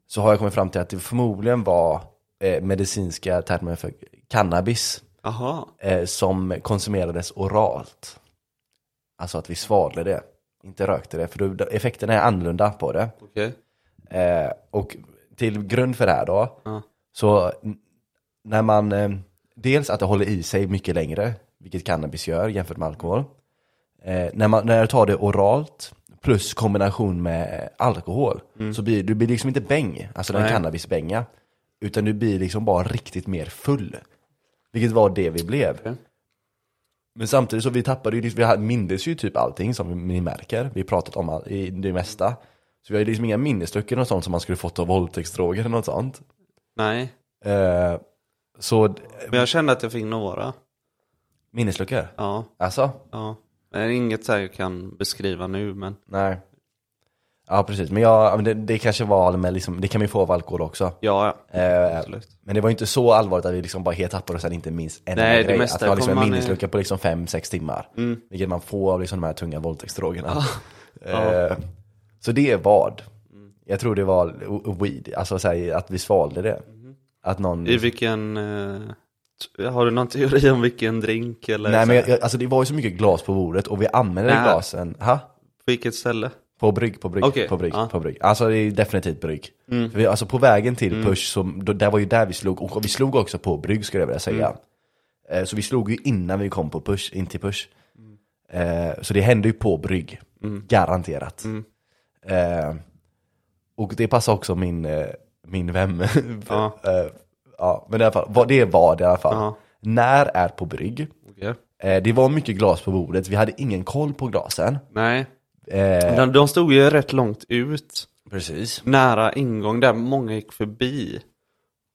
Speaker 1: så har jag kommit fram till att det förmodligen var eh, medicinska termer för cannabis.
Speaker 2: Jaha,
Speaker 1: eh, som konsumerades oralt. Alltså att vi svalde det, inte rökte det, för då, effekterna är annorlunda på det.
Speaker 2: okej.
Speaker 1: Eh, och till grund för det här då,
Speaker 2: Ja.
Speaker 1: så n- när man, eh, dels att det håller i sig mycket längre, vilket cannabis gör jämfört med alkohol. Eh, när, man, när jag tar det oralt, plus kombination med eh, alkohol. Så blir, du blir liksom inte bäng, alltså den
Speaker 2: Mm. Nej.
Speaker 1: cannabisbänga. Utan du blir liksom bara riktigt mer full. Vilket var det vi blev.
Speaker 2: Okej.
Speaker 1: Men samtidigt så vi tappade ju, liksom- vi hade- mindes ju typ allting som ni märker. Vi pratat om all, i det mesta. Så vi har ju liksom inga minnesluckor och sånt som man skulle fått av våldtäktsdroger eller något sånt.
Speaker 2: Nej,
Speaker 1: Eh, så
Speaker 2: men jag kände att jag fick några.
Speaker 1: minnesluckor?
Speaker 2: Ja,
Speaker 1: Alltså?
Speaker 2: ja. Men inget så här jag kan beskriva nu, men
Speaker 1: Nej. Ja precis, men jag, men det, det kanske var, men liksom, det kan man ju få av alkohol också.
Speaker 2: ja, ja.
Speaker 1: Eh,
Speaker 2: absolut.
Speaker 1: men det var ju inte så allvarligt att vi liksom bara helt tappade och sen inte minns en
Speaker 2: Nej,
Speaker 1: enda
Speaker 2: det
Speaker 1: grej.
Speaker 2: mesta
Speaker 1: Att vi har liksom
Speaker 2: kommer
Speaker 1: en
Speaker 2: man Mm. i-
Speaker 1: minneslucka på liksom 5-6 timmar. Vilket man får av liksom de här tunga våldtäktsdrogerna.
Speaker 2: Ja.
Speaker 1: Eh, så det är vad. Jag tror det var o- o- weed, alltså så här, att vi svalde det. Att någon...
Speaker 2: Mm. I vilken... Eh, t- har du någon teori om vilken drink eller
Speaker 1: Nej
Speaker 2: så
Speaker 1: men
Speaker 2: här,
Speaker 1: jag, jag- alltså det var ju så mycket glas på bordet och vi använde
Speaker 2: Nej.
Speaker 1: glasen. Ha?
Speaker 2: på vilket ställe?
Speaker 1: På brygg, på brygg,
Speaker 2: Okej,
Speaker 1: på brygg,
Speaker 2: ja. Mm.
Speaker 1: på brygg. Alltså det är definitivt brygg. För vi, alltså på vägen till Push, så, då, där var ju där vi slog, och vi slog också på brygg skulle jag vilja säga.
Speaker 2: Mm.
Speaker 1: Eh, så vi slog ju innan vi kom på Push, in till Push.
Speaker 2: Mm.
Speaker 1: Eh, så det hände ju på brygg, garanterat.
Speaker 2: Mm.
Speaker 1: Eh, och det passar också min, eh, min vän.
Speaker 2: Ja.
Speaker 1: eh, ja, men i alla fall, vad det var det i alla fall.
Speaker 2: Ja.
Speaker 1: När är på brygg?
Speaker 2: Okej.
Speaker 1: Eh, det var mycket glas på bordet, vi hade ingen koll på glasen.
Speaker 2: Nej,
Speaker 1: Eh,
Speaker 2: de, de stod ju rätt långt ut.
Speaker 1: Precis.
Speaker 2: Nära ingång där många gick förbi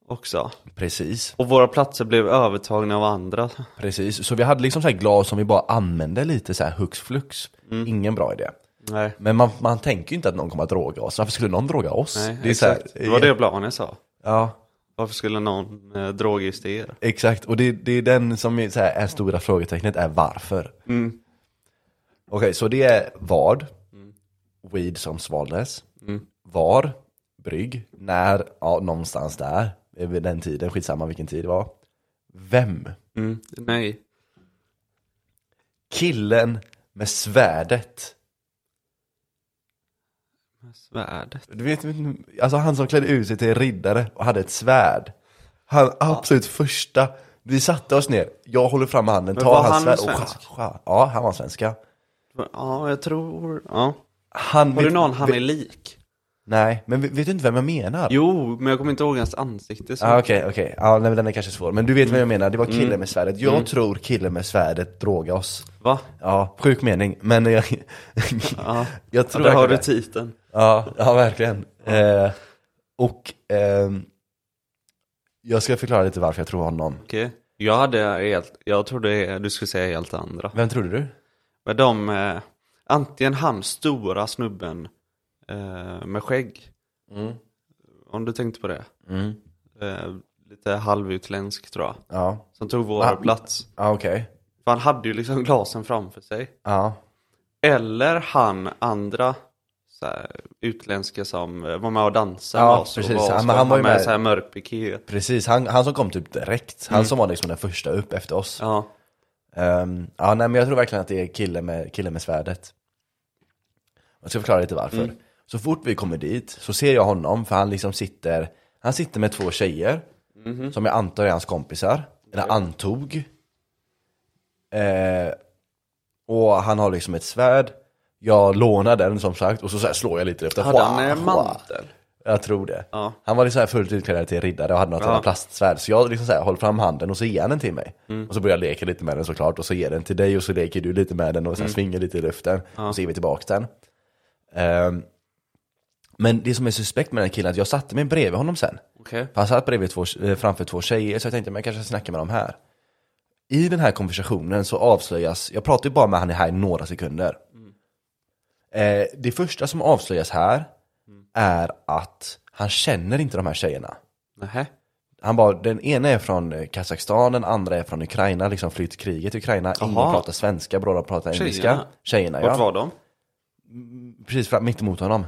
Speaker 2: också.
Speaker 1: Precis.
Speaker 2: Och våra platser blev övertagna av andra.
Speaker 1: Precis, så vi hade liksom så här glas som vi bara använde lite så här hux flux.
Speaker 2: Mm.
Speaker 1: Ingen bra idé.
Speaker 2: Nej,
Speaker 1: Men man, man tänker ju inte att någon kommer att droga oss. Varför skulle någon droga oss?
Speaker 2: nej
Speaker 1: är så här- eh,
Speaker 2: exakt. det var det Blanes sa.
Speaker 1: Ja,
Speaker 2: Varför skulle någon eh, droga just er?
Speaker 1: exakt. Och det, det är den som är, så här, är stora frågetecknet, är varför.
Speaker 2: Mm.
Speaker 1: Okej, så det är vad? Weed som svaldes.
Speaker 2: Mm.
Speaker 1: Var? Brygg? När? Ja, någonstans där. Eh, Vid den tiden, skitsamma vilken tid det var. Vem?
Speaker 2: Mm. Nej.
Speaker 1: Killen med svärdet.
Speaker 2: Svärdet.
Speaker 1: Du vet, alltså han som klädde ut sig till riddare och hade ett svärd. Han absolut första. Vi satte oss ner, jag håller fram handen,
Speaker 2: Men
Speaker 1: tar
Speaker 2: var
Speaker 1: hans
Speaker 2: han
Speaker 1: svärd och
Speaker 2: svensk?
Speaker 1: scha- scha- Ja, han var svenska.
Speaker 2: Ja, jag tror... Ja.
Speaker 1: Han,
Speaker 2: Har du
Speaker 1: vet-
Speaker 2: någon han
Speaker 1: vet-
Speaker 2: är lik?
Speaker 1: Nej, men vet vet du inte vem jag menar?
Speaker 2: Jo, men jag kommer inte ihåg hans ansikte. Så.
Speaker 1: Ah, Okej, okej. Ja, nej, men den är kanske svår. Men du vet vem jag menar, det var
Speaker 2: Mm.
Speaker 1: killen med svärdet. Jag tror killen med svärdet drogade oss.
Speaker 2: Va?
Speaker 1: Ja, sjuk mening. Men jag,
Speaker 2: Ja.
Speaker 1: jag
Speaker 2: Ja,
Speaker 1: tror
Speaker 2: där har du
Speaker 1: verkligen-
Speaker 2: titeln.
Speaker 1: Ja, ja verkligen. Eh, och ehm, jag ska förklara lite varför jag tror honom.
Speaker 2: Okej. Jag hade helt... Jag trodde du skulle säga helt andra.
Speaker 1: Vem trodde du?
Speaker 2: Men de... Eh, antingen han stora snubben eh, med skägg. Om du tänkte på det.
Speaker 1: Mm.
Speaker 2: Eh, lite halvutländsk tror jag.
Speaker 1: Ja,
Speaker 2: Som tog vår
Speaker 1: Va?
Speaker 2: plats.
Speaker 1: ja okej.
Speaker 2: För han hade ju liksom glasen framför sig.
Speaker 1: Ja.
Speaker 2: Eller han andra så här, utländska som eh, var med och dansade
Speaker 1: Ja,
Speaker 2: med oss
Speaker 1: precis.
Speaker 2: och
Speaker 1: Ja,
Speaker 2: var,
Speaker 1: men
Speaker 2: han,
Speaker 1: han var ju
Speaker 2: med
Speaker 1: med.
Speaker 2: så här mörk piké.
Speaker 1: Precis, han, han som kom typ direkt. Han som var liksom den första upp efter oss. Ja,
Speaker 2: Ja,
Speaker 1: Ehm, ja nej men jag tror verkligen att det är killen med, killen med svärdet. Jag ska förklara lite varför. Så fort vi kommer dit så ser jag honom för han liksom sitter, han sitter med två tjejer. Som jag antar är hans kompisar. Eller antog. Eh, och han har liksom ett svärd. Jag lånar den som sagt och så, så här slår jag lite efter.
Speaker 2: hade han
Speaker 1: Hua,
Speaker 2: en
Speaker 1: hua.
Speaker 2: mantel?
Speaker 1: Jag tror det.
Speaker 2: Ja.
Speaker 1: Han var liksom så här fullt utklädd till riddare och hade något
Speaker 2: Ja.
Speaker 1: ja. plastsvärd. Så jag liksom så här, håller fram handen och så ger han den till mig. Och så börjar jag leka lite med den såklart. Och så ger den till dig och så leker du lite med den och så här svingar lite i luften. Och så ger vi tillbaka den. Ehm, men det som är suspekt med den här killen är att jag satte mig bredvid honom sen.
Speaker 2: Okej.
Speaker 1: För han satt bredvid två, eh, framför två tjejer så jag tänkte men jag kanske snackar med dem här. I den här konversationen så avslöjas, jag pratar ju bara med han här i några sekunder. Eh, det första som avslöjas här är att han känner inte de här tjejerna.
Speaker 2: Nähä.
Speaker 1: Han bara, den ena är från eh, Kazakstan, den andra är från Ukraina, liksom flytt kriget i Ukraina.
Speaker 2: Jaha.
Speaker 1: Ingen pratar svenska, båda pratar engelska.
Speaker 2: Tjejerna?
Speaker 1: Tjejerna, tjejerna
Speaker 2: Vart
Speaker 1: ja.
Speaker 2: var de?
Speaker 1: Precis fram, mitt emot honom.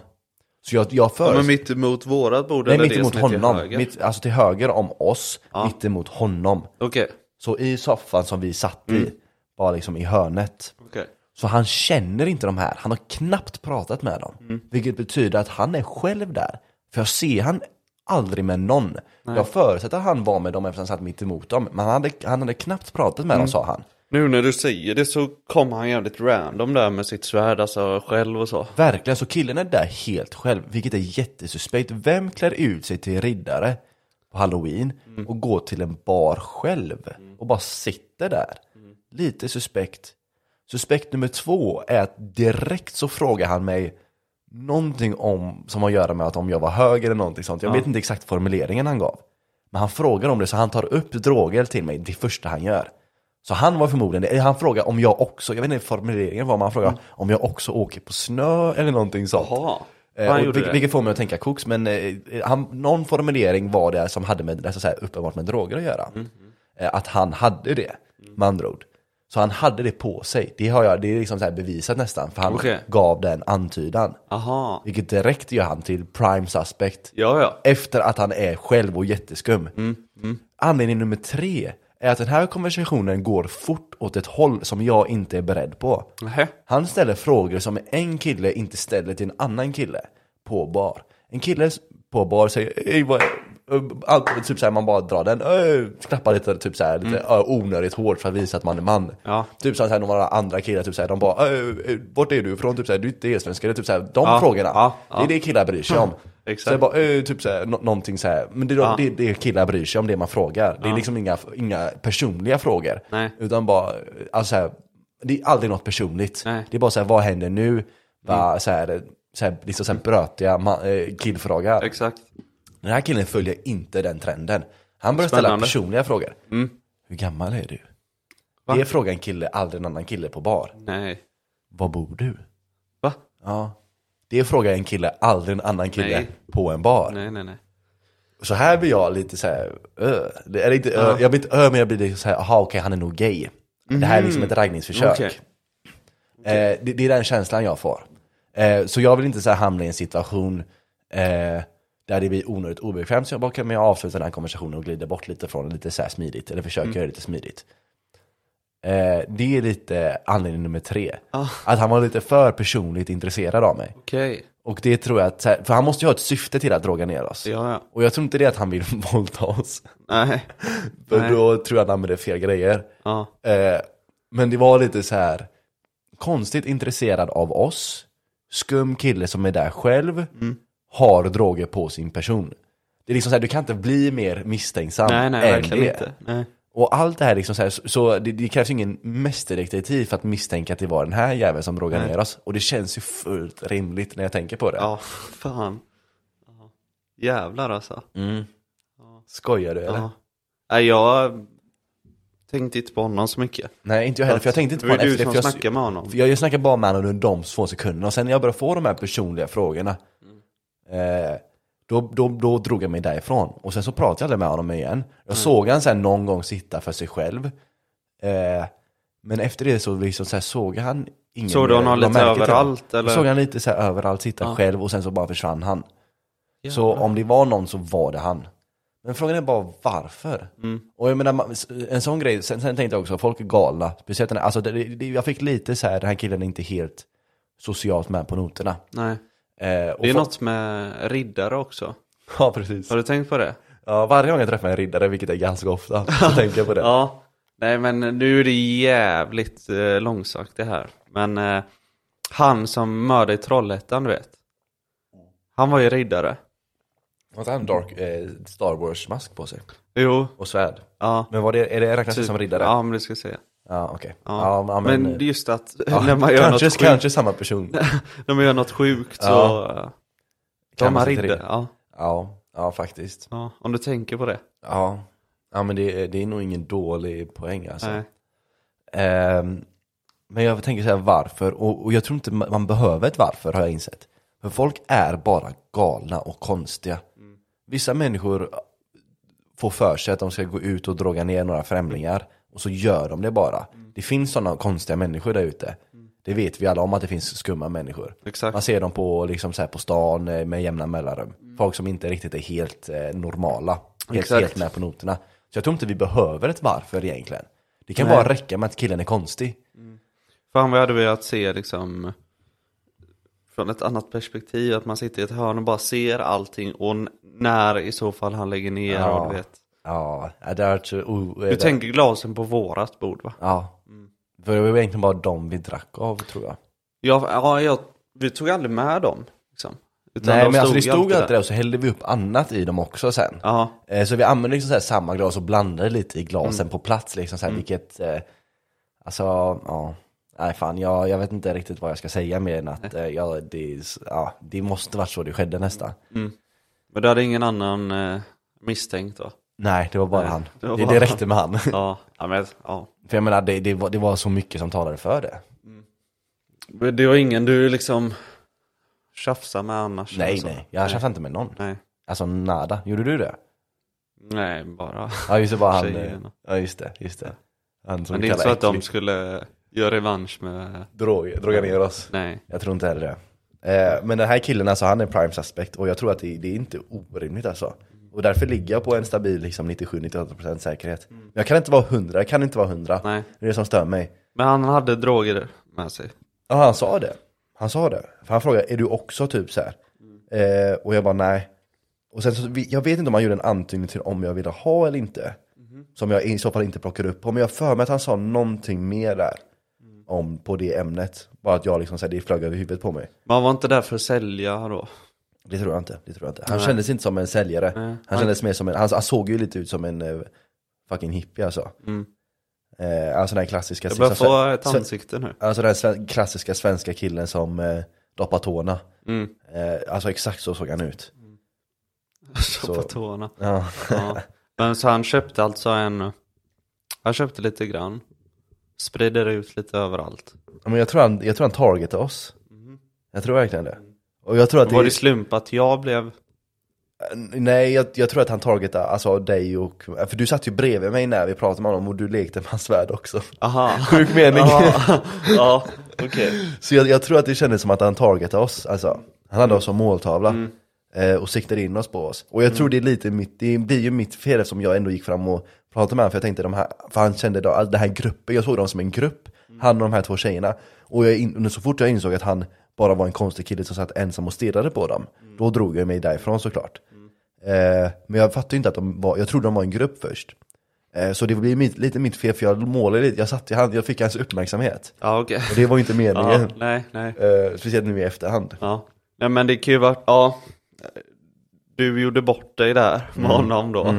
Speaker 1: Så jag, jag föreställer
Speaker 2: Men mitt emot vårat bord
Speaker 1: Nej,
Speaker 2: eller
Speaker 1: mitt
Speaker 2: det
Speaker 1: emot
Speaker 2: som är till
Speaker 1: honom.
Speaker 2: höger?
Speaker 1: mitt, alltså till höger om oss,
Speaker 2: Ja.
Speaker 1: mitt emot honom.
Speaker 2: Okej,
Speaker 1: Så i soffan som vi satt i, bara liksom i hörnet.
Speaker 2: okej.
Speaker 1: Så han känner inte de här, han har knappt pratat med dem. Vilket betyder att han är själv där. För jag ser han aldrig med någon. Jag förutsätter att han var med dem eftersom han satt mitt emot dem. Men han hade, han hade knappt pratat med dem sa han.
Speaker 2: Nu när du säger det så kom han jävligt random där med sitt svärd, alltså själv och så.
Speaker 1: Verkligen, så killen är där helt själv, vilket är jättesuspekt. Vem klär ut sig till riddare på halloween och går till en bar själv och bara sitter där? Lite suspekt. Suspekt nummer två är att direkt så frågar han mig någonting om, som har att göra med att om jag var hög eller någonting sånt. Jag vet inte exakt formuleringen han gav. Men han frågar om det, så han tar upp droger till mig det första han gör. Så han var förmodligen, eller han frågar om jag också, jag vet inte formuleringen var, men han frågar om jag också åker på snö eller någonting sånt.
Speaker 2: Jaha.
Speaker 1: Eh,
Speaker 2: han
Speaker 1: och
Speaker 2: gjorde
Speaker 1: vil-
Speaker 2: det.
Speaker 1: vilket får mig att tänka koks, men eh, han, någon formulering var det som hade med, alltså, så här, uppenbart med droger att göra.
Speaker 2: Mm.
Speaker 1: Eh, att han hade det, med andra ord. Så han hade det på sig, det har jag, det är liksom så här bevisat nästan, för han
Speaker 2: Okej.
Speaker 1: gav den antydan.
Speaker 2: Aha.
Speaker 1: Vilket direkt gör han till prime suspect.
Speaker 2: Ja, ja.
Speaker 1: Efter att han är själv och jätteskum.
Speaker 2: Mm,
Speaker 1: Anledning nummer tre är att den här konversationen går fort åt ett håll som jag inte är beredd på.
Speaker 2: Nähä.
Speaker 1: Han ställer frågor som en kille inte ställer till en annan kille på bar. En kille s- på bar säger "Ey, vad, eh, allt, typ såhär, man bara drar den, "Ey", knappar lite, typ såhär, lite ö, onödigt hårt för att visa att man är man.
Speaker 2: Mm. Ja.
Speaker 1: Typ såhär, några andra killar, typ såhär, de bara "Ey, eh, vart är du ifrån? Typ såhär, du är inte elsvensk, eller typ såhär, de
Speaker 2: Ja,
Speaker 1: frågorna.
Speaker 2: ja, ja.
Speaker 1: Det är det killar bryr sig om.
Speaker 2: Exakt.
Speaker 1: Så jag bara, "Ey", typ såhär, nå- någonting såhär, men det är,
Speaker 2: Ja.
Speaker 1: det, det är killar bryr sig om, det man frågar. Det är liksom inga, inga personliga frågor.
Speaker 2: Nej.
Speaker 1: Utan bara, alltså så här, det är aldrig något personligt.
Speaker 2: Nej. Mm.
Speaker 1: Det är bara så här, vad händer nu? Va, så här, så här, liksom så här brötiga ma- eh, killfrågor.
Speaker 2: Exakt.
Speaker 1: Den här killen följer inte den trenden. Han börjar ställa
Speaker 2: Spännande. Mm.
Speaker 1: personliga frågor. Hur gammal är du? Det är frågan en kille, aldrig en annan kille på bar.
Speaker 2: Nej.
Speaker 1: Var bor du?
Speaker 2: Va?
Speaker 1: Ja. Det är frågan en kille, aldrig en annan kille
Speaker 2: Nej.
Speaker 1: på en bar.
Speaker 2: Nej, nej, nej.
Speaker 1: Så här blir jag lite så här, ö. Det- Eller inte ö, jag blir inte ö men jag blir lite så här, aha okej han är nog gay. Det här är liksom ett raggningsförsök.
Speaker 2: Mhm. Okej.
Speaker 1: Eh, det, det är den känslan jag får. Eh, så jag vill inte så här hamna i en situation eh, där det blir onödigt obekvämt. Så jag bara, kan jag avsluta den här konversationen och glida bort lite från det lite så här smidigt. Eller försöka
Speaker 2: Mm.
Speaker 1: göra det lite smidigt. Eh, det är lite anledning nummer tre. Att han var lite för personligt intresserad av mig.
Speaker 2: Okej.
Speaker 1: Och det tror jag att, så här- för han måste ju ha ett syfte till att droga ner oss.
Speaker 2: Ja, ja.
Speaker 1: Och jag tror inte det är att han vill våldta oss.
Speaker 2: Nej.
Speaker 1: För
Speaker 2: Nej.
Speaker 1: då tror jag att han använde fel grejer.
Speaker 2: Ja.
Speaker 1: Eh, men det var lite så här konstigt intresserad av oss, skum kille som är där själv,
Speaker 2: Mm.
Speaker 1: har droger på sin person. Det är liksom så här, du kan inte bli mer misstänksam
Speaker 2: Nej, nej,
Speaker 1: än
Speaker 2: verkligen
Speaker 1: det.
Speaker 2: inte. Nej.
Speaker 1: Och allt det här liksom så här, så- så det, det krävs ju ingen mästerdetektiv för att misstänka att det var den här jäveln som drogade ner oss. Och det känns ju fullt rimligt när jag tänker på det.
Speaker 2: Ja, fan. Ja. Jävlar alltså.
Speaker 1: Mm. Skojar du eller?
Speaker 2: Ja. Nej, jag tänkte inte på honom så mycket.
Speaker 1: Nej, inte jag heller, för jag tänkte inte på
Speaker 2: det. var
Speaker 1: honom
Speaker 2: ju
Speaker 1: efter
Speaker 2: du
Speaker 1: det,
Speaker 2: som
Speaker 1: för jag-
Speaker 2: snackade med honom.
Speaker 1: För jag, jag snackar bara med honom under de två sekunderna, och sen när jag började få de här personliga frågorna, eh, då, då, då drog jag mig därifrån. Och sen så pratade jag aldrig med honom igen. Jag
Speaker 2: Mm.
Speaker 1: såg han sen någon gång sitta för sig själv. Eh, men efter det så, liksom så här såg han ingen
Speaker 2: Såg du
Speaker 1: mer.
Speaker 2: honom
Speaker 1: Jag
Speaker 2: lite
Speaker 1: märkte det.
Speaker 2: överallt,
Speaker 1: Jag
Speaker 2: eller?
Speaker 1: såg han lite så här överallt sitta
Speaker 2: Ja.
Speaker 1: själv och sen så bara försvann han. Så
Speaker 2: Jävlar.
Speaker 1: om det var någon så var det han. Men frågan är bara varför?
Speaker 2: Mm.
Speaker 1: Och jag menar, man- en sån grej, sen, sen tänkte jag också, folk är galna. Speciellt den här, alltså det, det, jag fick lite så här, den här killen är inte helt socialt med på noterna.
Speaker 2: Nej.
Speaker 1: Eh, och
Speaker 2: Det är
Speaker 1: folk-
Speaker 2: något med riddare också.
Speaker 1: Ja, precis.
Speaker 2: Har du tänkt på det?
Speaker 1: Ja, varje gång jag träffar en riddare, vilket är ganska ofta, så tänker jag på det.
Speaker 2: Ja. Nej men nu är det jävligt eh, långsökt det här. Men eh, han som mördade i Trollhättan du vet. Han var ju riddare.
Speaker 1: Har han dark eh, Star Wars-mask på sig?
Speaker 2: Jo.
Speaker 1: Och svärd?
Speaker 2: Ja.
Speaker 1: Men var det, är det räknas det
Speaker 2: Typ.
Speaker 1: som riddare?
Speaker 2: Ja men det ska jag säga.
Speaker 1: ja okej.
Speaker 2: Ja.
Speaker 1: Ja,
Speaker 2: men,
Speaker 1: men, eh,
Speaker 2: just att
Speaker 1: ja,
Speaker 2: när, man gör något
Speaker 1: kanske,
Speaker 2: sjukt,
Speaker 1: kanske samma person.
Speaker 2: när man gör något sjukt så...
Speaker 1: Ja.
Speaker 2: eh, Då är
Speaker 1: Kan
Speaker 2: man
Speaker 1: man säga
Speaker 2: riddare.
Speaker 1: riddare?
Speaker 2: Ja.
Speaker 1: Ja, ja faktiskt.
Speaker 2: ja. Om du tänker på det.
Speaker 1: Ja, ja men det, är- det är nog ingen dålig poäng alltså.
Speaker 2: Nej.
Speaker 1: Ehm, men jag tänker säga varför, och, och jag tror inte ma- man behöver ett varför har jag insett. För folk är bara galna och konstiga. Vissa människor får för sig att de ska gå ut och droga ner några främlingar, och så gör de det bara. Det finns sådana konstiga människor där ute. Det vet vi alla om att det finns skumma människor.
Speaker 2: Exakt.
Speaker 1: Man ser dem på, liksom, så här, på stan eh, med jämna mellanrum. Folk som inte riktigt är helt eh, normala. Helt,
Speaker 2: Exakt.
Speaker 1: helt med på noterna. Så jag tror inte vi behöver ett varför egentligen. Det kan
Speaker 2: Nej.
Speaker 1: bara räcka med att killen är konstig.
Speaker 2: Fan vad jag hade velat se liksom från ett annat perspektiv, att man sitter i ett hörn och bara ser allting och n- när i så fall han lägger ner
Speaker 1: Ja.
Speaker 2: och du vet.
Speaker 1: Ja, det är så... Oh,
Speaker 2: Du tänker glasen på vårat bord va?
Speaker 1: Ja. För det var egentligen bara de vi drack av tror jag.
Speaker 2: Ja, ja jag, vi tog aldrig med dem. Liksom. Utan
Speaker 1: Nej
Speaker 2: de
Speaker 1: men alltså det
Speaker 2: ju
Speaker 1: stod alltid
Speaker 2: där.
Speaker 1: där och så hällde vi upp annat i dem också sen.
Speaker 2: Ja,
Speaker 1: Eh, Så vi använde liksom så här samma glas och blandade lite i glasen
Speaker 2: Mm.
Speaker 1: på plats liksom så här, vilket, eh, alltså ja, nej fan jag, jag vet inte riktigt vad jag ska säga mer än att eh, ja, det, ja, det måste varit så det skedde nästan.
Speaker 2: men du hade ingen annan eh, misstänkt va?
Speaker 1: Nej, det var bara
Speaker 2: Nej,
Speaker 1: han.
Speaker 2: det var
Speaker 1: Det,
Speaker 2: bara
Speaker 1: det räckte med han.
Speaker 2: Ja, ja, men, ja.
Speaker 1: För jag menar, det, det, var, det var så mycket som talade för det.
Speaker 2: Men det var ingen du liksom tjafsade med annars?
Speaker 1: Nej,
Speaker 2: alltså.
Speaker 1: nej. Jag tjafsade inte med någon.
Speaker 2: Nej,
Speaker 1: Alltså nada. Gjorde du det?
Speaker 2: nej bara.
Speaker 1: Ja, just det. Bara han. eh,
Speaker 2: Tjejerna.
Speaker 1: Ja, just det. Just det. Han som
Speaker 2: Men
Speaker 1: vi
Speaker 2: det är inte så
Speaker 1: kallar
Speaker 2: att de
Speaker 1: äcklig.
Speaker 2: skulle göra revansch med...
Speaker 1: drog, drog ner oss.
Speaker 2: Nej.
Speaker 1: Jag tror inte heller det. Eh, men den här killen, alltså, han är prime suspect och jag tror att det, det är inte orimligt alltså. Och därför ligger jag på en stabil liksom, 97-98% säkerhet. Men jag kan inte vara 100, jag kan inte vara 100.
Speaker 2: Nej.
Speaker 1: Det är det som stör mig.
Speaker 2: Men han hade droger med sig.
Speaker 1: Ja, han sa det. Han sa det. För han frågade, är du också typ så här? Eh, och jag bara, nej. Och sen så, vi- jag vet inte om han gjorde en antydning till om jag ville ha eller inte. Som jag i så fall inte plockade upp på. Men jag har för mig att han sa någonting mer där. Om, på det ämnet. Bara att jag liksom, så här, det flög över huvudet på mig.
Speaker 2: Man var inte där för att sälja då?
Speaker 1: Det tror jag inte. Det tror jag inte. Han kändes inte som en säljare. Han,
Speaker 2: Han-
Speaker 1: kändes mer som en, han, han såg ju lite ut som en eh, fucking hippie alltså.
Speaker 2: Mm.
Speaker 1: Eh, alltså den här klassiska...
Speaker 2: Jag börjar
Speaker 1: liksom,
Speaker 2: få eh, ett
Speaker 1: sve-
Speaker 2: ansikte nu.
Speaker 1: Alltså den här sven- klassiska svenska killen som eh, doppar tårna.
Speaker 2: Mm.
Speaker 1: Eh, alltså exakt så såg han ut.
Speaker 2: Så på tårna.
Speaker 1: Ja.
Speaker 2: Ja. Men så han köpte alltså en... Han köpte lite grann. Sprider ut lite överallt.
Speaker 1: Men jag tror han, jag tror han targetade oss. Jag tror verkligen det. Och jag tror att det,
Speaker 2: Mm. Var det slump att jag blev...
Speaker 1: Nej, jag, jag tror att han targetade alltså dig och... För du satt ju bredvid mig när vi pratade med honom och du lekte med hans svärd också.
Speaker 2: Aha.
Speaker 1: Sjuk mening.
Speaker 2: Aha. ja, okej.
Speaker 1: Så jag, jag tror att det kändes som att han targetade oss, alltså. Han hade oss som måltavla. eh, Och siktade in oss på oss. Och jag tror det är lite mitt, det blir ju mitt fel eftersom jag ändå gick fram och pratade med honom. För jag tänkte, de här, för han kände då, all den här gruppen, jag såg dem som en grupp. Han och de här två tjejerna. Och jag in, så fort jag insåg att han bara var en konstig kille som satt ensam och stirrade på dem. Då drog jag mig därifrån såklart. Eh, men jag fattade ju inte att de var, jag trodde de var en grupp först. Eh, så det blir mitt, lite mitt fel för jag målade lite, jag satt i hand, jag fick hans uppmärksamhet.
Speaker 2: Ja, okej.
Speaker 1: Och det var ju inte meningen.
Speaker 2: Ja, nej, nej.
Speaker 1: Eh, speciellt nu i efterhand.
Speaker 2: Ja. Nej men det kan ju vara, ja. Du gjorde bort dig där med honom då.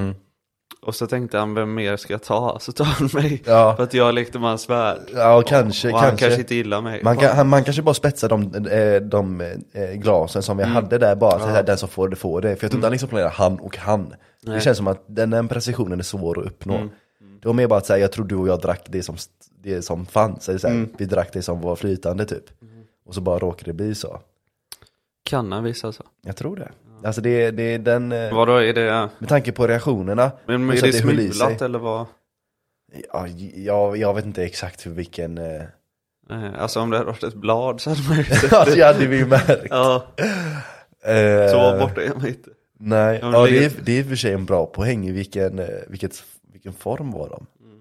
Speaker 2: Och så tänkte han, vem mer ska jag ta? Så tar han mig.
Speaker 1: Ja.
Speaker 2: För att jag lekte med hans svärd.
Speaker 1: Ja, kanske.
Speaker 2: och han
Speaker 1: kanske.
Speaker 2: kanske inte gillar mig.
Speaker 1: man, kan, han- man kanske bara spetsar de, eh, de eh, glasen som vi
Speaker 2: Mm.
Speaker 1: hade där bara, så här, den som får det får det. För jag tror inte han liksom planerar han och han. Det
Speaker 2: Nej. Mm.
Speaker 1: känns som att den, den precisionen är svår att uppnå. Det var mer bara att säga, jag tror du och jag drack det som, st- det som fanns. Eller, så här,
Speaker 2: Mm.
Speaker 1: Vi drack det som var flytande typ. Och så bara råkade det bli så.
Speaker 2: Cannabis alltså.
Speaker 1: Jag tror det. Alltså det, det är den, eh,
Speaker 2: Vadå, är det,
Speaker 1: med tanke på reaktionerna.
Speaker 2: men,
Speaker 1: och
Speaker 2: men är
Speaker 1: så
Speaker 2: det
Speaker 1: att höll i sig.
Speaker 2: smulat eller vad?
Speaker 1: Ja, jag, jag vet inte exakt hur vilken... Eh...
Speaker 2: Nej, Alltså om det hade varit ett blad så hade man ju sett
Speaker 1: alltså
Speaker 2: det.
Speaker 1: jag hade vi ju märkt.
Speaker 2: Ja,
Speaker 1: Eh,
Speaker 2: så borta är man inte.
Speaker 1: Nej,
Speaker 2: Ja, men
Speaker 1: ja,
Speaker 2: det-
Speaker 1: det, är, det är i och för sig en bra poäng. I vilken, eh, vilket, vilken form var de?
Speaker 2: Mm.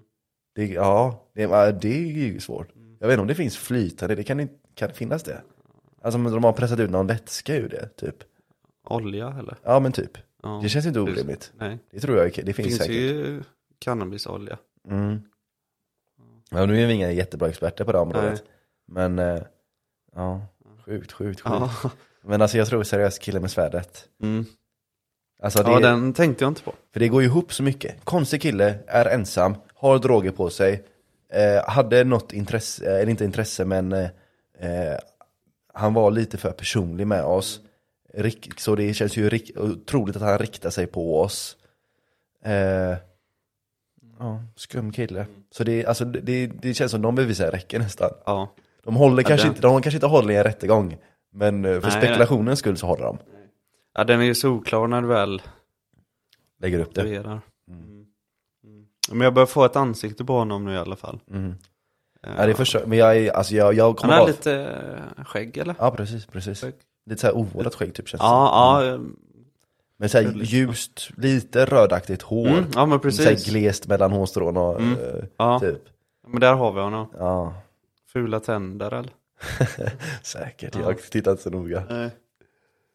Speaker 1: Det, ja, det, ja, det är ju svårt. Jag vet inte om det finns flytande, det kan, inte- kan det finnas det? Alltså om de har pressat ut någon vätska ur det, typ.
Speaker 2: Olja eller?
Speaker 1: Ja men typ.
Speaker 2: Ja.
Speaker 1: Det känns inte orimligt.
Speaker 2: Nej,
Speaker 1: Det tror jag, det
Speaker 2: det
Speaker 1: finns,
Speaker 2: finns
Speaker 1: säkert.
Speaker 2: ju cannabisolja.
Speaker 1: Mm. Ja, nu är vi inga jättebra experter på det området. Men, eh, ja, sjukt, sjukt, sjukt.
Speaker 2: Ja,
Speaker 1: Men alltså jag tror seriöst, killen med svärdet.
Speaker 2: mm.
Speaker 1: Alltså, det,
Speaker 2: ja den tänkte jag inte på.
Speaker 1: För det går ju ihop så mycket. Konstig kille, är ensam, har droger på sig, eh, hade något intresse, eh, eller inte intresse men eh, eh, han var lite för personlig med oss. Rik, så det känns ju rik, otroligt att han riktar sig på oss. Eh, ja, skum kille. Så det, alltså, det, det känns som de bevisen räcker nästan.
Speaker 2: Ja.
Speaker 1: De, håller
Speaker 2: Ja,
Speaker 1: kanske
Speaker 2: det-
Speaker 1: inte, de kanske inte håller i en rättegång, men eh, för
Speaker 2: Nej,
Speaker 1: spekulationens skull så håller de.
Speaker 2: Ja, den är ju så oklar när du väl
Speaker 1: Lägger upp det.
Speaker 2: studerar. Mm. Men jag börjar få ett ansikte på honom nu i alla fall.
Speaker 1: Mm.
Speaker 2: Eh,
Speaker 1: Ja, det är först, men jag, är- alltså, jag, jag
Speaker 2: han
Speaker 1: kommer
Speaker 2: har
Speaker 1: bara...
Speaker 2: lite eh, skägg eller?
Speaker 1: Ja precis, precis.
Speaker 2: Skägg.
Speaker 1: Lite såhär ovårdat skägg typ känns det som.
Speaker 2: Ja, ja, eh,
Speaker 1: Men såhär ljust, lite rödaktigt hår.
Speaker 2: mm, ja men
Speaker 1: Såhär
Speaker 2: precis.
Speaker 1: glest mellan hårstrån och
Speaker 2: Mm.
Speaker 1: eh,
Speaker 2: Ja,
Speaker 1: typ.
Speaker 2: men där har vi honom.
Speaker 1: Ja,
Speaker 2: Fula tänder eller?
Speaker 1: säkert.
Speaker 2: Ja.
Speaker 1: Jag har tittat inte så noga.
Speaker 2: Nej.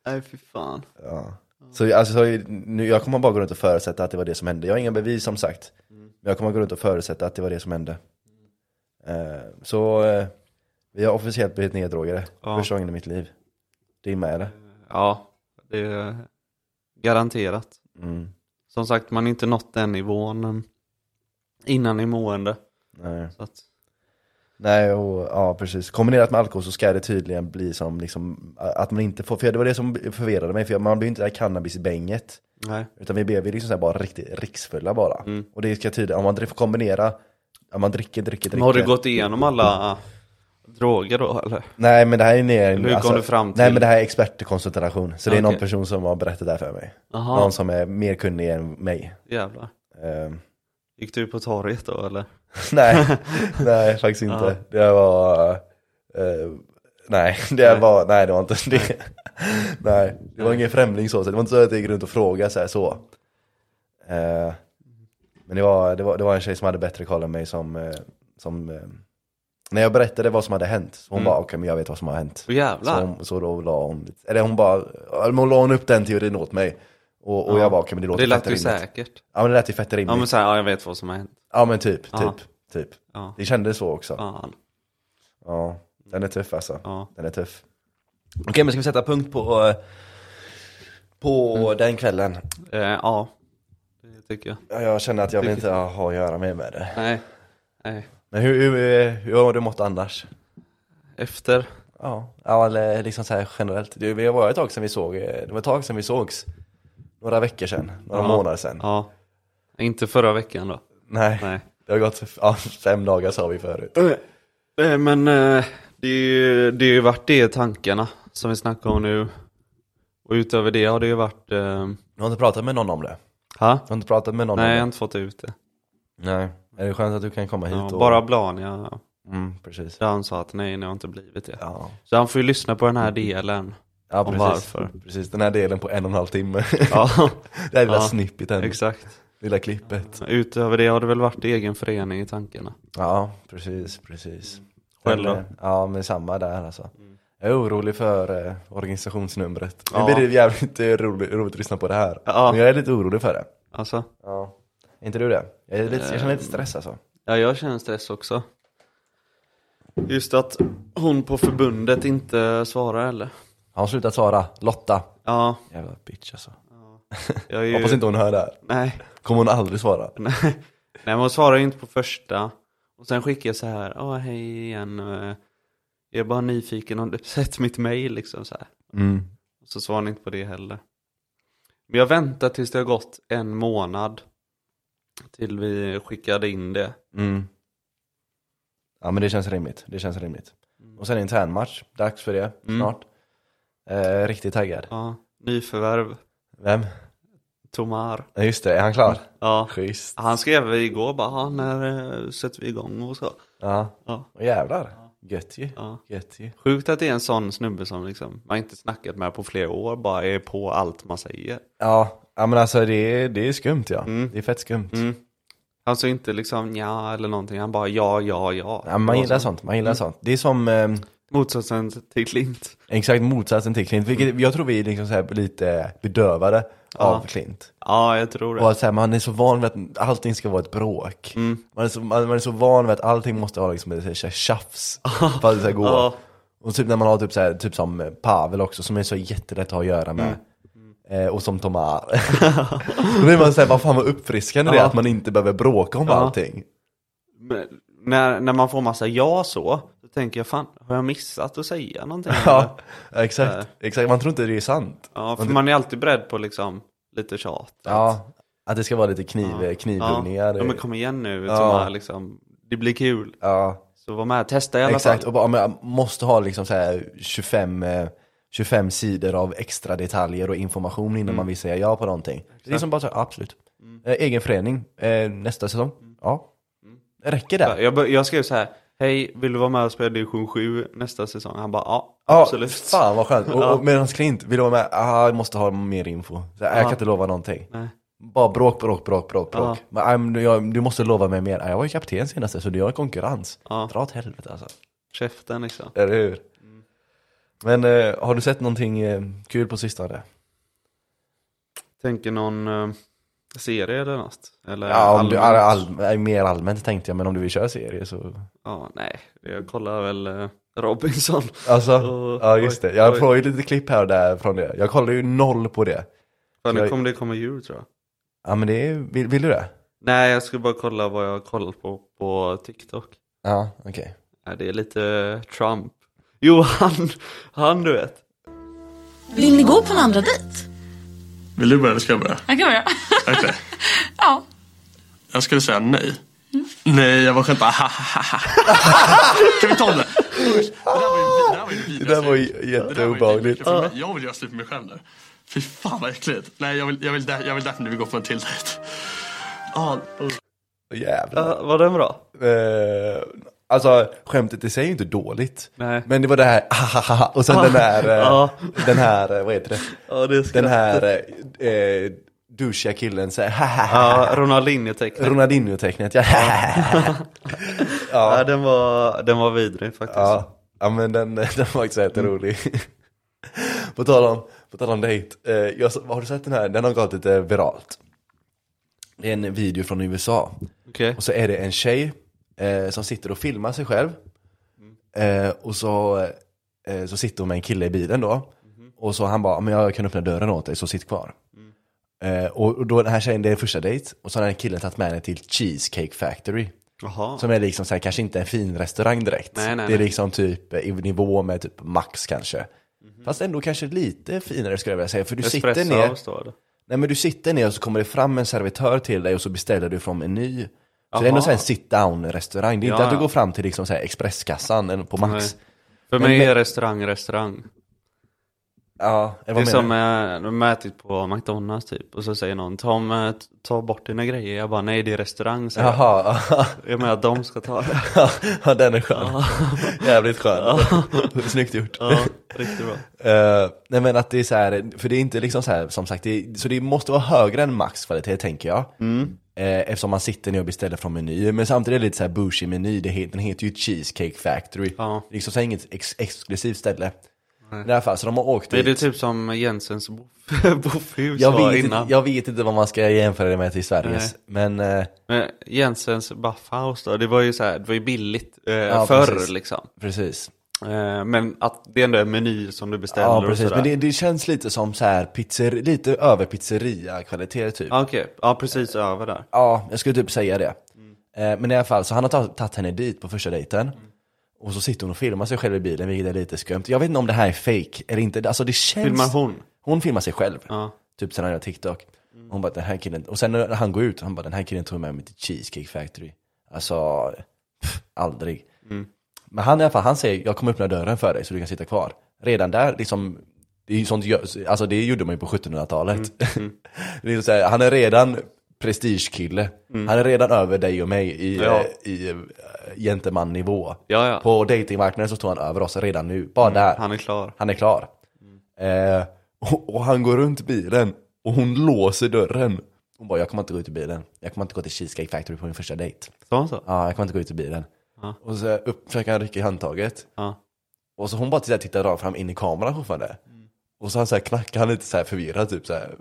Speaker 2: Nej fy fan.
Speaker 1: Ja. Så, alltså, så, nu, jag kommer bara gå runt och
Speaker 2: Mm.
Speaker 1: förutsätta att det var det som hände. Jag har inga bevis som sagt. Men jag kommer gå runt och förutsätta att det var det som hände. Eh, så eh, vi har officiellt blivit neddrogade.
Speaker 2: Ja.
Speaker 1: Första gången i mitt liv. Det är med eller?
Speaker 2: Ja, det är garanterat.
Speaker 1: Mm.
Speaker 2: Som sagt, man har inte nått den nivån eh, innan i mående.
Speaker 1: Nej.
Speaker 2: Så att,
Speaker 1: Nej, och ja precis. Kombinerat med alkohol så ska det tydligen bli som liksom, att man inte får, för det var det som förvirrade mig, för man blir ju inte det här cannabisbänget.
Speaker 2: nej.
Speaker 1: Utan vi blev ju liksom så här bara riktigt riksfulla bara.
Speaker 2: Mm.
Speaker 1: Och det ska tydligen, om man dri- får kombinera, om man dricker,
Speaker 2: Men
Speaker 1: dricker, dricker.
Speaker 2: har du gått igenom alla droger då eller?
Speaker 1: Nej men det här är ner,
Speaker 2: hur kom du fram till-
Speaker 1: Nej men det här är expertkonsultation. Så det är
Speaker 2: Okej.
Speaker 1: någon person som har berättat det här för mig.
Speaker 2: Jaha,
Speaker 1: Någon som är mer kunnig än mig.
Speaker 2: jävlar.
Speaker 1: Ehm,
Speaker 2: Gick du på torget då eller?
Speaker 1: nej, nej faktiskt inte. Det var, eh, nej, det
Speaker 2: Nej.
Speaker 1: var, nej det var inte det. nej, det var ingen främling så, så det var inte så att jag gick runt och frågade så. Här, så. Eh, men det var, det, var, det var en tjej som hade bättre koll än mig som, eh, som eh, när jag berättade vad som hade hänt, så hon bara okej men jag vet vad som har hänt.
Speaker 2: Åh
Speaker 1: Så,
Speaker 2: Mm. jävlar.
Speaker 1: hon, så då la hon, eller hon bara, ja, men hon la hon upp den teorin åt mig. Och, och
Speaker 2: Ja.
Speaker 1: jag bara okej men det låter
Speaker 2: det lät ju
Speaker 1: rimligt.
Speaker 2: säkert.
Speaker 1: Ja men det lät ju fett
Speaker 2: Ja
Speaker 1: rimligt.
Speaker 2: men såhär, ja jag vet vad som har hänt.
Speaker 1: typ, typ,
Speaker 2: Ja.
Speaker 1: typ.
Speaker 2: Ja,
Speaker 1: Det kändes så också.
Speaker 2: fan.
Speaker 1: Ja, den är tuff alltså.
Speaker 2: Ja.
Speaker 1: Den är tuff. Okej, men ska vi sätta punkt på, eh, på den kvällen?
Speaker 2: Eh, ja, det tycker jag.
Speaker 1: Ja, Jag känner att jag vill inte ha att göra mer med det.
Speaker 2: Nej, nej.
Speaker 1: Men hur, hur, eh, hur har du mått annars?
Speaker 2: Efter.
Speaker 1: Ja, ja eller liksom så här generellt. Det det var ett tag sedan vi såg, eh, det var ett tag sedan vi sågs. Några veckor sedan, några
Speaker 2: Ja.
Speaker 1: månader sedan.
Speaker 2: Ja. Inte förra veckan då.
Speaker 1: Nej,
Speaker 2: Nej.
Speaker 1: det har gått ja, fem dagar sa vi förut.
Speaker 2: Nej men eh, det är ju det är ju varit det i tankarna som vi snackar om nu. Och utöver det har det ju varit... Eh,
Speaker 1: Du har inte pratat med någon om det?
Speaker 2: ha?
Speaker 1: Du har inte pratat med någon
Speaker 2: Nej, jag har
Speaker 1: om
Speaker 2: inte fått ut det.
Speaker 1: det? Nej. Är det skönt att du kan komma hit
Speaker 2: Ja,
Speaker 1: och...
Speaker 2: bara Blania,
Speaker 1: Mm, precis.
Speaker 2: där han sa att nej, det har inte blivit det.
Speaker 1: Ja,
Speaker 2: Så han får ju lyssna på den här delen.
Speaker 1: ja
Speaker 2: Om
Speaker 1: precis.
Speaker 2: varför.
Speaker 1: Precis, den här delen på en och en halv timme.
Speaker 2: Ja,
Speaker 1: Det här lilla
Speaker 2: Ja,
Speaker 1: snippeten,
Speaker 2: exakt.
Speaker 1: lilla klippet.
Speaker 2: Utöver det har det väl varit egen förening i tankarna.
Speaker 1: Ja, precis, precis.
Speaker 2: Själv då?
Speaker 1: Eller- Ja, men samma där alltså. Jag är orolig för eh, organisationsnumret.
Speaker 2: Ja.
Speaker 1: Nu blir det jävligt eh, roligt, roligt att lyssna på det här.
Speaker 2: Ja.
Speaker 1: Men jag är lite orolig för det.
Speaker 2: Alltså,
Speaker 1: Ja. Är inte du det? Jag, är lite, jag känner lite stress alltså.
Speaker 2: ja, jag känner stress också. Just att hon på förbundet inte svarar eller?
Speaker 1: Har hon slutat svara? Lotta.
Speaker 2: Ja,
Speaker 1: Jävla bitch alltså.
Speaker 2: jag är ju...
Speaker 1: Jag hoppas inte hon hör det här.
Speaker 2: Nej.
Speaker 1: Kommer hon aldrig svara?
Speaker 2: Nej, Nej, men hon svarar ju inte på första. Och sen skickar jag så här, åh hej igen. eh, Jag är bara nyfiken om du sett mitt mail liksom så här.
Speaker 1: Mm.
Speaker 2: Och så svarar hon inte på det heller. Men jag väntar tills det har gått en månad. Till vi skickade in det.
Speaker 1: Mm. Ja men det känns rimligt, det känns rimligt.
Speaker 2: Mm.
Speaker 1: Och sen internmatch, dags för det snart. Eh, riktigt taggad.
Speaker 2: Ja, nyförvärv,
Speaker 1: Vem?
Speaker 2: Tomar.
Speaker 1: Ja, Just det, är han klar?
Speaker 2: Ja.
Speaker 1: Schysst.
Speaker 2: Han skrev igår bara, "Ja, när eh, sätter vi igång och så.
Speaker 1: Ja.
Speaker 2: Ja.
Speaker 1: Och jävlar. Gött ju.
Speaker 2: Ja.
Speaker 1: Gött ju.
Speaker 2: Sjukt att det är en sån snubbe som liksom, man inte snackat med på flera år, bara är på allt man säger.
Speaker 1: Ja, ja men alltså det är, det är skumt ja.
Speaker 2: Mm.
Speaker 1: Det är fett skumt.
Speaker 2: Mm. Alltså inte liksom ja eller någonting, han bara ja, ja, ja.
Speaker 1: Ja, men man gillar
Speaker 2: Och så- Mm.
Speaker 1: sånt, man gillar sånt. Det är som eh,
Speaker 2: Motsatsen till Klint.
Speaker 1: exakt motsatsen till Klint, vilket
Speaker 2: Mm.
Speaker 1: jag tror vi är liksom så här lite bedövade av Klint.
Speaker 2: Ja, jag tror det.
Speaker 1: Och att så här, man är så van vid att allting ska vara ett bråk.
Speaker 2: Mm.
Speaker 1: Man, är så, man, man är så van vid att allting måste ha liksom, ett så här tjafs för att det ska gå.
Speaker 2: Ja.
Speaker 1: Och typ när man har typ, så här, typ som Pavel också, som är så jättelätt att ha att göra med.
Speaker 2: Mm.
Speaker 1: Eh, och som Tomar. Då blir man såhär, vad fan vad uppfriskande det är
Speaker 2: Ja.
Speaker 1: att man inte behöver bråka om allting.
Speaker 2: Men när, när man får massa ja så, då tänker jag fan, har jag missat att säga någonting?
Speaker 1: Ja, exakt, exakt. Man tror inte det är sant.
Speaker 2: ja för man är alltid beredd på liksom lite tjat.
Speaker 1: Ja, att det ska vara lite kniv,
Speaker 2: ja.
Speaker 1: knivhuggningar.
Speaker 2: ja men kom igen nu,
Speaker 1: Ja.
Speaker 2: Tomar, liksom, det blir kul.
Speaker 1: Ja.
Speaker 2: Så var med, testa i alla
Speaker 1: Exakt,
Speaker 2: fall.
Speaker 1: och bara, men jag måste ha liksom så här 25, eh, 25 sidor av extra detaljer och information
Speaker 2: Mm.
Speaker 1: innan man vill säga ja på någonting. Det är som bara så här, absolut. Eh, Egen förening, eh, nästa säsong.
Speaker 2: Mm.
Speaker 1: Ja. Räcker det?
Speaker 2: Jag, bör- jag skrev så här, hej, vill du vara med och spela division 7 nästa säsong? Han bara ja,
Speaker 1: Ja,
Speaker 2: absolut.
Speaker 1: Fan vad skönt. Och,
Speaker 2: Ja.
Speaker 1: och medans Klint, vill du vara med? Ah, jag måste ha mer info. Så här, Jag kan inte lova någonting.
Speaker 2: Nej.
Speaker 1: Bara bråk, bråk, bråk, bråk, bråk.
Speaker 2: Ja.
Speaker 1: Men, ah, men du, jag, du måste lova mig mer. Ah, jag var ju kapten senast så du har konkurrens.
Speaker 2: Ja.
Speaker 1: Dra åt helvete alltså.
Speaker 2: Käften liksom.
Speaker 1: Eller hur? Men eh, har du sett någonting eh, kul på sistone?
Speaker 2: Tänker någon eh, Serie eller något? Eller
Speaker 1: Ja, om du, all,
Speaker 2: allmänt?
Speaker 1: all, nej, mer allmänt tänkte jag, men om du vill köra serie så...
Speaker 2: Ja, nej. Jag kollar väl eh, Robinson.
Speaker 1: Alltså,
Speaker 2: Oj,
Speaker 1: ja just det.
Speaker 2: oj,
Speaker 1: Jag
Speaker 2: oj.
Speaker 1: får ju lite klipp här och där från det. Jag kollar ju noll på det.
Speaker 2: För nu
Speaker 1: Jag-
Speaker 2: kommer det komma jul tror jag.
Speaker 1: Ja men det är, vill, vill du det?
Speaker 2: Nej, jag skulle bara kolla vad jag har kollat på på TikTok.
Speaker 1: Ja, okej.
Speaker 2: Nej, det är lite eh, Trump. Jo, han, han du vet.
Speaker 3: Vill ni gå på en andra dejt?
Speaker 5: Vill du börja eller ska jag börja?
Speaker 3: Jag kan börja.
Speaker 5: Okej.
Speaker 3: Ja.
Speaker 5: Jag skulle säga nej.
Speaker 1: Mm.
Speaker 5: Nej, jag var skämt bara Kan vi ta det? Usch, Det där var ju-
Speaker 1: Det där var ju jätteobehagligt.
Speaker 5: det där var ju det vidrigaste. Det där var ju vidrigt för mig. Jag vill göra slut med mig själv där. Fy fan vad äckligt. Nej, jag vill, jag vill, där- jag vill definitivt gå på en till dejt. Ja, usch.
Speaker 1: Jävlar.
Speaker 2: Ja, var den bra?
Speaker 1: Eh, alltså skämtet i sig är ju inte dåligt.
Speaker 2: Nej.
Speaker 1: Men det var det här ahahaha och sen
Speaker 5: Ah.
Speaker 1: den här, eh,
Speaker 2: Ja.
Speaker 1: den här, eh, vad heter det?
Speaker 2: Ja, det är skratt.
Speaker 1: Den här eh, eh, douchiga killen säger hahaha.
Speaker 2: Ja, Ronaldinho-tecknet.
Speaker 1: Ronaldinho-tecknet, ja.
Speaker 2: Ja. den var, den var vidrig faktiskt.
Speaker 1: Ja, ja men den, den var faktiskt jätterolig. på tal om, på tal om dejt. Eh, jag, har du sett den här? Den har gått lite viralt. Det är en video från USA.
Speaker 2: Okej.
Speaker 1: Och så är det en tjej eh, som sitter och filmar sig själv. Eh, och så, eh, så sitter hon med en kille i bilen då. Och så han bara, men jag kan öppna dörren åt dig så sitt kvar. Eh, och, och då den här tjejen, det är första dejt. Och så har den här killen tagit med henne till Cheesecake Factory.
Speaker 2: Jaha.
Speaker 1: Som är liksom så här, kanske inte en fin restaurang direkt.
Speaker 2: Nej, nej,
Speaker 1: det är
Speaker 2: nej.
Speaker 1: liksom typ i nivå med typ Max kanske. Fast ändå kanske lite finare skulle jag vilja säga. För du sitter
Speaker 2: Mhm. Espresso
Speaker 1: ner,
Speaker 2: House då eller?
Speaker 1: nej men du sitter ner och så kommer det fram en servitör till dig och så beställer du från meny. Så det är
Speaker 2: Jaha.
Speaker 1: ändå så här en sit down restaurang. Det är inte
Speaker 2: Ja,
Speaker 1: att du
Speaker 2: ja.
Speaker 1: går fram till liksom så här expresskassan eller på Max.
Speaker 2: Nej. För
Speaker 1: Men-
Speaker 2: mig
Speaker 1: men-
Speaker 2: är restaurang restaurang.
Speaker 1: Ja, eller
Speaker 2: Det är
Speaker 1: vad menar
Speaker 2: som
Speaker 1: du?
Speaker 2: eh, de har ätit på McDonalds typ och så säger någon Tom, eh, t- ta bort dina grejer. Jag bara nej det är restaurang säger jag.
Speaker 1: Jaha,
Speaker 2: Jag menar att de ska ta det.
Speaker 1: ja, den är skön. Jävligt skön. Snyggt gjort.
Speaker 2: Ja, riktigt bra.
Speaker 1: Eh, nej men att det är så här, för det är inte liksom så här, som sagt, det, så det måste vara högre än maxkvalitet tänker jag.
Speaker 2: Mm.
Speaker 1: Eh, eftersom man sitter ner och beställer från menyer, men samtidigt är det lite så här bougie meny, det heter, den heter ju Cheesecake Factory.
Speaker 2: Ja.
Speaker 1: Det är Liksom så här inget ex- exklusivt ställe. I det här fallet, så de har åkt
Speaker 2: Det är
Speaker 1: dit.
Speaker 2: det typ som Jensens boff- boffhus
Speaker 1: jag,
Speaker 2: var
Speaker 1: vet inte,
Speaker 2: innan.
Speaker 1: jag vet inte vad man ska jämföra det med till Sveriges, men eh,
Speaker 2: Men Jensens Baffhaus då, det var ju så här, det var ju billigt eh,
Speaker 1: Ja,
Speaker 2: förr
Speaker 1: precis.
Speaker 2: liksom.
Speaker 1: precis.
Speaker 2: Eh, men att det ändå är menyer som du beställer
Speaker 1: Ja
Speaker 2: och
Speaker 1: precis,
Speaker 2: sådär.
Speaker 1: men det, det känns lite som så här, pizzer, lite över pizzeria-kvalitet typ.
Speaker 2: Ja, Ah, Okej, ja precis över där.
Speaker 1: Ja, jag skulle typ säga det. Eh, Men i alla fall, så han har tagit- tagit henne dit på första dejten. Och så sitter hon och filmar sig själv i bilen, vilket är lite skumt. Jag vet inte om det här är fake eller inte. Alltså det känns...
Speaker 2: Filmar hon?
Speaker 1: Hon filmar sig själv.
Speaker 2: Ja.
Speaker 1: Typ sen han gör TikTok. Hon bara, den här killen... Och sen när han går ut, han bara, den här killen tog med mig till Cheesecake Factory. Alltså, pff, aldrig. Men han i alla fall, han säger, jag kommer öppna dörren för dig så du kan sitta kvar. Redan där, liksom, det är ju sånt, gö- alltså det gjorde man ju på 1700-talet. det är så här, han är redan prestigekille. Han är redan över dig och mig i,
Speaker 2: Ja.
Speaker 1: eh, i eh, gentlemannivå.
Speaker 2: Ja, ja.
Speaker 1: På datingmarknaden så står han över oss redan nu, bara där.
Speaker 2: Han är klar.
Speaker 1: Han är klar. Eh, och, och han går runt bilen och hon låser dörren. Hon bara, jag kommer inte gå ut ur bilen. Jag kommer inte gå till Cheesecake Factory på min första dejt.
Speaker 2: Sa hon så?
Speaker 1: Ja, jag kommer inte gå ut ur bilen.
Speaker 2: Ja.
Speaker 1: Och så upp, försöker han rycka i handtaget.
Speaker 2: Ja.
Speaker 1: Och så hon bara tittar rakt fram in i kameran fortfarande. Och så han så här knackar han lite så här förvirrad typ så här,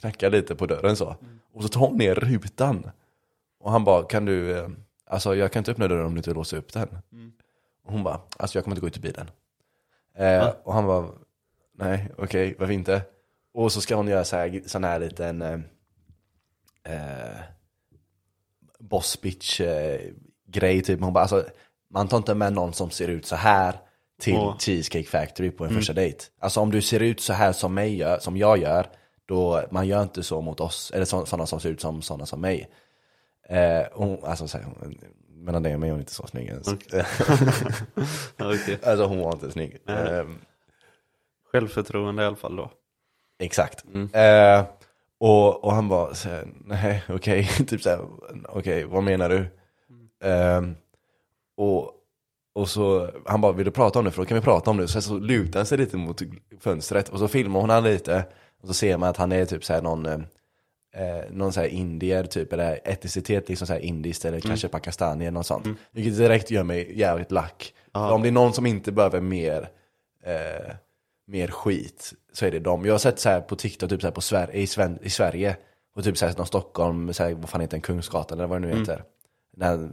Speaker 1: knackar lite på dörren så. Och så tar hon ner rutan. Och han bara, kan du, eh, alltså jag kan inte öppna dörren om du inte låser upp den. Och hon bara, alltså jag kommer inte gå ut ur bilen. Eh, och han bara, nej okej, varför inte? Och så ska hon göra så här, sån här liten eh, eh, boss bitch eh, grej typ. Hon bara, alltså, man tar inte med någon som ser ut så här till
Speaker 2: Åh.
Speaker 1: Cheesecake Factory på en första dejt. Alltså om du ser ut så här som, mig gör, som jag gör, då man gör inte så mot oss, eller så- sådana som ser ut som sådana som mig. Eh, hon, alltså, så här, hon- mellan dig och mig är hon inte så snygg ens.
Speaker 2: Ja, okej.
Speaker 1: alltså hon var inte snygg. Ehm,
Speaker 2: Självförtroende i alla fall då.
Speaker 1: Exakt. Eh, och, och han bara, så här, nej okej, typ såhär, okej vad menar du? Eh, och, och så, han bara, vill du prata om det? För då kan vi prata om det. Så, så lutar han sig lite mot fönstret och så filmar hon han lite. Och så ser man att han är typ såhär någon, eh, eh, någon såhär indier typ, eller etnicitet liksom såhär indiskt eller kanske pakistanier eller något sånt. Vilket direkt gör mig jävligt lack. För Om det är någon som inte behöver mer eh, mer skit så är det dem. Jag har sett så här på TikTok, typ så här på Sver- i, Sven- i Sverige, och på typ såhär, någon Stockholm, såhär, vad fan heter den, Kungsgatan eller vad det nu heter. Den här,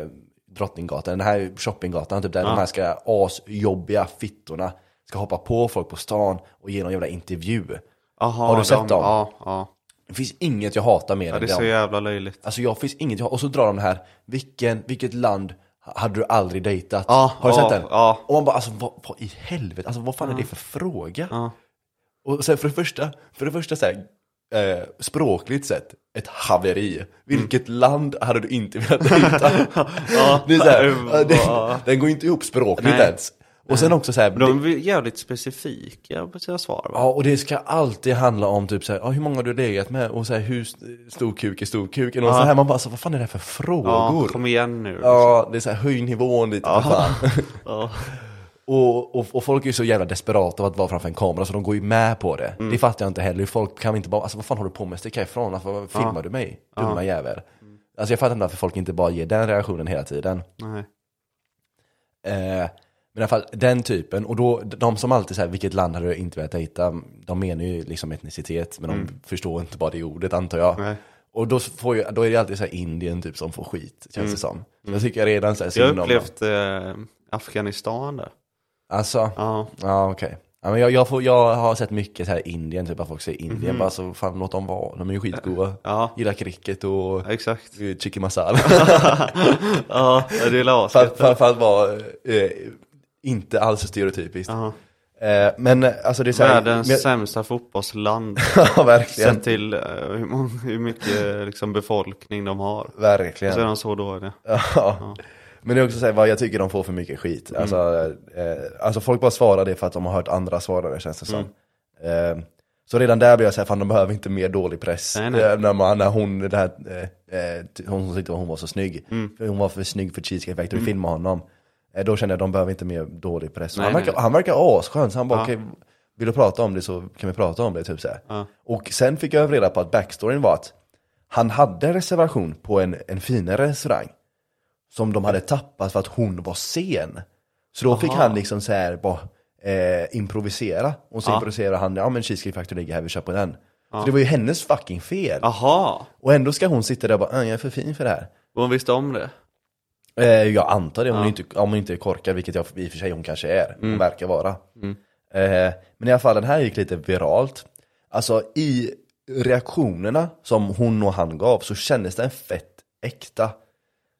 Speaker 1: eh, Drottninggatan, den här shoppinggatan, typ där de här ska asjobbiga fittorna ska hoppa på folk på stan och ge någon jävla intervju.
Speaker 2: Aha,
Speaker 1: Har du sett
Speaker 2: de,
Speaker 1: dem?
Speaker 2: Ja, ja.
Speaker 1: Det finns inget jag hatar mer
Speaker 2: ja,
Speaker 1: än
Speaker 2: det är så
Speaker 1: dem.
Speaker 2: jävla löjligt.
Speaker 1: Alltså jag finns inget, jag- och så drar de här, vilken, vilket land hade du aldrig dejtat?
Speaker 2: Ja,
Speaker 1: har du
Speaker 2: ja,
Speaker 1: sett den?
Speaker 2: ja.
Speaker 1: Och man bara, alltså vad, vad i helvete, alltså vad fan är det för fråga?
Speaker 2: Ja.
Speaker 1: Och sen för det första, för det första så här, eh, språkligt sett, ett haveri.
Speaker 2: Mm.
Speaker 1: Vilket land hade du inte velat dejta? det är så här,
Speaker 2: Ja.
Speaker 1: det, den går inte ihop språkligt
Speaker 2: Nej.
Speaker 1: ens. Och sen också så här,
Speaker 2: Men De är jävligt specifika på sina svar va?
Speaker 1: Ja, och det ska alltid handla om typ så här, ja, hur många har du legat med och så här, hur st- stor kuk är stor kuk? Och så här, man bara, alltså, vad fan är det här för
Speaker 2: Ja,
Speaker 1: frågor? Ja,
Speaker 2: kom igen nu.
Speaker 1: det är så här, höj nivån lite för fan.
Speaker 2: Ja.
Speaker 1: Och, och, och folk är ju så jävla desperata av att vara framför en kamera så de går ju med på det.
Speaker 2: Mm.
Speaker 1: Det fattar jag inte heller, Hur folk kan inte bara, alltså vad fan håller du på med? Stick härifrån, alltså, vad filmar du mig? Dumma jävel. Alltså jag fattar inte varför folk inte bara ger den reaktionen hela tiden.
Speaker 2: Nej.
Speaker 1: Eh, men i alla fall den typen, och då, de som alltid säger vilket land hade du inte velat dejta, de menar ju liksom etnicitet, men de förstår inte bara det ordet antar jag.
Speaker 2: Mm. Nej.
Speaker 1: Och då, får ju, då är det alltid så här Indien typ som får skit, känns det som. Så jag tycker redan så här
Speaker 2: Mm. Jag har
Speaker 1: synd om dem.
Speaker 2: upplevt eh, Afghanistan där.
Speaker 1: Alltså, ja,
Speaker 2: Ja.
Speaker 1: okej. Ja, men jag, jag, får, jag har sett mycket så här Indien, typ att folk säger Indien, bara så fan låt dem vara, de är ju skitgoda.
Speaker 2: Mm. Ja.
Speaker 1: Gillar cricket och
Speaker 2: Ja, Exakt.
Speaker 1: eh, chicken masala.
Speaker 2: Ja, det är la
Speaker 1: För- för- för att vara eh, inte alls stereotypiskt.
Speaker 2: Ja.
Speaker 1: Eh, men eh, alltså det är så här,
Speaker 2: Världens
Speaker 1: men-
Speaker 2: sämsta fotbollsland.
Speaker 1: Ja, verkligen.
Speaker 2: Sett till eh, hur, många, hur mycket liksom, befolkning de har. Och
Speaker 1: Verkligen.
Speaker 2: så är de så dåliga.
Speaker 1: Ja. Men det är också så här, vad jag tycker de får för mycket skit.
Speaker 2: Mm.
Speaker 1: Alltså, eh, alltså folk bara svarar det för att de har hört andra svara det känns det som. Eh, så redan där blir jag såhär, fan de behöver inte mer dålig press.
Speaker 2: Mm. Nej, nej.
Speaker 1: Eh, När, man, när hon, det här, eh, eh, ty- hon som tyckte hon var så snygg,
Speaker 2: Mm.
Speaker 1: för hon var för snygg för Cheesecake Factory, filma honom. Eh, då kände jag, de behöver inte mer dålig press.
Speaker 2: Nej,
Speaker 1: han,
Speaker 2: nej,
Speaker 1: verkar,
Speaker 2: nej.
Speaker 1: han verkar asskön, så han bara,
Speaker 2: Ja.
Speaker 1: okej, vill du prata om det så kan vi prata om det. Typ så här.
Speaker 2: Ja.
Speaker 1: Och sen fick jag reda på att backstoryn var att han hade reservation på en, en finare restaurang som de hade tappat för att hon var sen. Så då fick han liksom så här bara eh, improvisera. Och så
Speaker 2: Ja.
Speaker 1: improviserade han, ja men Cheesecake Factory ligger här, vi kör på den. Så det var ju hennes fucking fel.
Speaker 2: Aha,
Speaker 1: Och ändå ska hon sitta där och bara, "Ah, jag är för fin för det här.
Speaker 2: hon visste om det.
Speaker 1: Eh, jag antar det, om, hon inte, om hon inte är korkad, vilket jag i och för sig hon kanske är. Hon verkar vara. Eh, men i alla fall, den här gick lite viralt. Alltså i reaktionerna som hon och han gav så kändes den fett äkta.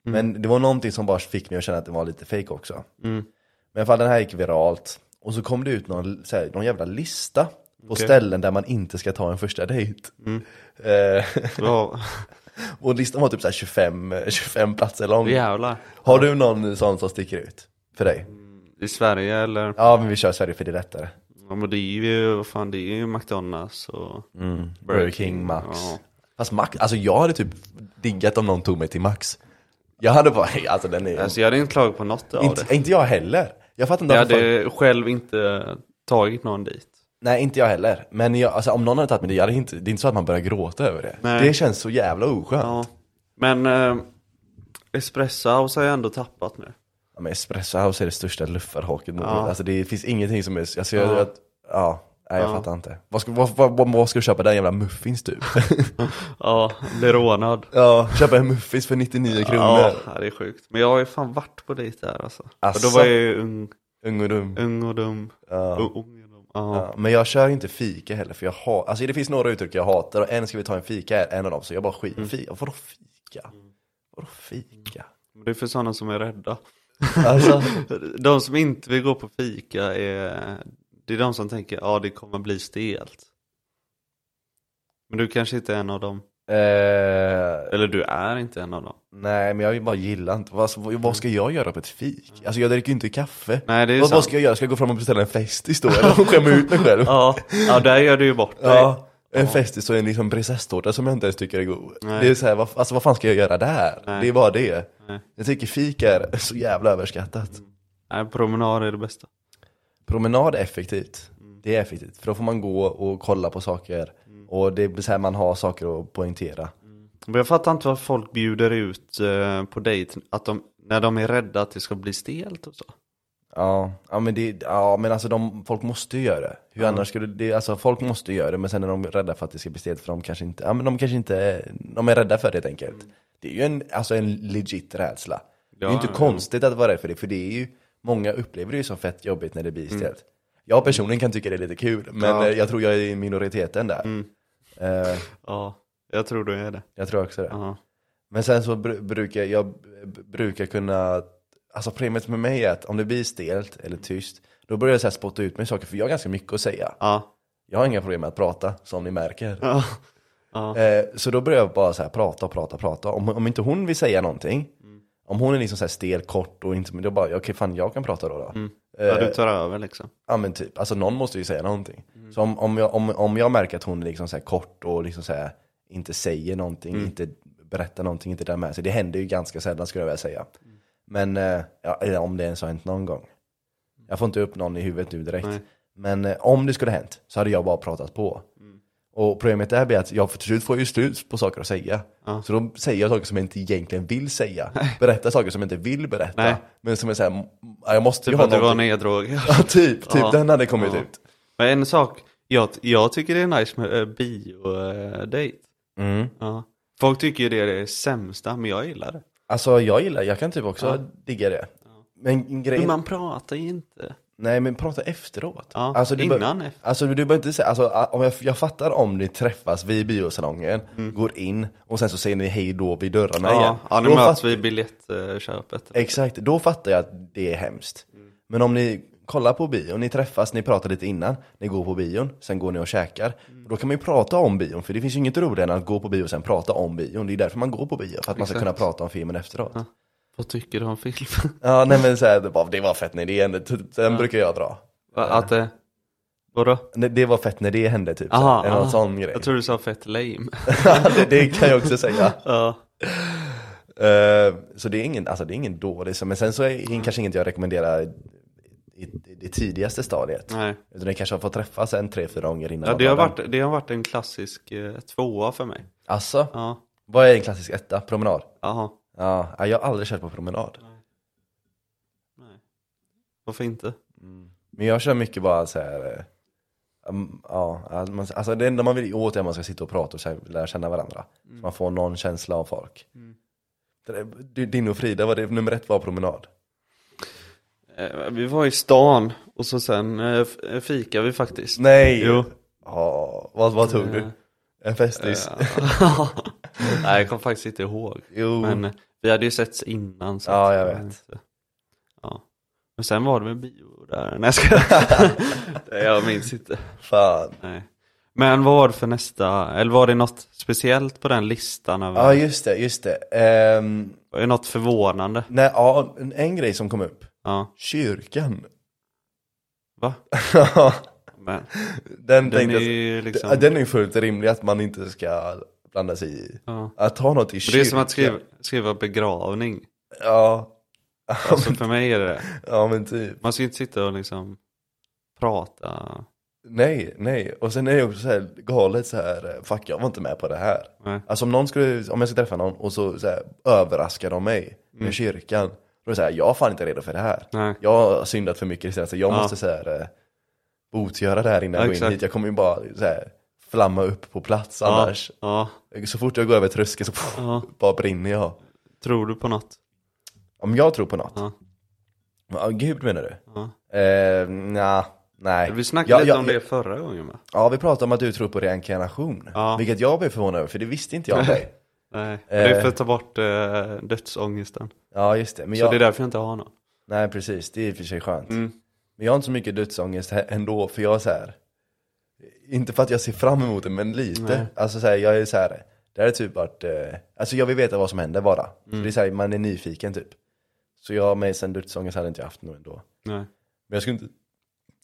Speaker 1: Men det var någonting som bara fick mig att känna att det var lite fake också. Men i alla fall, den här gick viralt. Och så kom det ut någon, så här, någon jävla lista på ställen där man inte ska ta en första dejt. Eh,
Speaker 2: Ja,
Speaker 1: och listan var typ så här 25, 25 platser lång.
Speaker 2: jävlar.
Speaker 1: Har du någon sån som sticker ut för dig?
Speaker 2: I Sverige eller?
Speaker 1: Ja, men vi kör Sverige för det är lättare.
Speaker 2: Ja men det är ju, vad fan det är ju McDonalds och...
Speaker 1: Burger King, Max.
Speaker 2: Ja.
Speaker 1: Fast Max, alltså jag hade typ diggat om någon tog mig till Max. Jag hade bara, alltså den är...
Speaker 2: Alltså jag hade inte klagat på något av
Speaker 1: inte,
Speaker 2: det.
Speaker 1: inte jag heller. Jag fattar inte
Speaker 2: Jag
Speaker 1: varför folk-
Speaker 2: hade själv inte tagit någon dit.
Speaker 1: Nej, inte jag heller. Men jag, alltså, om någon hade tagit mig dit, jag hade inte, det är inte så att man börjar gråta över det.
Speaker 2: Nej.
Speaker 1: Det känns så jävla oskönt. Ja.
Speaker 2: Ja. Men eh, Espresso House har jag ändå tappat nu.
Speaker 1: men Espresso House är det största luffarhaket någonsin.
Speaker 2: Ja.
Speaker 1: Alltså det finns ingenting som är... Alltså, jag,
Speaker 2: Ja.
Speaker 1: ja. Jag, ja, nej, jag
Speaker 2: Ja.
Speaker 1: fattar inte. Vad ska, vad, vad, vad, vad ska du köpa? Den jävla muffins typ?
Speaker 2: Ja, blir rånad.
Speaker 1: ja, köpa en muffins för 99 kronor.
Speaker 2: Ja, det är sjukt. Men jag har ju fan varit på dejt där alltså.
Speaker 1: Asså?
Speaker 2: Och då var jag ju ung,
Speaker 1: Ung och dum.
Speaker 2: ung och dum.
Speaker 1: Ja.
Speaker 2: U- Ung och dum. Ja.
Speaker 1: Ja, men jag kör inte fika heller för jag har, alltså det finns några uttryck jag hatar och en ska vi ta en fika är en av dem så jag bara skit,
Speaker 2: Mm.
Speaker 1: fika, vadå fika? Vadå fika?
Speaker 2: Men Det är för sådana som är rädda.
Speaker 1: Alltså,
Speaker 2: De som inte vill gå på fika är, det är de som tänker ja det kommer bli stelt. Men du kanske inte är en av dem.
Speaker 1: eh,
Speaker 2: Eller du är inte en av dem.
Speaker 1: nej men jag bara gillar inte, vad, vad vad ska jag göra på ett fik? Alltså jag dricker ju inte kaffe.
Speaker 2: Nej, det är
Speaker 1: vad, vad
Speaker 2: sant.
Speaker 1: ska jag göra? Ska jag gå fram och beställa en festis då eller skämma ut mig själv?
Speaker 2: Ja, ja där gör du ju bort dig.
Speaker 1: Ja, en festis och en liksom prinsesstårta som jag inte ens tycker är god.
Speaker 2: Nej.
Speaker 1: Det är så här, vad, alltså vad fan ska jag göra där?
Speaker 2: Nej.
Speaker 1: Det är bara det.
Speaker 2: Nej.
Speaker 1: Jag tycker fika är så jävla överskattat.
Speaker 2: Nej, promenad är det bästa.
Speaker 1: Promenad är effektivt.
Speaker 2: Mm.
Speaker 1: Det är effektivt. För då får man gå och kolla på saker. Och det blir så här man har saker att poängtera.
Speaker 2: Men jag fattar inte vad folk bjuder ut eh, på dejt, att de, när de är rädda att det ska bli stelt och så.
Speaker 1: Ja, ja, men, det, ja, men alltså de, folk måste ju göra det. Hur annars skulle det, alltså folk måste ju göra det, men sen är de rädda för att det ska bli stelt för de kanske inte, ja men de kanske inte, de är rädda för det helt enkelt. Det är ju en, alltså en legit rädsla. det är ju
Speaker 2: Mm. Ja,
Speaker 1: inte
Speaker 2: ja.
Speaker 1: konstigt att vara rädd för det, för det är ju, många upplever det ju som fett jobbigt när det blir
Speaker 2: Mm.
Speaker 1: stelt. Jag personligen kan tycka det är lite kul, men eh, jag tror jag är i minoriteten där.
Speaker 2: Mm.
Speaker 1: Eh,
Speaker 2: Ja, jag tror du är det.
Speaker 1: jag tror också det.
Speaker 2: Ja.
Speaker 1: Men sen så bru- brukar jag b- brukar kunna, alltså problemet med mig är att om det blir stelt eller tyst, då börjar jag så här spotta ut mig saker, för jag har ganska mycket att säga.
Speaker 2: Ja.
Speaker 1: Jag har inga problem med att prata, som ni märker.
Speaker 2: Ja.
Speaker 1: Eh, så då börjar jag bara så här prata och prata och prata. Om, om inte hon vill säga någonting, om hon är liksom så här stel, kort och inte, men då bara, okej fan jag kan prata då. då.
Speaker 2: Mm. ja, du tar över liksom.
Speaker 1: Ja men typ, alltså någon måste ju säga någonting. Så om, om, jag, om, om jag märker att hon är liksom så här kort och liksom så här, inte säger någonting,
Speaker 2: Mm.
Speaker 1: inte berättar någonting, inte delar med sig. Det händer ju ganska sällan skulle jag vilja säga. Men, eh, ja, eller om det ens har hänt någon gång. Jag får inte upp någon i huvudet nu direkt.
Speaker 2: Nej.
Speaker 1: Men eh, om det skulle ha hänt så hade jag bara pratat på.
Speaker 2: Mm.
Speaker 1: Och problemet där blir att jag för till slut får ju slut på saker att säga.
Speaker 2: Ja.
Speaker 1: Så då säger jag saker som jag inte egentligen vill säga. Berättar saker som jag inte vill berätta.
Speaker 2: Nej.
Speaker 1: Men som är såhär, m- ja, jag måste ju
Speaker 2: Typ
Speaker 1: ha
Speaker 2: att du var
Speaker 1: någonting.
Speaker 2: neddrogad.
Speaker 1: Ja, typ, typ
Speaker 2: Ja.
Speaker 1: den hade kommit
Speaker 2: Ja.
Speaker 1: ut.
Speaker 2: Men en sak, jag, jag tycker det är nice med uh, bio-date.
Speaker 1: Mm.
Speaker 2: Ja. Folk tycker ju det är det sämsta, men jag gillar det.
Speaker 1: Alltså jag gillar, jag kan typ också
Speaker 2: Ja.
Speaker 1: digga det. Men
Speaker 2: Men
Speaker 1: grejen,
Speaker 2: man pratar ju inte.
Speaker 1: nej men prata efteråt.
Speaker 2: Ja,
Speaker 1: alltså, du bör-
Speaker 2: innan efter.
Speaker 1: Alltså du behöver inte säga, alltså, a- om jag, jag fattar om ni träffas vid biosalongen, går in och sen så säger ni hej då vid dörrarna igen.
Speaker 2: Mm. Ja, Eh, ja nu
Speaker 1: Då
Speaker 2: möts
Speaker 1: fatt-
Speaker 2: vi i biljettköpet.
Speaker 1: Exakt, då fattar jag att det är hemskt. Men om ni kollar på bio, ni träffas, ni pratar lite innan, ni går på bion, sen går ni och käkar.
Speaker 2: Mm.
Speaker 1: Då kan man ju prata om bion, för det finns ju inget roligare än att gå på bio och sen prata om bion. Det är därför man går på bio, för att man ska
Speaker 2: Exakt.
Speaker 1: kunna prata om filmen efteråt. Ja,
Speaker 2: Vad tycker du om filmen?
Speaker 1: nej men så här, det, var, det var fett när det hände, typ, den brukar jag dra.
Speaker 2: Va, Att det... Vadå?
Speaker 1: Nej, Det var fett när det hände, typ. så
Speaker 2: Aha,
Speaker 1: här, eller någon
Speaker 2: aha.
Speaker 1: sån grej.
Speaker 2: Jag tror du sa fett lame.
Speaker 1: det, det kan jag också säga.
Speaker 2: ja.
Speaker 1: Eh, så det är ingen, alltså det är ingen dålig, så- men sen så är
Speaker 2: Mm.
Speaker 1: det kanske inget jag rekommenderar i, i det tidigaste stadiet.
Speaker 2: Nej.
Speaker 1: Utan ni kanske har fått träffas en tre, fyra gånger innan.
Speaker 2: Ja, det, har
Speaker 1: man börjar.
Speaker 2: varit, det har varit en klassisk eh, tvåa för mig.
Speaker 1: Alltså,
Speaker 2: Ja,
Speaker 1: vad är en klassisk etta? Promenad?
Speaker 2: jaha.
Speaker 1: Ja, ja, jag har aldrig kört på promenad.
Speaker 2: Varför inte?
Speaker 1: Men jag kör mycket bara så här. eh, um, Ja, att man- alltså det enda man vill åt är att man ska sitta och prata och så här lära känna varandra. Så man får någon känsla av folk.
Speaker 2: Mm.
Speaker 1: Det där- du- Din och Frida, var det, nummer ett var promenad.
Speaker 2: Eh, vi var i stan och så sen eh, f- eh, fikade vi faktiskt.
Speaker 1: Nej!
Speaker 2: Jo.
Speaker 1: Ja, vad, vad tog du?
Speaker 2: Eh.
Speaker 1: En festis?
Speaker 2: Ja. Nej, jag kommer faktiskt inte ihåg.
Speaker 1: Jo.
Speaker 2: Men eh, vi hade ju setts innan. Så
Speaker 1: Ja,
Speaker 2: att-
Speaker 1: jag vet.
Speaker 2: Ja. Men sen var det med bio där. Nej, jag skojar. Nej, jag minns inte.
Speaker 1: Fan.
Speaker 2: Nej. Men vad var det för nästa? Eller var det något speciellt på den listan? Över,
Speaker 1: Ja, just det, just det. Ehm,
Speaker 2: Var det något förvånande?
Speaker 1: nej, ja, en, en grej som kom upp.
Speaker 2: Ja.
Speaker 1: Kyrkan.
Speaker 2: Va? Men,
Speaker 1: den,
Speaker 2: den
Speaker 1: tänkte
Speaker 2: är
Speaker 1: jag-
Speaker 2: ju liksom...
Speaker 1: Ja, Den är ju fullt rimlig att man inte ska blanda sig i.
Speaker 2: ja.
Speaker 1: Att ha något i
Speaker 2: Men det är som
Speaker 1: kyrkan.
Speaker 2: att skriva, skriva begravning.
Speaker 1: Ja,
Speaker 2: Alltså för mig är det det.
Speaker 1: ja men typ.
Speaker 2: Man ska ju inte sitta och liksom prata.
Speaker 1: Nej, nej. Och sen är det också så här galet så här, eh, fuck jag var inte med på det här.
Speaker 2: Nej.
Speaker 1: Alltså om någon skulle, om jag skulle träffa någon och så, så här, överraskar de mig med kyrkan. Då är det så här, jag är fan inte redo för det här.
Speaker 2: Mm. Nej.
Speaker 1: Jag har syndat för mycket det senaste, jag
Speaker 2: Ja.
Speaker 1: måste så här eh, botgöra det här
Speaker 2: Ja,
Speaker 1: innan jag går in
Speaker 2: exakt.
Speaker 1: hit. Jag kommer ju bara så här, flamma upp på plats annars.
Speaker 2: Ja,
Speaker 1: Så fort jag går över tröskeln så pff,
Speaker 2: ja.
Speaker 1: bara brinner jag.
Speaker 2: Tror du på något?
Speaker 1: Om jag tror på något?
Speaker 2: Ja.
Speaker 1: Ja, Gud menar du?
Speaker 2: Ja.
Speaker 1: Eh, nja, nej.
Speaker 2: Vi snackade
Speaker 1: Ja,
Speaker 2: lite
Speaker 1: ja,
Speaker 2: om det förra gången va?
Speaker 1: Ja, vi pratade om att du tror på reinkarnation.
Speaker 2: Ja.
Speaker 1: Vilket jag blev förvånad över, för det visste inte jag om dig.
Speaker 2: Nej. Det
Speaker 1: Eh.
Speaker 2: är för att ta bort eh, dödsångesten.
Speaker 1: Ja, just det. Men
Speaker 2: Så
Speaker 1: jag...
Speaker 2: det är därför jag inte har någon.
Speaker 1: Nej, precis. Det är i och för sig skönt.
Speaker 2: Mm.
Speaker 1: Men jag har inte så mycket dödsångest hä- ändå, för jag är så här. Inte för att jag ser fram emot det, men lite.
Speaker 2: Nej.
Speaker 1: Alltså så här, jag är så här. Det här är typ varit, eh, alltså jag vill veta vad som händer bara.
Speaker 2: Mm.
Speaker 1: Så det är så här, man är nyfiken typ. Så jag med sen dödsångest hade inte jag haft nog ändå.
Speaker 2: Nej.
Speaker 1: Men jag skulle inte,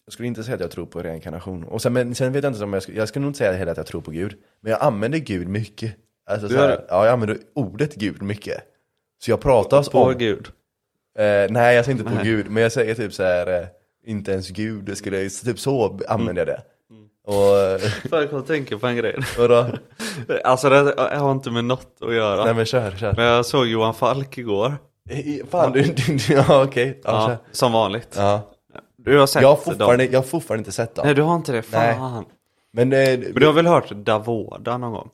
Speaker 1: jag skulle inte säga att jag tror på reinkarnation. Och sen, men sen vet jag inte om jag skulle, jag skulle nog inte säga heller att jag tror på Gud. Men jag använder Gud mycket. Alltså,
Speaker 2: Du
Speaker 1: så
Speaker 2: gör
Speaker 1: här,
Speaker 2: det?
Speaker 1: ja, jag använder ordet Gud mycket. Så jag pratar
Speaker 2: På
Speaker 1: om...
Speaker 2: gud.
Speaker 1: Eh, nej, jag säger inte på
Speaker 2: Nej.
Speaker 1: Gud, men jag säger typ så här, eh, inte ens Gud, det skulle jag, typ så använder jag det.
Speaker 2: Mm.
Speaker 1: Och, eh,
Speaker 2: Fan jag kommer att tänka på en grej.
Speaker 1: och då,
Speaker 2: Alltså det har inte med något att göra.
Speaker 1: nej men kör, kör.
Speaker 2: Men jag såg Johan Falk igår.
Speaker 1: I- Fan du, du, du ja okej. Ja,
Speaker 2: Ja,
Speaker 1: kör.
Speaker 2: som vanligt.
Speaker 1: Alltså. ja.
Speaker 2: Du har sett
Speaker 1: Jag, har
Speaker 2: dem.
Speaker 1: fortfarande, jag har fortfarande inte sett
Speaker 2: Nej,
Speaker 1: dem.
Speaker 2: du har inte det.
Speaker 1: Nej.
Speaker 2: Fan.
Speaker 1: Men eh,
Speaker 2: Men du har väl hört Davoda någon gång?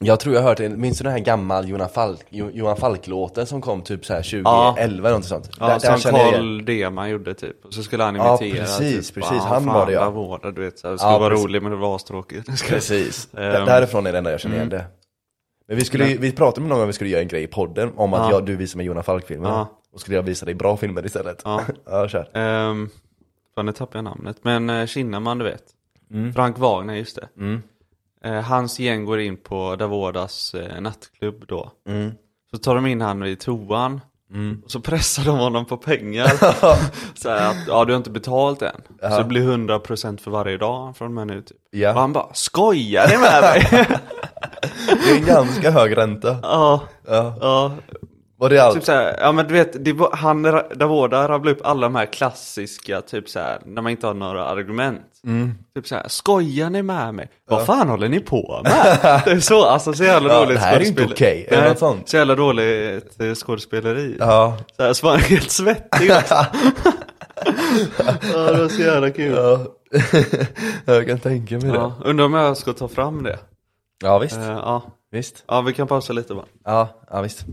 Speaker 1: jag tror jag har hört, en- minns du den här gammal Johan Falk, Jo- Johan Falk-låten som kom typ så här 2011
Speaker 2: Ja.
Speaker 1: eller någonting sånt?
Speaker 2: Ja,
Speaker 1: Där- där
Speaker 2: som
Speaker 1: känner jag igen.
Speaker 2: Carl Deman gjorde typ. Och så skulle han
Speaker 1: Ja,
Speaker 2: imitera.
Speaker 1: precis,
Speaker 2: typ,
Speaker 1: precis.
Speaker 2: "Ah,
Speaker 1: Han
Speaker 2: fan,
Speaker 1: var det, ja."
Speaker 2: Davoda, du vet. Så här, det skulle
Speaker 1: Ja,
Speaker 2: vara
Speaker 1: precis.
Speaker 2: roligt men det var astråkigt.
Speaker 1: Precis, D-
Speaker 2: Ehm. Mm.
Speaker 1: därifrån är det enda jag känner igen det. Men vi, skulle, ju- vi pratade med någon gång om vi skulle göra en grej i podden om att
Speaker 2: Ja.
Speaker 1: jag, du visar mig Jonas Falk-filmer.
Speaker 2: Ja.
Speaker 1: Och skulle jag visa dig bra filmer istället.
Speaker 2: Ja.
Speaker 1: ja kör.
Speaker 2: Ehm, fan, nu tappade jag namnet. Men eh, Kinnaman, du vet. Frank Wagner, just det. Eh, hans gäng går in på Davodas eh, nattklubb då. Så tar de in han i toan. Och så pressar de honom på pengar. så här att, ja du har inte betalt än. Så det blir 100% för varje dag från och med nu typ.
Speaker 1: Ja.
Speaker 2: Och han bara, skojar ni med mig?
Speaker 1: Det är en ganska hög ränta.
Speaker 2: ja,
Speaker 1: Ja.
Speaker 2: ja.
Speaker 1: Var det
Speaker 2: Typ
Speaker 1: allt?
Speaker 2: såhär, ja men du vet, det var, han, ra- Davoda rabblade upp alla de här klassiska, typ såhär, när man inte har några argument.
Speaker 1: Mm.
Speaker 2: Typ såhär, skojar ni med mig? Vad fan håller ni på med? det är så, alltså så jävla
Speaker 1: Ja,
Speaker 2: dåligt
Speaker 1: det här är inte
Speaker 2: skådespel-
Speaker 1: okej, eller
Speaker 2: Nej,
Speaker 1: något sånt.
Speaker 2: Så jävla dåligt eh, skådespeleri.
Speaker 1: Ja.
Speaker 2: Såhär, så var han helt svettig också. ja, det var så jävla kul. Ja.
Speaker 1: ja. jag kan tänka mig det.
Speaker 2: undrar om jag ska ta fram det.
Speaker 1: Ja visst.
Speaker 2: Eh, ja.
Speaker 1: Visst.
Speaker 2: ja, vi kan pausa lite bara.
Speaker 1: Ja, ja visst.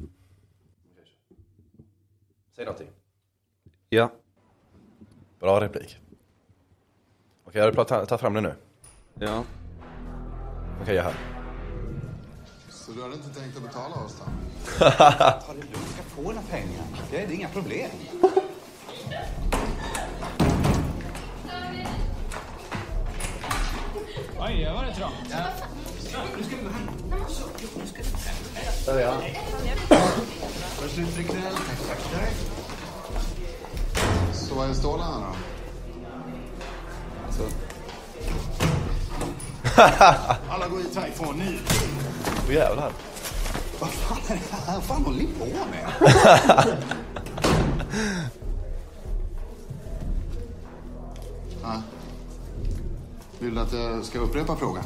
Speaker 1: Säg någonting.
Speaker 2: Ja.
Speaker 1: Bra replik. Okej, jag vill ta, ta fram den nu.
Speaker 2: ja.
Speaker 1: Okej, jag hör.
Speaker 6: Så du hade inte tänkt att betala oss då?
Speaker 7: Ta det lugnt, ska få dina pengar. Det är inga problem.
Speaker 6: Så var är stålarna då?
Speaker 7: Alla går ut härifrån nu.
Speaker 1: Åh jävlar.
Speaker 7: Vad fan är det här? Vad fan håller ni på med?
Speaker 6: Ja. Vill du att jag ska upprepa frågan?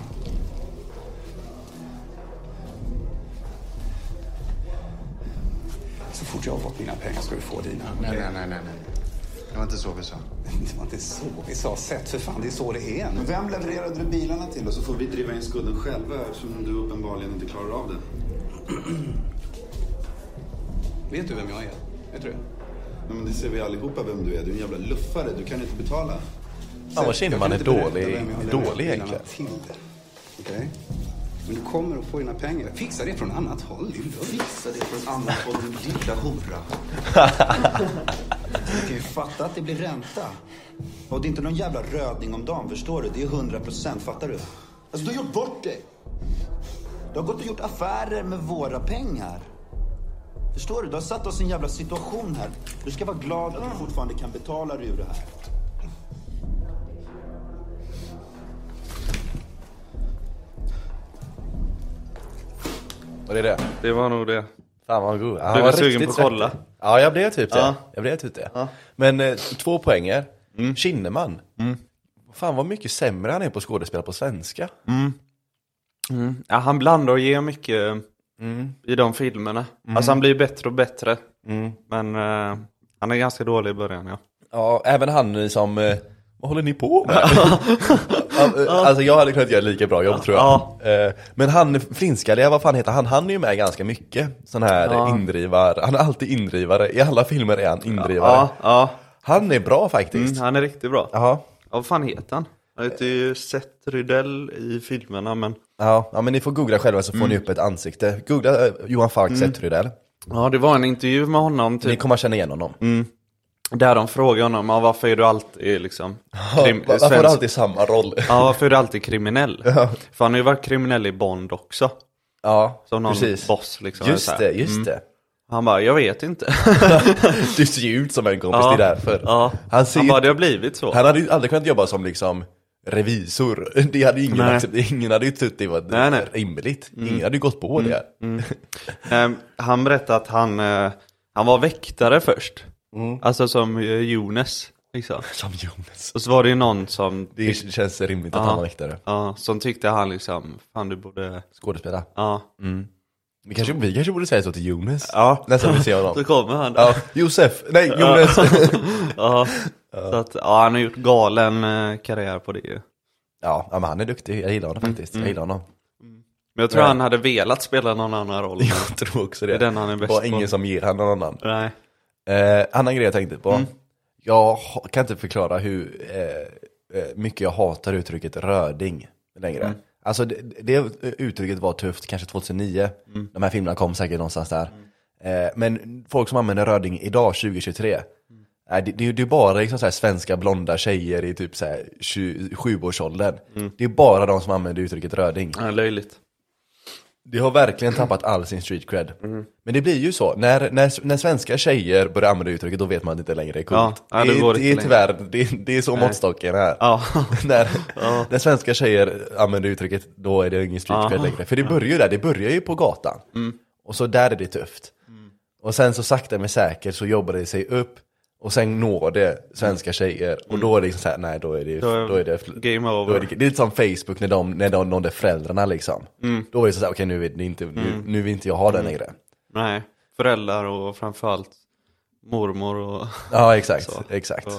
Speaker 7: Så fort jag har fått mina pengar ska du få dina.
Speaker 6: Nej, nej, nej, nej. nej. Det var inte så vi sa.
Speaker 7: Det var inte så vi sa. Sätt för fan, det är så det är nu. Vem levererade du bilarna till?
Speaker 6: Och så får vi driva in skulden själva eftersom du uppenbarligen inte klarar av det.
Speaker 7: Vet du vem jag är? Vet du det?
Speaker 6: Nej, men det ser vi allihopa vem du är. Du är en jävla luffare. Du kan inte betala.
Speaker 1: Fan vad Kinnaman är
Speaker 7: Jag kan inte
Speaker 1: dålig,
Speaker 7: berätta vem jag har levererat
Speaker 1: dålig
Speaker 7: bilarna
Speaker 1: egentligen.
Speaker 7: till. Okej? Men du kommer att få dina pengar. Fixa det från annat håll. Det är lugnt.
Speaker 6: Fixa det från annat håll, din lilla hora.
Speaker 7: Du kan ju fatta att det blir ränta. Och det är inte någon jävla röding om dagen, förstår du? Det är 100 procent, fattar du? Alltså, du har gjort bort dig. Du har gått och gjort affärer med våra pengar. Förstår du? Du har satt oss i en jävla situation här. Du ska vara glad att du fortfarande kan betala dig ur det här.
Speaker 1: Var det det?
Speaker 2: Det var nog det.
Speaker 1: Fan vad god. Ja,
Speaker 2: Blev
Speaker 1: vad
Speaker 2: du sugen
Speaker 1: riktigt
Speaker 2: på att kolla?
Speaker 1: svettig. Ja, jag blev typ det.
Speaker 2: Ja. Mm.
Speaker 1: Jag blev typ det. Men eh, två poänger. Kinnaman. Fan vad mycket sämre han är på skådespel på svenska.
Speaker 2: Mm. Ja, han blandar och ger mycket
Speaker 1: Mm.
Speaker 2: i de filmerna. Alltså han blir bättre och bättre. Men eh, han är ganska dålig i början ja.
Speaker 1: Ja, även han som, eh, vad håller ni på med? Ja, eh, alltså jag hade kunnat göra lika bra jobb tror jag.
Speaker 2: Ja.
Speaker 1: Eh, Men han finskalliga, vad fan heter han? Han är ju med ganska mycket. Sån här ja. indrivare, han är alltid indrivare. I alla filmer är han indrivare.
Speaker 2: Ja, ja.
Speaker 1: Han är bra faktiskt.
Speaker 2: Mm, han är riktigt bra. Ja.
Speaker 1: Jaha.
Speaker 2: vad fan heter han? Jag heter ju Seth Rydell i filmerna men
Speaker 1: Ja, ja, men ni får googla själva så får
Speaker 2: Mm.
Speaker 1: ni upp ett ansikte. Googla eh, Johan Falk Seth Rydell.
Speaker 2: Ja det var en intervju med honom
Speaker 1: Ni
Speaker 2: typ,
Speaker 1: kommer att känna igen honom.
Speaker 2: där de frågar honom ja, varför är du alltid liksom krim-
Speaker 1: Va- Varför har
Speaker 2: svensk-
Speaker 1: du alltid samma roll?
Speaker 2: Ja varför är du alltid kriminell? För han har ju varit kriminell i Bond också.
Speaker 1: Ja,
Speaker 2: Som någon
Speaker 1: precis.
Speaker 2: boss liksom. Så
Speaker 1: Just
Speaker 2: här.
Speaker 1: det, just det.
Speaker 2: Han bara, jag vet inte.
Speaker 1: Du ser ju ut som en kompis,
Speaker 2: Ja.
Speaker 1: det är därför.
Speaker 2: Ja.
Speaker 1: Han, ser
Speaker 2: Han
Speaker 1: ju,
Speaker 2: bara, det har blivit så.
Speaker 1: han hade ju aldrig kunnat jobba som liksom revisor. Det hade ju ingen
Speaker 2: Nej.
Speaker 1: accepterat. Ingen hade ju trott det var
Speaker 2: Nej, Mm. nej.
Speaker 1: rimligt. Ingen hade ju gått på det.
Speaker 2: Eh, han berättade att han, eh, han var väktare först. Alltså som eh, Jonas. Liksom.
Speaker 1: Som Jonas.
Speaker 2: Och så var det ju någon som,
Speaker 1: Det känns rimligt att
Speaker 2: Mm. Ja.
Speaker 1: han var väktare.
Speaker 2: ja, som tyckte han liksom, fan du borde,
Speaker 1: Skådespelare.
Speaker 2: ja.
Speaker 1: Vi kanske, vi kanske borde säga så till Jonas.
Speaker 2: Ja.
Speaker 1: Nästa gång vi ser
Speaker 2: Så
Speaker 1: honom.
Speaker 2: kommer han.
Speaker 1: Ja, Josef, nej Jonas.
Speaker 2: Ja. Så att, ja, han har gjort galen eh, karriär på det ju.
Speaker 1: Ja, ja, men han är duktig, jag gillar honom faktiskt.
Speaker 2: Mm.
Speaker 1: Jag gillar honom.
Speaker 2: Men jag tror
Speaker 1: Ja.
Speaker 2: han hade velat spela någon annan roll.
Speaker 1: Jag tror också det.
Speaker 2: Det är den han är bäst
Speaker 1: Bara
Speaker 2: på.
Speaker 1: ingen som ger han någon annan.
Speaker 2: Nej.
Speaker 1: Eh, annan grej jag tänkte på. Jag ha- kan inte förklara hur eh, eh, mycket jag hatar uttrycket röding längre. Alltså det, det uttrycket var tufft kanske 2009. De här filmerna kom säkert någonstans där. Eh, men folk som använder röding idag, 2023. Nej, det, det, är ju- det är bara liksom så här svenska blonda tjejer i typ 27-årsåldern. Det är bara de som använder uttrycket röding.
Speaker 2: Ja, löjligt.
Speaker 1: Det har verkligen tappat all sin street cred. Men det blir ju så, när, när, när svenska tjejer börjar använda uttrycket då vet man att det inte längre är coolt.
Speaker 2: Ja, ja,
Speaker 1: det,
Speaker 2: det går
Speaker 1: är, det är
Speaker 2: inte
Speaker 1: tyvärr, det, är- det är så måttstocken är.
Speaker 2: Ja.
Speaker 1: när, när svenska tjejer använder uttrycket då är det ingen street cred
Speaker 2: Aha.
Speaker 1: längre. För det börjar ju där, det börjar ju på gatan.
Speaker 2: Mm.
Speaker 1: Och så där är det tufft. Och sen så sakta men säkert så jobbar det sig upp. Och sen når det svenska tjejer. Och då är det liksom såhär, nej då är det,
Speaker 2: Mm. Då är-
Speaker 1: då är det
Speaker 2: Game
Speaker 1: då är
Speaker 2: over.
Speaker 1: det, det är lite som Facebook när de, när de nådde föräldrarna liksom.
Speaker 2: Mm.
Speaker 1: Då är det så här, okej nu, är det inte, nu, nu vill inte jag ha den längre.
Speaker 2: Nej. Föräldrar och framförallt mormor och...
Speaker 1: Ja exakt,
Speaker 2: Så.
Speaker 1: exakt.
Speaker 2: och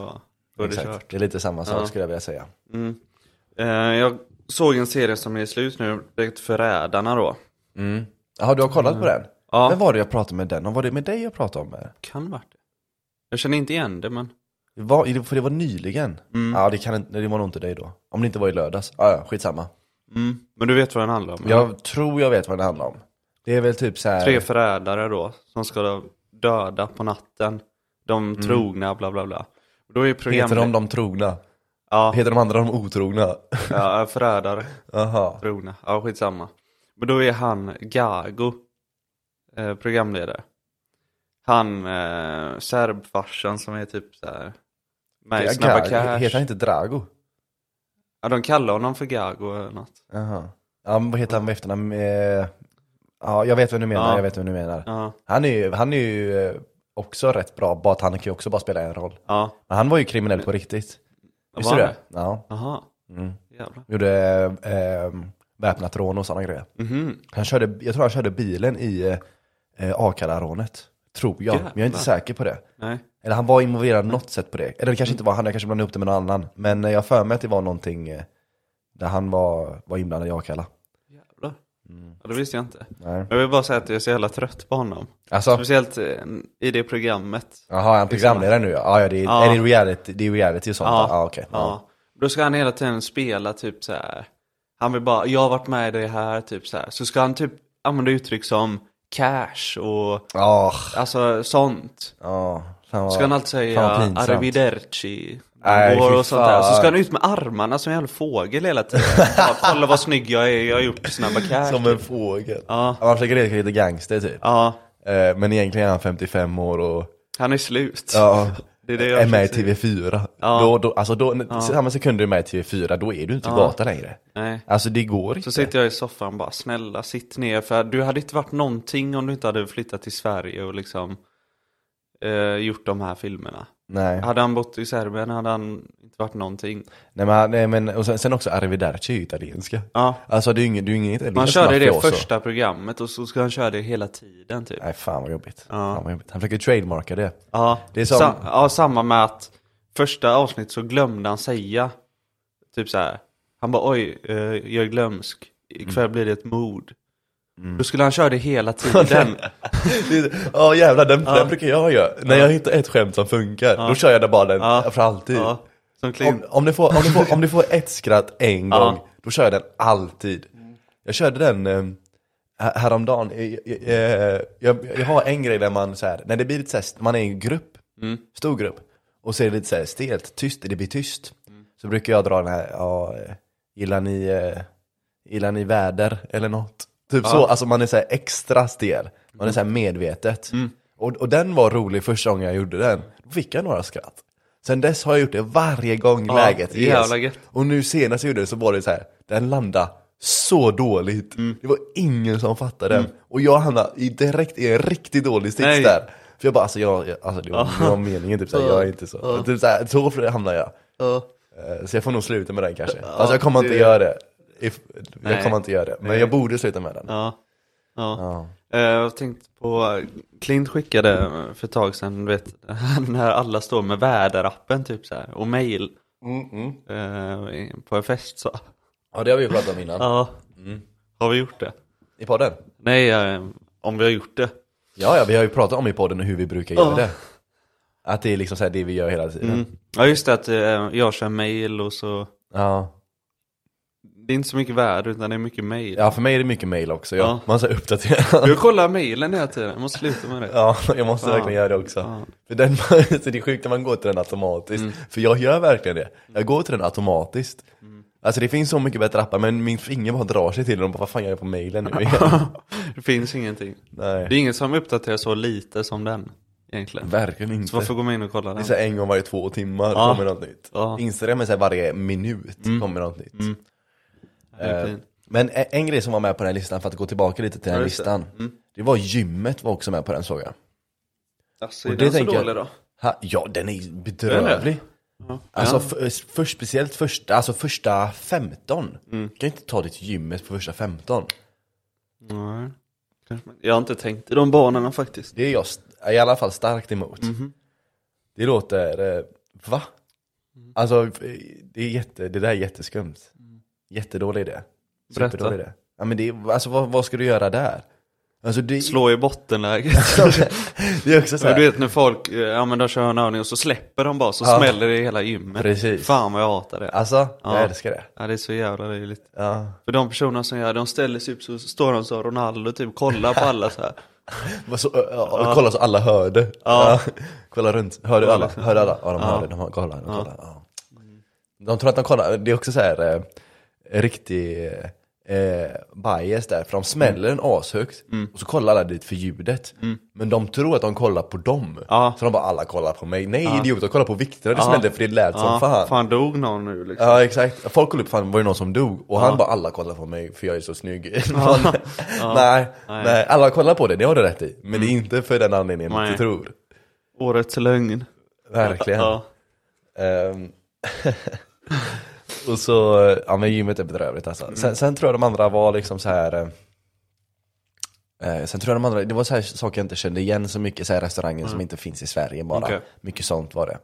Speaker 2: då är det kört.
Speaker 1: exakt. Det är lite samma sak skulle jag vilja säga.
Speaker 2: Eh, jag såg en serie som är slut nu, direkt Förrädarna då.
Speaker 1: Jaha, du har kollat på den?
Speaker 2: Ja.
Speaker 1: Vem var det jag pratade med den om? Var det med dig jag pratade om? Det
Speaker 2: Kan varit det. Jag känner inte igen det men.
Speaker 1: var, för det var nyligen.
Speaker 2: Mm.
Speaker 1: Ja, det, kan, inte- det var nog inte dig då. Om det inte var i lördags. Ja, ja, skitsamma.
Speaker 2: Mm. Men du vet vad den handlar om? eller?
Speaker 1: Jag tror jag vet vad det handlar om. Det är väl typ så här.
Speaker 2: Mm. Tre förrädare då, som ska döda på natten. De trogna, bla bla bla. Och Då är
Speaker 1: Mm. heter de
Speaker 2: programledaren...
Speaker 1: de trogna?
Speaker 2: Ja,
Speaker 1: Heter de andra de otrogna?
Speaker 2: ja, förrädare,
Speaker 1: Jaha.
Speaker 2: trogna. Ja, skitsamma. Men då är han Gago, eh, programledare. Han, eh, serbfarsan som är typ så här. med i
Speaker 1: Ja,
Speaker 2: Snabba
Speaker 1: Gar-
Speaker 2: Cash.
Speaker 1: Heter han inte Drago?
Speaker 2: Ja, de kallar honom för Gago eller något.
Speaker 1: Jaha. Ja, men vad heter han med efternamn? Eh, Ja, jag vet vem du menar,
Speaker 2: Ja.
Speaker 1: jag vet vem du menar.
Speaker 2: Ja,
Speaker 1: Han är ju, han är ju eh, också rätt bra, bara att han kan ju också bara spela en roll.
Speaker 2: ja.
Speaker 1: Men han var ju kriminell på riktigt. Visste
Speaker 2: var
Speaker 1: du det?
Speaker 2: det?
Speaker 1: Ja.
Speaker 2: Aha.
Speaker 1: Mm.
Speaker 2: Jävlar.
Speaker 1: Gjorde eh, väpnat rån och sådana grejer.
Speaker 2: Mhm.
Speaker 1: Han körde, jag tror han körde bilen i eh, Akalla-rånet. Tror jag, men jag är inte
Speaker 2: Jävlar.
Speaker 1: säker på det.
Speaker 2: Nej.
Speaker 1: Eller han var involverad på något sätt på det. Eller det kanske inte var han, jag kanske blandade upp det med någon annan. Men eh, jag har för mig att det var någonting eh, där han var, var inblandad i Akalla.
Speaker 2: Jävlar. Ja, det visste jag inte.
Speaker 1: Nej.
Speaker 2: Jag vill bara säga att jag är så jävla trött på honom.
Speaker 1: Alltså,
Speaker 2: Speciellt eh, i det programmet.
Speaker 1: Jaha, är han programledare nu ja? Ja, ja, det är,
Speaker 2: Ja.
Speaker 1: Är det, reality, det är reality och sånt va? Ja, Ah, okej. Ja.
Speaker 2: ja. Då ska han hela tiden spela typ så här. Han vill bara, jag har varit med i det här, typ så här. Så ska han typ använda uttryck som cash och
Speaker 1: Ah,
Speaker 2: alltså sånt.
Speaker 1: ja. Fan vad-
Speaker 2: Ska han alltid säga
Speaker 1: fan vad pinsamt.
Speaker 2: arrivederci?
Speaker 1: Nej,
Speaker 2: Nej,
Speaker 1: fy
Speaker 2: och sånt där. Så
Speaker 1: fan.
Speaker 2: ska han ut med armarna som en jävla fågel hela tiden. Bara, Kolla vad snygg jag är, jag har gjort snabba cash.
Speaker 1: Som en fågel.
Speaker 2: Ja.
Speaker 1: Han försöker leka lite gangster typ.
Speaker 2: Ja,
Speaker 1: Eh, Men egentligen är han 55 år och
Speaker 2: han är slut.
Speaker 1: ja,
Speaker 2: Det är det jag
Speaker 1: är med i
Speaker 2: försöker
Speaker 1: TV4.
Speaker 2: Ja.
Speaker 1: Då, då, alltså då, Samma sekund du är med i TV4, då är du inte gata längre.
Speaker 2: Nej.
Speaker 1: Alltså det går inte.
Speaker 2: Så sitter jag i soffan och bara snälla sitt ner för du hade inte varit någonting om du inte hade flyttat till Sverige och liksom eh, gjort de här filmerna.
Speaker 1: Nej.
Speaker 2: Hade han bott i Serbien hade han inte varit någonting.
Speaker 1: Nej, men, han- nej, men och sen, sen också arrivederci är ju italienska.
Speaker 2: Ja.
Speaker 1: Alltså det är ju ingen, det är ju ingen italiensk
Speaker 2: Man
Speaker 1: maffia
Speaker 2: körde det
Speaker 1: så.
Speaker 2: första programmet och så ska han köra det hela tiden typ.
Speaker 1: Nej fan vad jobbigt.
Speaker 2: Ja.
Speaker 1: Fan, vad jobbigt. Han försöker trademarka det.
Speaker 2: Ja,
Speaker 1: Det är som-
Speaker 2: Sa- ja, samma med att första avsnittet så glömde han säga typ så här. Han bara oj, eh, jag är glömsk. Ikväll
Speaker 1: Mm.
Speaker 2: blir det ett mord. Då skulle han köra det hela tiden.
Speaker 1: Ja jävlar, den, den brukar jag göra. När jag hittar ett skämt som funkar, då kör jag den bara den
Speaker 2: Ja.
Speaker 1: för alltid.
Speaker 2: ja, som Clint.
Speaker 1: Om, om, du får, om, du får, om du får ett skratt en
Speaker 2: Ja.
Speaker 1: gång, då kör jag den alltid. Jag körde den eh, här- häromdagen, Eh, eh, jag, jag har en grej där man så här, när det blir lite så här, man är i en grupp,
Speaker 2: Mm.
Speaker 1: stor grupp, och så är det lite så här stelt, tyst, det blir tyst.
Speaker 2: Mm.
Speaker 1: Så brukar jag dra den här, ja, eh, gillar ni, eh, gillar ni väder eller något? Typ så, alltså man är så här extra stel, man
Speaker 2: Mm.
Speaker 1: är så här medvetet. Och, och den var rolig första gången jag gjorde den, då fick jag några skratt. Sen dess har jag gjort det varje gång
Speaker 2: Ja,
Speaker 1: läget ges.
Speaker 2: jävla gött.
Speaker 1: Och nu senast jag gjorde det så var det så här, den landade så dåligt.
Speaker 2: Mm.
Speaker 1: Det var ingen som fattade den. Och jag hamnade i direkt i en riktigt dålig sits
Speaker 2: Nej.
Speaker 1: där. För jag bara, alltså, jag, jag, alltså det, var, det var meningen typ såhär, jag är inte så. Typ såhär, så hamnade jag. Eh, Så jag får nog sluta med den kanske. Fast jag kommer inte
Speaker 2: det-
Speaker 1: göra det. If, jag
Speaker 2: Nej.
Speaker 1: kommer inte göra det. Men jag borde sluta med den.
Speaker 2: Ja. Ja.
Speaker 1: Ja.
Speaker 2: Eh, Jag tänkte på, Clint skickade för ett tag sedan, du vet, när alla står med väderappen typ så här, och mail Mm, eh, på en fest så.
Speaker 1: ja, det har vi ju pratat om innan.
Speaker 2: Ja. Har vi gjort det?
Speaker 1: I podden?
Speaker 2: Nej, eh, om vi har gjort det.
Speaker 1: Ja, ja, vi har ju pratat om i podden hur vi brukar göra
Speaker 2: Ja.
Speaker 1: det. Att det är liksom så här det vi gör hela tiden.
Speaker 2: Mm. Ja just det, att eh, jag kör mail och så.
Speaker 1: Ja.
Speaker 2: Det är inte så mycket väder utan det är mycket mail.
Speaker 1: ja, för mig är det mycket mail också. Jag,
Speaker 2: Ja.
Speaker 1: Man så här uppdaterar.
Speaker 2: Jag kollar mailen hela tiden, jag måste sluta med det.
Speaker 1: Ja, jag måste
Speaker 2: Ja.
Speaker 1: verkligen göra det också.
Speaker 2: Ja. Mm.
Speaker 1: För den, så det är sjukt när man går till den automatiskt. För jag gör verkligen det. Jag går till den automatiskt.
Speaker 2: Mm.
Speaker 1: Alltså det finns så mycket bättre appar, men min finger bara drar sig till den och bara, vad fan gör jag på mailen nu igen?
Speaker 2: Det finns ingenting. Det
Speaker 1: Nej,
Speaker 2: är inget som uppdaterar så lite som den egentligen.
Speaker 1: verkligen inte.
Speaker 2: Så varför gå man in och kolla
Speaker 1: Det är
Speaker 2: den?
Speaker 1: så här en gång varje två timmar
Speaker 2: Ja.
Speaker 1: kommer något nytt.
Speaker 2: Ja. Mm.
Speaker 1: Instagram är så här varje minut kommer något nytt.
Speaker 2: Det är fint.
Speaker 1: Men e- en, en grej som var med på den här listan, för att gå tillbaka lite till den
Speaker 2: Ja,
Speaker 1: här
Speaker 2: just det. Mm.
Speaker 1: listan. Det var gymmet var också med på den såg jag.
Speaker 2: Alltså,
Speaker 1: Och
Speaker 2: är
Speaker 1: det
Speaker 2: den så
Speaker 1: tänker jag-
Speaker 2: dålig då?
Speaker 1: Ha, ja, den är bedrövlig. Alltså, f- för, speciellt första, alltså första 15.
Speaker 2: Mm.
Speaker 1: Du kan inte ta ditt gymmet på första 15.
Speaker 2: Nej. Kanske man- Jag har inte tänkt i de banorna faktiskt.
Speaker 1: Det är jag st- i alla fall starkt emot.
Speaker 2: Mhm.
Speaker 1: Det låter, eh, va?
Speaker 2: Mm.
Speaker 1: Alltså, f- det, är jätte, det där är jätteskumt. Jättedålig idé.
Speaker 2: Berätta.
Speaker 1: Superdålig idé. Ja, men det är, alltså, vad, vad ska du göra där? Alltså, det,
Speaker 2: Slå i bottenläget.
Speaker 1: det är också så
Speaker 2: Men
Speaker 1: här.
Speaker 2: du vet när folk, eh, ja men de kör en övning och så släpper de bara, så
Speaker 1: Ja.
Speaker 2: smäller det i hela gymmet.
Speaker 1: Precis.
Speaker 2: Fan vad jag hatar det.
Speaker 1: Alltså,
Speaker 2: Ja.
Speaker 1: jag älskar det.
Speaker 2: Ja det är så jävla löjligt.
Speaker 1: Ja.
Speaker 2: För de personerna som gör det, de ställer sig upp så står de så Ronaldo typ kollar på alla så här.
Speaker 1: Vad Så, ö, ö, Kolla så alla hörde. Ja. Kolla runt. Hörde alla? Hörde alla? Ja, de hörde. De hörde. Kolla, de kollar. Ja. De tror att de kollar. Det är också så här eh, riktig eh, bias där. För de smäller den ashögt och så kollar alla dit för ljudet. Men de tror att de kollar på dem.
Speaker 2: Ja.
Speaker 1: Så de bara, alla kollar på mig. Nej idiot, de kollar på Viktor. Det smällde för det lät
Speaker 2: Ja,
Speaker 1: som fan.
Speaker 2: fan dog någon nu liksom.
Speaker 1: Ja exakt, folk kollade upp, fan var det någon som dog? Och han bara alla kollar på mig för jag är så snygg nej, nej. alla kollar på det, det har du rätt i Men det är inte för den anledningen man
Speaker 2: Mm. Nej.
Speaker 1: inte tror
Speaker 2: Årets lögn.
Speaker 1: Verkligen
Speaker 2: Ja.
Speaker 1: Ehm, Och så, eh, ja men gymmet är bedrövligt alltså
Speaker 2: Mm.
Speaker 1: sen, sen tror jag de andra var liksom så här. eh, eh, Sen tror jag de andra, det var så här saker jag inte kände igen så mycket, så här restauranger som inte finns i Sverige bara
Speaker 2: Mm. Okej. Mm.
Speaker 1: Mycket sånt var det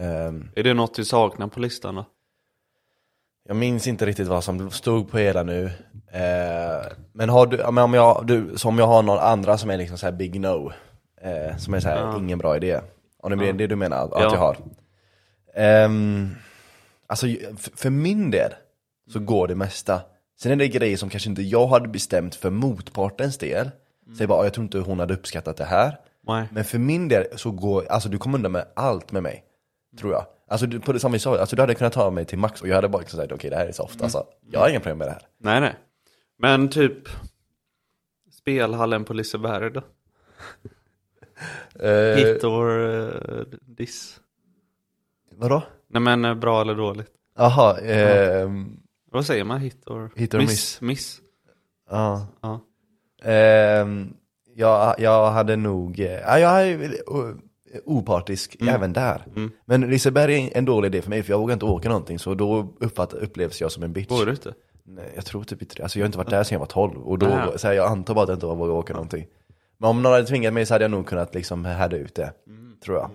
Speaker 1: Ehm,
Speaker 2: Är det något du saknar på listan då?
Speaker 1: Jag minns inte riktigt vad som stod på hela nu. Eh, men har du, ja, men om jag, du, som jag har någon andra som är liksom så här big no, eh, som är så här, ingen bra idé. Om det är det du menar att
Speaker 2: Ja.
Speaker 1: jag har. Ehm, alltså f- för min del så går det mesta. Sen är det grejer som kanske inte jag hade bestämt för motpartens del. Säg bara, "Ah, jag tror inte hon hade uppskattat det här.
Speaker 2: Nej.
Speaker 1: Men för min del så går, alltså du kommer undan med allt med mig. Tror jag. Alltså du, på det som vi sa, alltså, du hade kunnat ta mig till Max och jag hade bara liksom sagt okej det här är soft. Alltså, jag har inga problem med det här.
Speaker 2: Nej nej. Men typ spelhallen på Liseberg då?
Speaker 1: Eh,
Speaker 2: Hit or eh, diss?
Speaker 1: vadå?
Speaker 2: Nej men eh, bra eller dåligt?
Speaker 1: Jaha, ehm,
Speaker 2: Vad säger man? Hit or,
Speaker 1: Hit or
Speaker 2: miss? Miss.
Speaker 1: ja.
Speaker 2: Ja.
Speaker 1: Ehm, jag, jag hade nog, eh, ja, jag är väl o- opartisk även där. Men Liseberg är en dålig idé för mig för jag vågar inte åka någonting så då uppfatt, upplevs jag som en bitch.
Speaker 2: Går du inte?
Speaker 1: Nej, jag tror typ inte det. Alltså jag har inte varit där sedan jag var 12 och då,
Speaker 2: Ah.
Speaker 1: så här, jag antar bara att jag inte vågar åka någonting. Men om någon hade tvingat mig så hade jag nog kunnat liksom härda ut det, tror jag.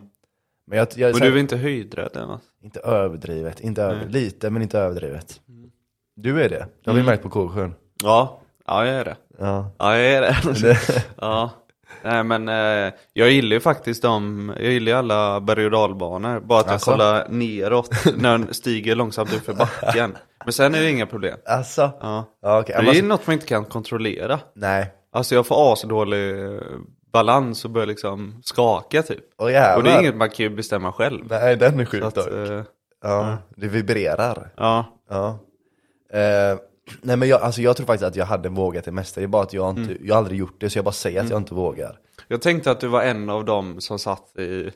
Speaker 1: Men jag, jag
Speaker 2: Men
Speaker 1: så här,
Speaker 2: du är inte höjdrädd än va?
Speaker 1: inte överdrivet, inte över, lite men inte överdrivet. Du är det, det har vi märkt på Kåsjön.
Speaker 2: Ja. Ja jag är det.
Speaker 1: Ja.
Speaker 2: Ja, jag är det. ja. Nej, men eh, jag gillar ju faktiskt dem. Jag gillar ju alla berg och dalbanor. Bara att jag
Speaker 1: Alltså?
Speaker 2: kollar neråt när den stiger långsamt upp för backen. Men sen är det inga problem.
Speaker 1: Alltså,
Speaker 2: Ja.
Speaker 1: ja, okej.
Speaker 2: Det är
Speaker 1: Alltså,
Speaker 2: ju något man inte kan kontrollera.
Speaker 1: Nej,
Speaker 2: Alltså jag får asdålig eh, balans och börjar liksom skaka typ.
Speaker 1: åh jävlar.
Speaker 2: Och det är inget man kan ju bestämma själv.
Speaker 1: Nej, den är
Speaker 2: Så
Speaker 1: sjuk
Speaker 2: att,
Speaker 1: dock.
Speaker 2: eh,
Speaker 1: Ja, det vibrerar.
Speaker 2: ja.
Speaker 1: Ja. Eh, nej men jag, alltså jag tror faktiskt att jag hade vågat det mesta, det är bara att jag, inte, jag har aldrig gjort det så jag bara säger att jag inte vågar.
Speaker 2: Jag tänkte att du var en av dem som satt i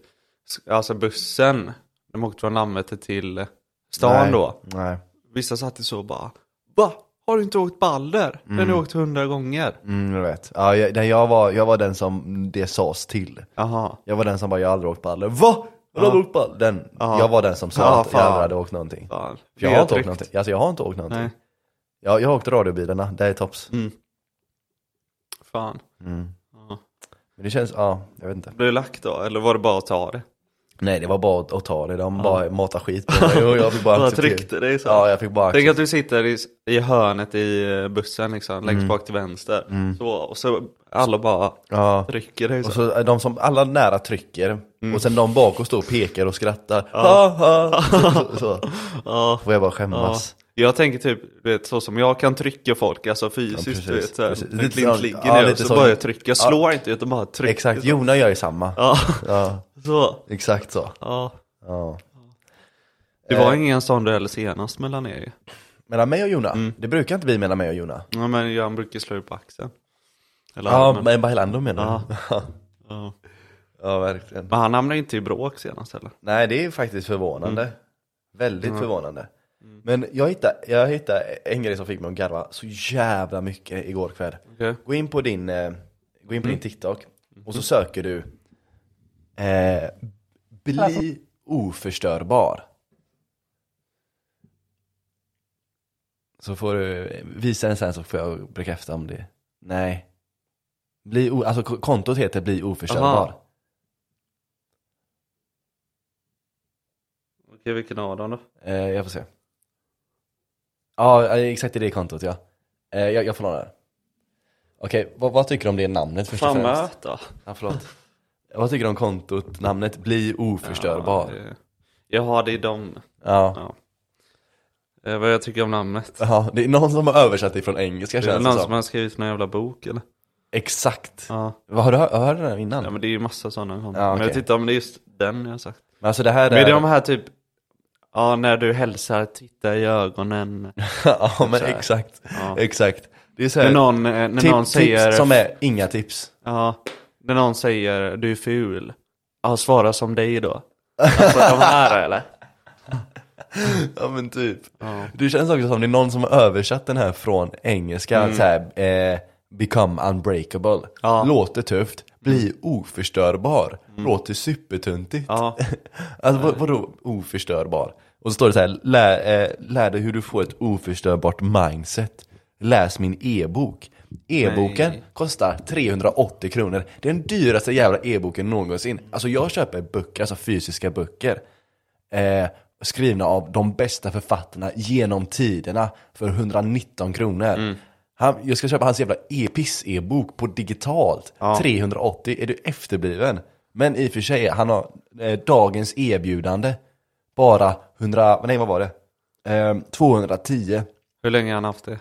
Speaker 2: alltså bussen. De åkte från Landvetter till eh, stan
Speaker 1: nej.
Speaker 2: då.
Speaker 1: Nej.
Speaker 2: Vissa satt i så och bara Va? Har du inte åkt Balder? Den har du åkt hundra gånger.
Speaker 1: Mm, jag vet. Ja, jag, nej, jag, var, jag var den som det sades till.
Speaker 2: Jaha.
Speaker 1: Jag var den som bara, jag har aldrig åkt på Alder. Va? Har du aldrig åkt på Alder? Den, Jag var den som sa
Speaker 2: Ja,
Speaker 1: att jag
Speaker 2: fan.
Speaker 1: aldrig hade åkt någonting.
Speaker 2: Fan.
Speaker 1: För jag har inte
Speaker 2: Fredrik.
Speaker 1: åkt någonting. Alltså jag har inte åkt någonting.
Speaker 2: Nej. Mm.
Speaker 1: Jag, jag har åkt radiobilarna, det är tops.
Speaker 2: fan.
Speaker 1: Men det känns, ja, jag vet inte.
Speaker 2: Blev det lack då? Eller var det bara att ta det?
Speaker 1: Nej det var bara att, att ta det, de bara matade skit på mig och jag fick bara
Speaker 2: Bara
Speaker 1: acceptera.
Speaker 2: tryckte dig så.
Speaker 1: Ja jag fick bara
Speaker 2: Tänk
Speaker 1: acceptera.
Speaker 2: att du sitter i, i hörnet i eh, bussen
Speaker 1: Mm.
Speaker 2: liksom, längst bak till vänster. Så, och så alla bara
Speaker 1: Ja.
Speaker 2: trycker dig så.
Speaker 1: Mm. Och så är de som, alla nära trycker
Speaker 2: Mm.
Speaker 1: och sen de bakom står och pekar och skrattar. Ha, ha. Så, så.
Speaker 2: Ja.
Speaker 1: Får jag bara
Speaker 2: Ja.
Speaker 1: skämmas.
Speaker 2: Jag tänker typ, du vet, så som jag kan trycka folk, alltså fysiskt,
Speaker 1: Ja, precis,
Speaker 2: du vet. Så här,
Speaker 1: precis.
Speaker 2: när
Speaker 1: Lite
Speaker 2: Klint
Speaker 1: så-
Speaker 2: ligger
Speaker 1: ja,
Speaker 2: ner och
Speaker 1: lite
Speaker 2: så
Speaker 1: så.
Speaker 2: börjar jag trycka. Jag slår inte utan bara trycker.
Speaker 1: Exakt,
Speaker 2: så.
Speaker 1: Jona gör ju samma.
Speaker 2: Ja,
Speaker 1: Ja,
Speaker 2: så.
Speaker 1: exakt så.
Speaker 2: Ja.
Speaker 1: Ja.
Speaker 2: Det var
Speaker 1: Eh.
Speaker 2: ingen sån duell senast mellan er ju.
Speaker 1: Mellan mig och Jona? Det brukar inte bli mellan mig och Jona.
Speaker 2: Ja men jag brukar slå upp på axeln. Eller
Speaker 1: Ja,
Speaker 2: armen.
Speaker 1: men Bailando menar du?
Speaker 2: Ja. Ja.
Speaker 1: Ja, verkligen.
Speaker 2: Men han hamnade inte i bråk senast heller.
Speaker 1: Nej, det är faktiskt förvånande. Väldigt förvånande. Men jag hittade, jag hittade en grej som fick mig att garva så jävla mycket igår kväll.
Speaker 2: Okej.
Speaker 1: Gå in på din, eh, gå in på din TikTok och så söker du eh, Bli oförstörbar. Så får du visa den sen så får jag bekräfta om det. Nej. Bli o, alltså k- kontot heter Bli oförstörbar.
Speaker 2: Aha. Okej, vilken av dem då?
Speaker 1: Eh, jag får se. Ja, eh, exakt i det kontot ja. Eh, jag, jag får låna den. Okej, vad, vad tycker du om det namnet först och
Speaker 2: Fan
Speaker 1: främst?
Speaker 2: möt då.
Speaker 1: Ja, förlåt. vad tycker du om kontot, namnet Bli oförstörbar?
Speaker 2: Ja, det- Jag har det i dem.
Speaker 1: Ja,
Speaker 2: Ja. Eh, vad jag tycker om namnet.
Speaker 1: ja, det är någon som har översatt det från engelska
Speaker 2: Det är
Speaker 1: känns det
Speaker 2: någon
Speaker 1: som.
Speaker 2: som har skrivit någon jävla bok eller?
Speaker 1: Exakt.
Speaker 2: Ja.
Speaker 1: Vad Har du hört, hört den här innan?
Speaker 2: ja
Speaker 1: men...
Speaker 2: men det är ju massa sådana. konton.
Speaker 1: Ja,
Speaker 2: Men jag
Speaker 1: okej.
Speaker 2: tittar om det är just den jag har sagt.
Speaker 1: alltså det här
Speaker 2: Men
Speaker 1: är...
Speaker 2: är det de här typ, ja när du hälsar, titta i ögonen.
Speaker 1: ja, men
Speaker 2: Så här.
Speaker 1: exakt.
Speaker 2: Ja.
Speaker 1: Exakt. Det är så här,
Speaker 2: När någon, eh, när
Speaker 1: tip,
Speaker 2: någon säger,
Speaker 1: tips som är inga tips.
Speaker 2: ja, när någon säger du är ful. Ja, svara som dig då. Alltså de här eller?
Speaker 1: Ja men typ.
Speaker 2: Ja.
Speaker 1: Det känns också som det är någon som har översatt den här från engelska, så här, eh, become unbreakable.
Speaker 2: Mm. Ja. Mm.
Speaker 1: Låter tufft, bli oförstörbar, låter supertuntigt.
Speaker 2: Ja.
Speaker 1: Alltså vad, vadå oförstörbar? Och så står det så här, lär, eh, lär dig hur du får ett oförstörbart mindset. Läs min e-bok. E-boken
Speaker 2: Nej.
Speaker 1: kostar 380 kronor. Det är den dyraste jävla e-boken någonsin. Alltså jag köper böcker, alltså fysiska böcker. Eh, skrivna av de bästa författarna genom tiderna för 119 kronor. Han, jag ska köpa hans jävla e-piss-e-bok på digitalt. 380, är du efterbliven? Men i och för sig, han har eh, dagens erbjudande bara 100, nej vad var det? Eh, 210.
Speaker 2: Hur länge har han haft det?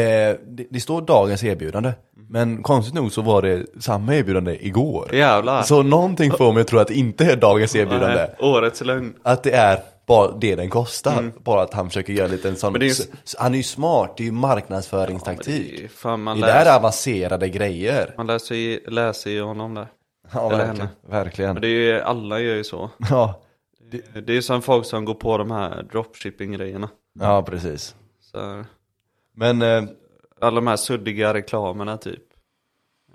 Speaker 1: Eh, det, det står dagens erbjudande, men konstigt nog så var det samma erbjudande igår.
Speaker 2: Jävlar.
Speaker 1: Så någonting får mig att tro att det inte är dagens erbjudande.
Speaker 2: Nej, årets lögn.
Speaker 1: Att det är bara det den kostar. Bara att han försöker göra lite en sån...
Speaker 2: Mm. Men det är ju-
Speaker 1: s- s- Han är ju smart, det är ju
Speaker 2: Ja, men
Speaker 1: marknadsföringstaktik.
Speaker 2: det är- Fan man
Speaker 1: det, där
Speaker 2: läser,
Speaker 1: är avancerade grejer.
Speaker 2: man läser ju, läser ju honom
Speaker 1: Mm.
Speaker 2: där.
Speaker 1: Ja,
Speaker 2: eller
Speaker 1: verkligen.
Speaker 2: henne.
Speaker 1: verkligen.
Speaker 2: Men det är ju, alla gör ju så.
Speaker 1: Ja.
Speaker 2: Det är ju som folk som går på de här dropshipping-grejerna.
Speaker 1: ja, precis.
Speaker 2: Så här.
Speaker 1: Men eh,
Speaker 2: Alla de här suddiga reklamerna typ.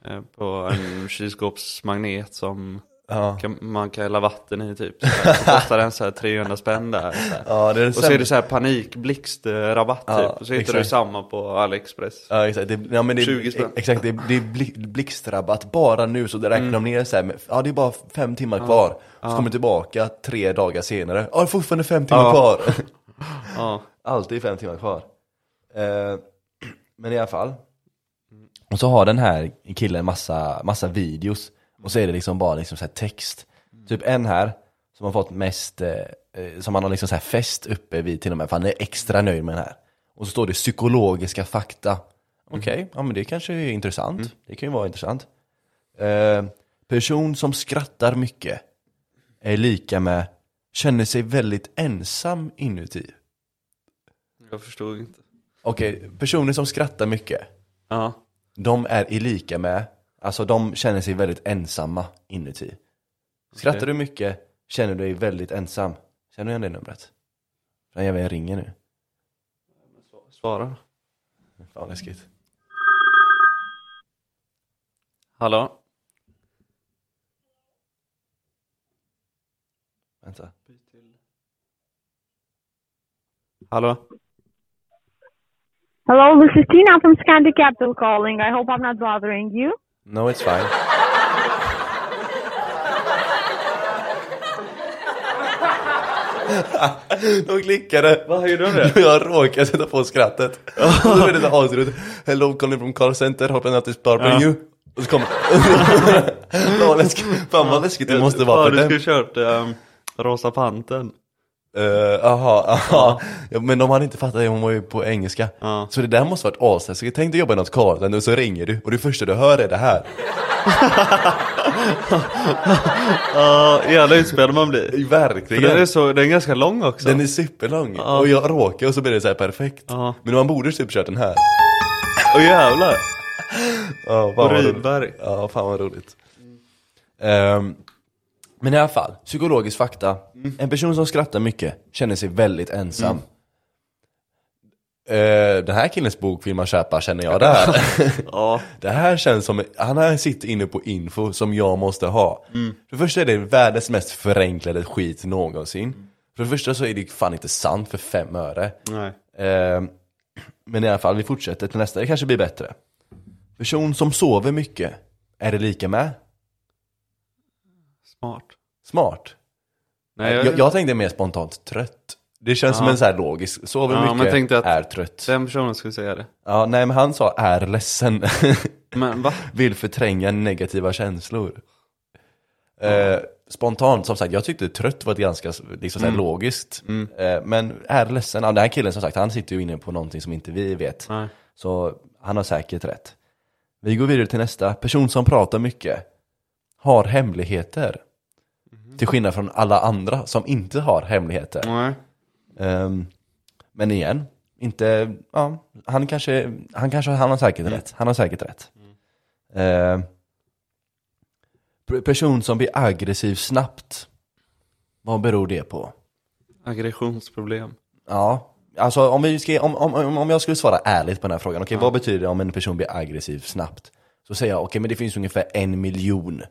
Speaker 2: Eh, På en kylskåpsmagnet som
Speaker 1: ja.
Speaker 2: kan, man kan hälla vatten i typ. Så här. Så kostar den så här 300 spänn där. Så här.
Speaker 1: ja, det är
Speaker 2: Och så är det så här panikblixtrabatt
Speaker 1: Ja,
Speaker 2: typ. Och så hittar du
Speaker 1: exakt.
Speaker 2: samma på AliExpress.
Speaker 1: Ja, exakt. Det, ja, men det,
Speaker 2: 20 spänn.
Speaker 1: Exakt, det, det är bli- blixtrabatt bara nu så det räknar
Speaker 2: Mm.
Speaker 1: de ner så här, med, ja det är bara fem timmar kvar. Så kommer tillbaka tre dagar senare, ja det är fortfarande fem timmar
Speaker 2: Ja.
Speaker 1: kvar.
Speaker 2: Ja.
Speaker 1: Alltid fem timmar kvar. Eh, men i alla fall. Och så har den här killen massa, massa videos. Och så är det liksom bara liksom så här text. Typ en här som har fått mest, eh, eh, som han har liksom så här fäst uppe vid till och med, för han är extra nöjd med den här. Och så står det psykologiska fakta. Okej, ja men det kanske är intressant. Det kan ju vara intressant. Eh, person som skrattar mycket är lika med känner sig väldigt ensam inuti.
Speaker 2: Jag förstod inte.
Speaker 1: Okej, personer som skrattar mycket,
Speaker 2: Ja.
Speaker 1: de är i lika med, alltså de känner sig väldigt ensamma inuti. Skrattar
Speaker 2: Okej.
Speaker 1: du mycket känner du dig väldigt ensam. Känner du igen det numret? Den jäveln ringer nu.
Speaker 2: Svara.
Speaker 1: Fan läskigt.
Speaker 2: Hallå?
Speaker 1: Vänta.
Speaker 2: Hallå?
Speaker 8: Hello, this is Tina from Scandic Capital calling. I hope I'm not bothering you.
Speaker 1: No, it's fine. De klickade.
Speaker 2: Vad gjorde de
Speaker 1: det? Jag råkade sätta på skrattet. Och då blev det så asroligt. Hello calling from call center, hope I'm not is bothering you. Och så kom Fan vad läskigt- Fan vad läskigt det måste vara för
Speaker 2: du
Speaker 1: dem.
Speaker 2: skulle kört ehm, Rosa Panten.
Speaker 1: Eh, Aha, aha. Ja, men de hade inte fattat det, hon var ju på engelska.
Speaker 2: Ja.
Speaker 1: Så det där måste varit asläskigt. Tänk dig jobba i något call och så ringer du och det första du hör är det här.
Speaker 2: Ja, jävla utspelad man blir. För
Speaker 1: Verkligen.
Speaker 2: den är, så, den är ganska lång också.
Speaker 1: Den är superlång och jag råkar och så blir det så här perfekt.
Speaker 2: Ja.
Speaker 1: Men man borde typ kört den här.
Speaker 2: Åh jävlar.
Speaker 1: Ja, fan
Speaker 2: Och
Speaker 1: vad roligt.
Speaker 2: Rydberg.
Speaker 1: Ja, fan vad roligt. Ehm, men i alla fall, psykologisk fakta.
Speaker 2: Mm.
Speaker 1: En person som skrattar mycket känner sig väldigt ensam. Eh, den här killens bok vill man köpa känner jag där.
Speaker 2: Ja,
Speaker 1: det här känns som, han här sitter inne på info som jag måste ha.
Speaker 2: Mm.
Speaker 1: För det första är det världens mest förenklade skit någonsin.
Speaker 2: Mm.
Speaker 1: För det första så är det fan inte sant för fem öre.
Speaker 2: nej.
Speaker 1: Ehm, Men i alla fall, vi fortsätter till nästa. Det kanske blir bättre. Person som sover mycket, är det lika med?
Speaker 2: Smart.
Speaker 1: Smart.
Speaker 2: Nej, jag,
Speaker 1: Jag, jag tänkte mer spontant trött. Det känns som en så här logisk, sover
Speaker 2: Ja, men
Speaker 1: mycket,
Speaker 2: tänkte att-
Speaker 1: är trött.
Speaker 2: den personen skulle säga det.
Speaker 1: Ja, nej men han sa är ledsen.
Speaker 2: Men va?
Speaker 1: Vill förtränga negativa känslor. Eh, spontant, som sagt, jag tyckte trött var ett ganska liksom, mm. logiskt. Eh, men är ledsen, ja, den här killen som sagt, han sitter ju inne på någonting som inte vi vet.
Speaker 2: Nej.
Speaker 1: Så han har säkert rätt. Vi går vidare till nästa. Person som pratar mycket har hemligheter. Till skillnad från alla andra som inte har hemligheter.
Speaker 2: Nej.
Speaker 1: Ehm, men igen, inte, ja, han kanske, han kanske, han har säkert rätt. Han har säkert rätt. Ehm, per- person som blir aggressiv snabbt. Vad beror det på?
Speaker 2: Aggressionsproblem.
Speaker 1: Ja, alltså om, vi ska, om, om, om om jag skulle svara ärligt på den här frågan, okej vad betyder det om en person blir aggressiv snabbt? Så säger jag, okej men det finns ungefär en miljon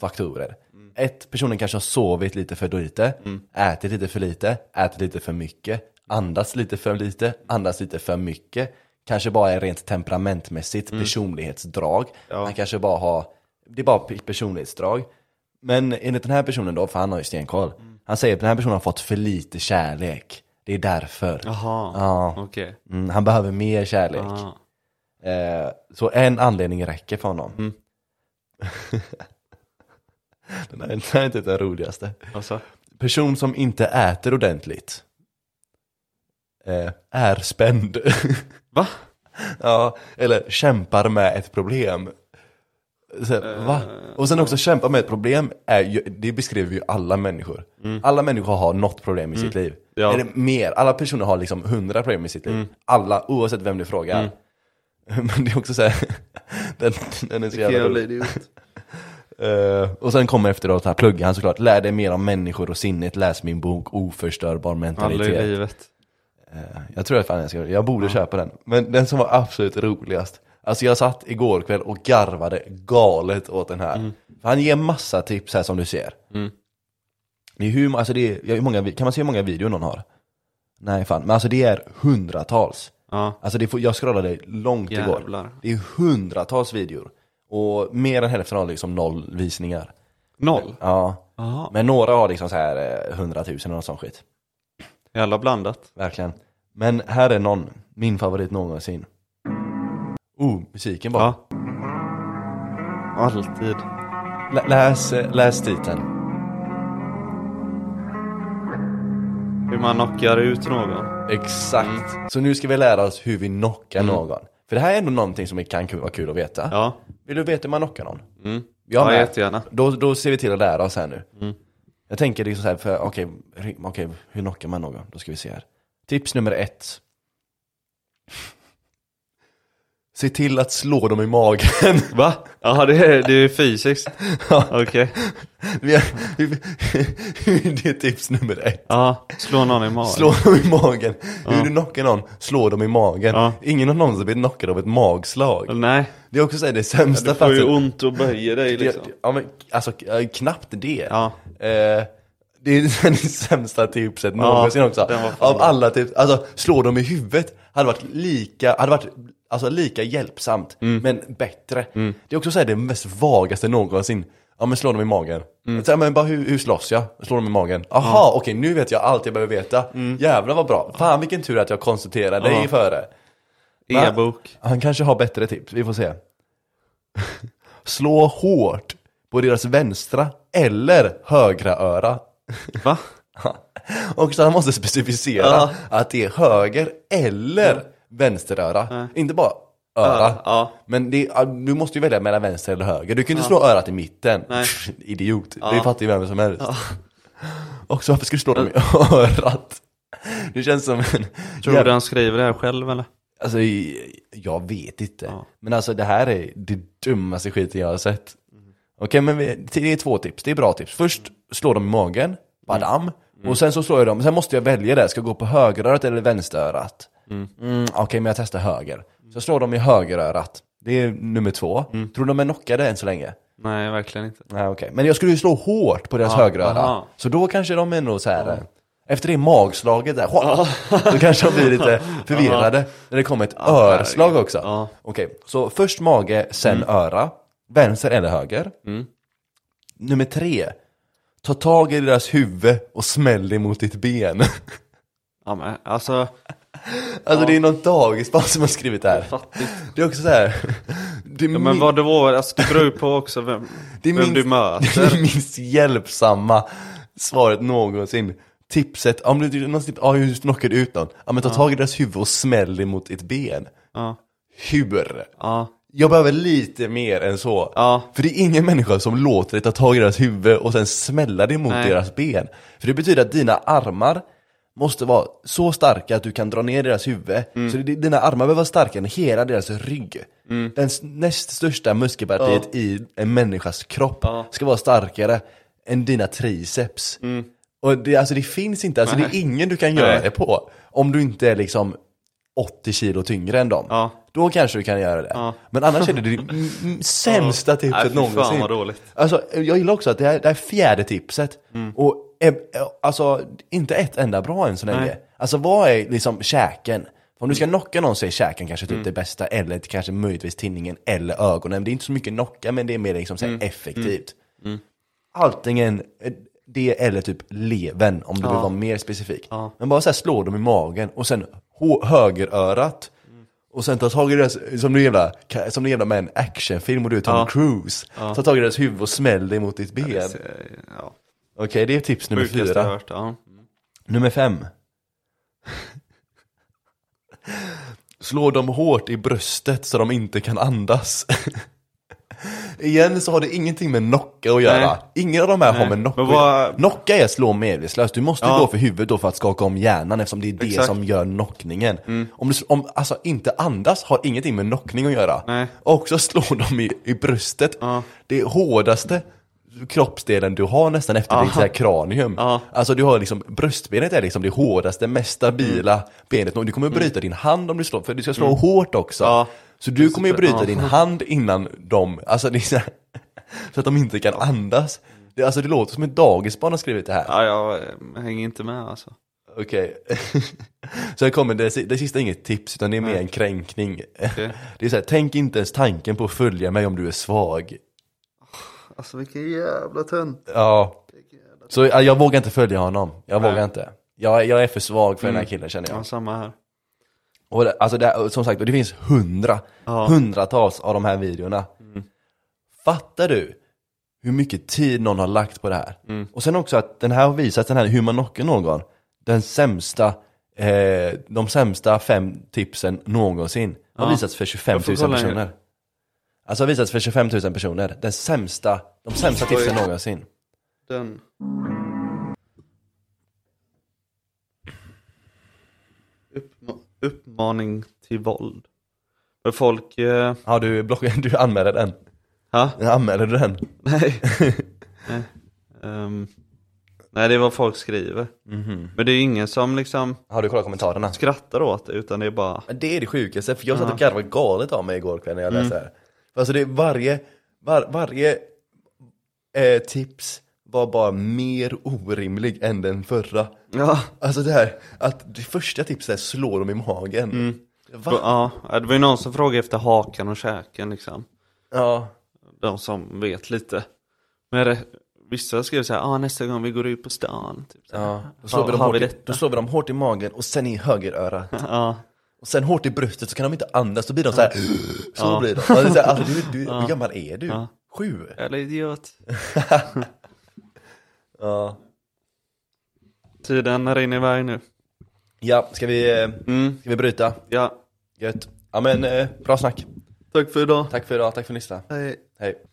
Speaker 1: faktorer. Ett, personen kanske har sovit lite för lite, ätit lite för lite, ätit lite för mycket, andats lite för lite, andats lite för mycket. Kanske bara är rent temperamentmässigt personlighetsdrag. Han kanske bara har, det är bara pe- personlighetsdrag. Men enligt den här personen då, för han har ju stenkoll. Han säger att den här personen har fått för lite kärlek. Det är därför.
Speaker 2: Jaha,
Speaker 1: Ja.
Speaker 2: okej. Ah.
Speaker 1: Mm, han behöver mer kärlek.
Speaker 2: Ja.
Speaker 1: Eh, så en anledning räcker för honom. den, här, den här är typ den roligaste.
Speaker 2: Alltså,
Speaker 1: Person som inte äter ordentligt. Eh, är spänd.
Speaker 2: va?
Speaker 1: ja, eller kämpar med ett problem. Så, va? Och sen också kämpa med ett problem, är ju, det beskriver ju alla människor. Alla människor har något problem i sitt liv.
Speaker 2: Mm. Ja. Mm.
Speaker 1: Eller mer, alla personer har liksom hundra problem i sitt liv. Alla, oavsett vem du frågar. Men det är också såhär, den, den är så jävla rolig.
Speaker 2: idiot.
Speaker 1: Eh, och sen kommer efteråt här, plugga han såklart. Lär dig mer om människor och sinnet, läs min bok Oförstörbar
Speaker 2: Aldrig i
Speaker 1: mentalitet.
Speaker 2: livet.
Speaker 1: Jag tror att fan jag ska Jag borde köpa den. Men den som var absolut roligast. Alltså jag satt igår kväll och garvade galet åt den här. För han ger massa tips här som du ser. Det är hur, alltså det är, ja, hur många, vi- kan man se hur många videor någon har? Nej fan, men alltså det är hundratals.
Speaker 2: Ja.
Speaker 1: Alltså det får, jag scrollade långt igår.
Speaker 2: Jävlar.
Speaker 1: Det är hundratals videor. Och mer än hälften har liksom noll visningar.
Speaker 2: Noll?
Speaker 1: Ja.
Speaker 2: Jaha.
Speaker 1: Men några har liksom så här eh, hundratusen eller något sånt skit.
Speaker 2: Jävla blandat.
Speaker 1: Verkligen. Men här är någon, min favorit någonsin. Oh, musiken bara.
Speaker 2: Ja. Alltid.
Speaker 1: Lä- läs, eh, läs titeln.
Speaker 2: Hur man knockar ut någon.
Speaker 1: Exakt. Så nu ska vi lära oss hur vi knockar någon. För det här är ändå någonting som kan ku- vara kul att veta.
Speaker 2: Mm. Ja.
Speaker 1: Vill du veta hur man knockar någon?
Speaker 2: Mm.
Speaker 1: Jag
Speaker 2: Ja,
Speaker 1: med.
Speaker 2: jättegärna. Mm.
Speaker 1: Då, då ser vi till att lära oss här nu. Jag tänker liksom så här, för okej, ri- okej, hur knockar man någon? Då ska vi se här. Tips nummer ett. Se till att slå dem i magen.
Speaker 2: Va? Ja, det är, det är fysiskt. Okej.
Speaker 1: Vi har- det är tips nummer ett.
Speaker 2: Ja, slå någon i magen.
Speaker 1: Slå dem i magen. Hur du knockar någon, slå dem i magen.
Speaker 2: Ja.
Speaker 1: Ingen har någonsin blivit knockad av ett magslag.
Speaker 2: Nej,
Speaker 1: Det är också så här, det sämsta
Speaker 2: du får ju ont och böjer dig
Speaker 1: Det-
Speaker 2: liksom.
Speaker 1: Ja men alltså k- äh, knappt det.
Speaker 2: Ja.
Speaker 1: Eh, Det är den sämsta tipset någonsin också.
Speaker 2: den var fan
Speaker 1: Av
Speaker 2: bra.
Speaker 1: alla tips, alltså slå dem i huvudet hade varit lika, hade varit alltså, lika hjälpsamt,
Speaker 2: Mm.
Speaker 1: men bättre. Det är också så här, det mest vagaste någonsin. Ja men slå dem i magen.
Speaker 2: Mm.
Speaker 1: Så här, men bara hur, hur slåss jag? Slå dem i magen. Aha, okej nu vet jag allt jag behöver veta.
Speaker 2: Mm.
Speaker 1: Jävlar vad bra. Fan vilken tur att jag konsulterade dig före. Va?
Speaker 2: E-bok.
Speaker 1: Han kanske har bättre tips, vi får se. Slå hårt på deras vänstra eller högra öra.
Speaker 2: Va?
Speaker 1: Och så han måste specificera
Speaker 2: Ja.
Speaker 1: att det är höger eller vänsteröra. Inte bara öra.
Speaker 2: Ja, ja.
Speaker 1: Men det, är- du måste ju välja mellan vänster eller höger. Du kan ju inte slå örat i mitten.
Speaker 2: Nej.
Speaker 1: Idiot, det fattar ju vem som helst. Och så varför ska du slå dem i örat? Det känns som en...
Speaker 2: Tror du han skriver det här själv eller?
Speaker 1: Alltså, jag vet inte. Men alltså det här är det dummaste skiten jag har sett. Okej, men vi, det är två tips. Det är bra tips. Först slår de i magen, badam. Och sen så slår jag dem. Sen måste jag välja det. Ska jag gå på högerörat eller vänsterörat? Mm. Okej, men jag testar höger. Så jag slår dem i högerörat. Det är nummer två. Tror du de är knockade än så länge?
Speaker 2: Nej, verkligen inte.
Speaker 1: Nej, okej. Men jag skulle ju slå hårt på deras högeröra.
Speaker 2: aha.
Speaker 1: Så då kanske de är nog så här. eh, Efter det magslaget där, då kanske de blir lite förvirrade. När det kommer ett örslag också.
Speaker 2: Ja. Mm.
Speaker 1: Okej, så först mage, sen öra. Vänster eller höger. Nummer tre. Ta tag i deras huvud och smäll det mot ditt ben. alltså
Speaker 2: Ja, men alltså,
Speaker 1: det är någon dagisbarn som har skrivit det här.
Speaker 2: fattigt.
Speaker 1: Det är också så här. Det är
Speaker 2: Ja,
Speaker 1: min-
Speaker 2: men vad det var, alltså det beror ju på också vem,
Speaker 1: Det är
Speaker 2: vem
Speaker 1: minst,
Speaker 2: du
Speaker 1: det
Speaker 2: möter.
Speaker 1: är minst hjälpsamma svaret någonsin. Tipset, om du någonsin, ja hur knockar du ut någon? Ja men ta tag i deras huvud och smäll det mot ett ben.
Speaker 2: Ja,
Speaker 1: Hur?
Speaker 2: ja,
Speaker 1: Jag behöver lite mer än så.
Speaker 2: ja.
Speaker 1: För det är ingen människa som låter dig ta tag i deras huvud och sen smälla det mot
Speaker 2: Nej.
Speaker 1: deras ben. För det betyder att dina armar måste vara så starka att du kan dra ner deras huvud.
Speaker 2: Mm.
Speaker 1: Så det, dina armar behöver vara starkare än hela deras rygg. Den s- näst största muskelpartiet i en människas kropp ska vara starkare än dina triceps. Och det, alltså det finns inte, alltså det är ingen du kan göra
Speaker 2: Mm. Nej.
Speaker 1: det på. Om du inte är liksom 80 kilo tyngre än dem.
Speaker 2: Ja.
Speaker 1: Då kanske du kan göra det.
Speaker 2: Ja.
Speaker 1: Men annars är det det m- m- sämsta tipset
Speaker 2: Nej, fy fan,
Speaker 1: någonsin.
Speaker 2: vad dåligt. Mm.
Speaker 1: Alltså, jag gillar också att det här, det här fjärde tipset, och eh, alltså, inte ett enda bra än så länge.
Speaker 2: Nej. Mm.
Speaker 1: Alltså vad är liksom käken? Om du ska knocka någon så är käken kanske typ det bästa, eller kanske möjligtvis tinningen eller ögonen. Men det är inte så mycket knocka, men det är mer liksom så här
Speaker 2: Mm.
Speaker 1: effektivt. Antingen eh, det eller typ levern om du vill vara mer specifik. Men bara så här slå dem i magen och sen hå- högerörat. Och sen ta tag i deras, som du jävla, som du jävla med en actionfilm och du är Tom Cruise. Ta tag i deras huvud och smäll dig mot ditt ben.
Speaker 2: Det
Speaker 1: Okej,
Speaker 2: är- ja.
Speaker 1: det är tips nummer
Speaker 2: Sjukaste jag
Speaker 1: fyra.
Speaker 2: hört, ja.
Speaker 1: Nummer fem. Slå dem hårt i bröstet så de inte kan andas. Igen så har det ingenting med knocka att göra.
Speaker 2: Nej.
Speaker 1: Ingen av de här har med knocka
Speaker 2: Men
Speaker 1: att göra.
Speaker 2: vad-
Speaker 1: Knocka är slå medvetslöst. Du måste
Speaker 2: Ja.
Speaker 1: gå för huvudet då för att skaka om hjärnan eftersom det är det
Speaker 2: Exakt. Mm.
Speaker 1: som gör knockningen. Om du sl- om, alltså inte andas har ingenting med knockning att göra.
Speaker 2: Nej.
Speaker 1: Också slå dem i, i bröstet. Det är hårdaste kroppsdelen du har nästan efter ditt så här kranium.
Speaker 2: Ja.
Speaker 1: Alltså du har liksom, bröstbenet är liksom det hårdaste, mest stabila
Speaker 2: Mm.
Speaker 1: benet. Och du kommer bryta din hand om du slår, för du ska slå hårt också.
Speaker 2: Ja.
Speaker 1: Så du kommer ju bryta
Speaker 2: Ja.
Speaker 1: din hand innan de, alltså det är så, här, så att de inte kan andas. Det, alltså det låter som ett dagisbarn har skrivit det här.
Speaker 2: ja, jag eh, hänger inte med alltså.
Speaker 1: Okej. så här kommer det, si- det sista är inget tips utan det är mer en kränkning. Det är så här, tänk inte ens tanken på att följa mig om du är svag.
Speaker 2: Alltså vilken jävla tönt.
Speaker 1: Ja. Så ja, jag vågar inte följa honom. Jag vågar inte. Jag, jag är för svag för den här killen känner jag.
Speaker 2: Mm. Ja, samma här.
Speaker 1: Och det, alltså det, som sagt, och det finns hundra,
Speaker 2: Ja. Mm.
Speaker 1: hundratals av de här videorna. Fattar du hur mycket tid någon har lagt på det här?
Speaker 2: Mm.
Speaker 1: Och sen också att den här har visat, den här hur man knockar någon, den sämsta, eh, de sämsta fem tipsen någonsin har
Speaker 2: Ja.
Speaker 1: visats för 25 000
Speaker 2: Jag får kolla en
Speaker 1: personer.
Speaker 2: grej.
Speaker 1: Alltså har visats för 25 000 personer, den sämsta, de sämsta tipsen någonsin.
Speaker 2: Den. Uppma- uppmaning till våld. Men folk, eh,
Speaker 1: Ja, du, block, du anmäler den.
Speaker 2: ha?
Speaker 1: Anmäler du den?
Speaker 2: Nej. Nej. Ehm, nej, det är vad folk skriver.
Speaker 1: Mhm.
Speaker 2: Men det är ingen som liksom
Speaker 1: Har du kollat kommentarerna?
Speaker 2: skrattar åt det, utan det är bara...
Speaker 1: Men det är det sjukaste, för jag satt och garvade galet av mig igår kväll när jag
Speaker 2: Mm.
Speaker 1: läste det här. Alltså det är varje, var, varje eh, tips, var bara mer orimlig än den förra.
Speaker 2: Ja.
Speaker 1: Alltså det här, att det första tipset är slå dem i magen.
Speaker 2: Mm.
Speaker 1: Va?
Speaker 2: ja, det var ju någon som frågade efter hakan och käken liksom.
Speaker 1: Ja.
Speaker 2: De som vet lite. Men det, vissa skrev så här, ah, nästa gång vi går ut på stan. Typ så här.
Speaker 1: ja. Då, slår
Speaker 2: Har-
Speaker 1: vi dem
Speaker 2: har
Speaker 1: hårt
Speaker 2: vi
Speaker 1: i,
Speaker 2: detta?
Speaker 1: då slår vi dem hårt i magen och sen i högerörat.
Speaker 2: Ja.
Speaker 1: Och sen hårt i bröstet så kan de inte andas, då blir de så här. Så blir de. Ja, det är så här, Alltså, du, du, Hur gammal är du? Sju?
Speaker 2: Eller idiot.
Speaker 1: Ja.
Speaker 2: Tiden rinner iväg nu.
Speaker 1: Ja, ska vi, eh, ska vi bryta?
Speaker 2: Ja,
Speaker 1: Gött. Ja men, eh, bra snack.
Speaker 2: tack för idag.
Speaker 1: Tack för idag, tack för att ni lyssnade.
Speaker 2: Hej.
Speaker 1: Hej.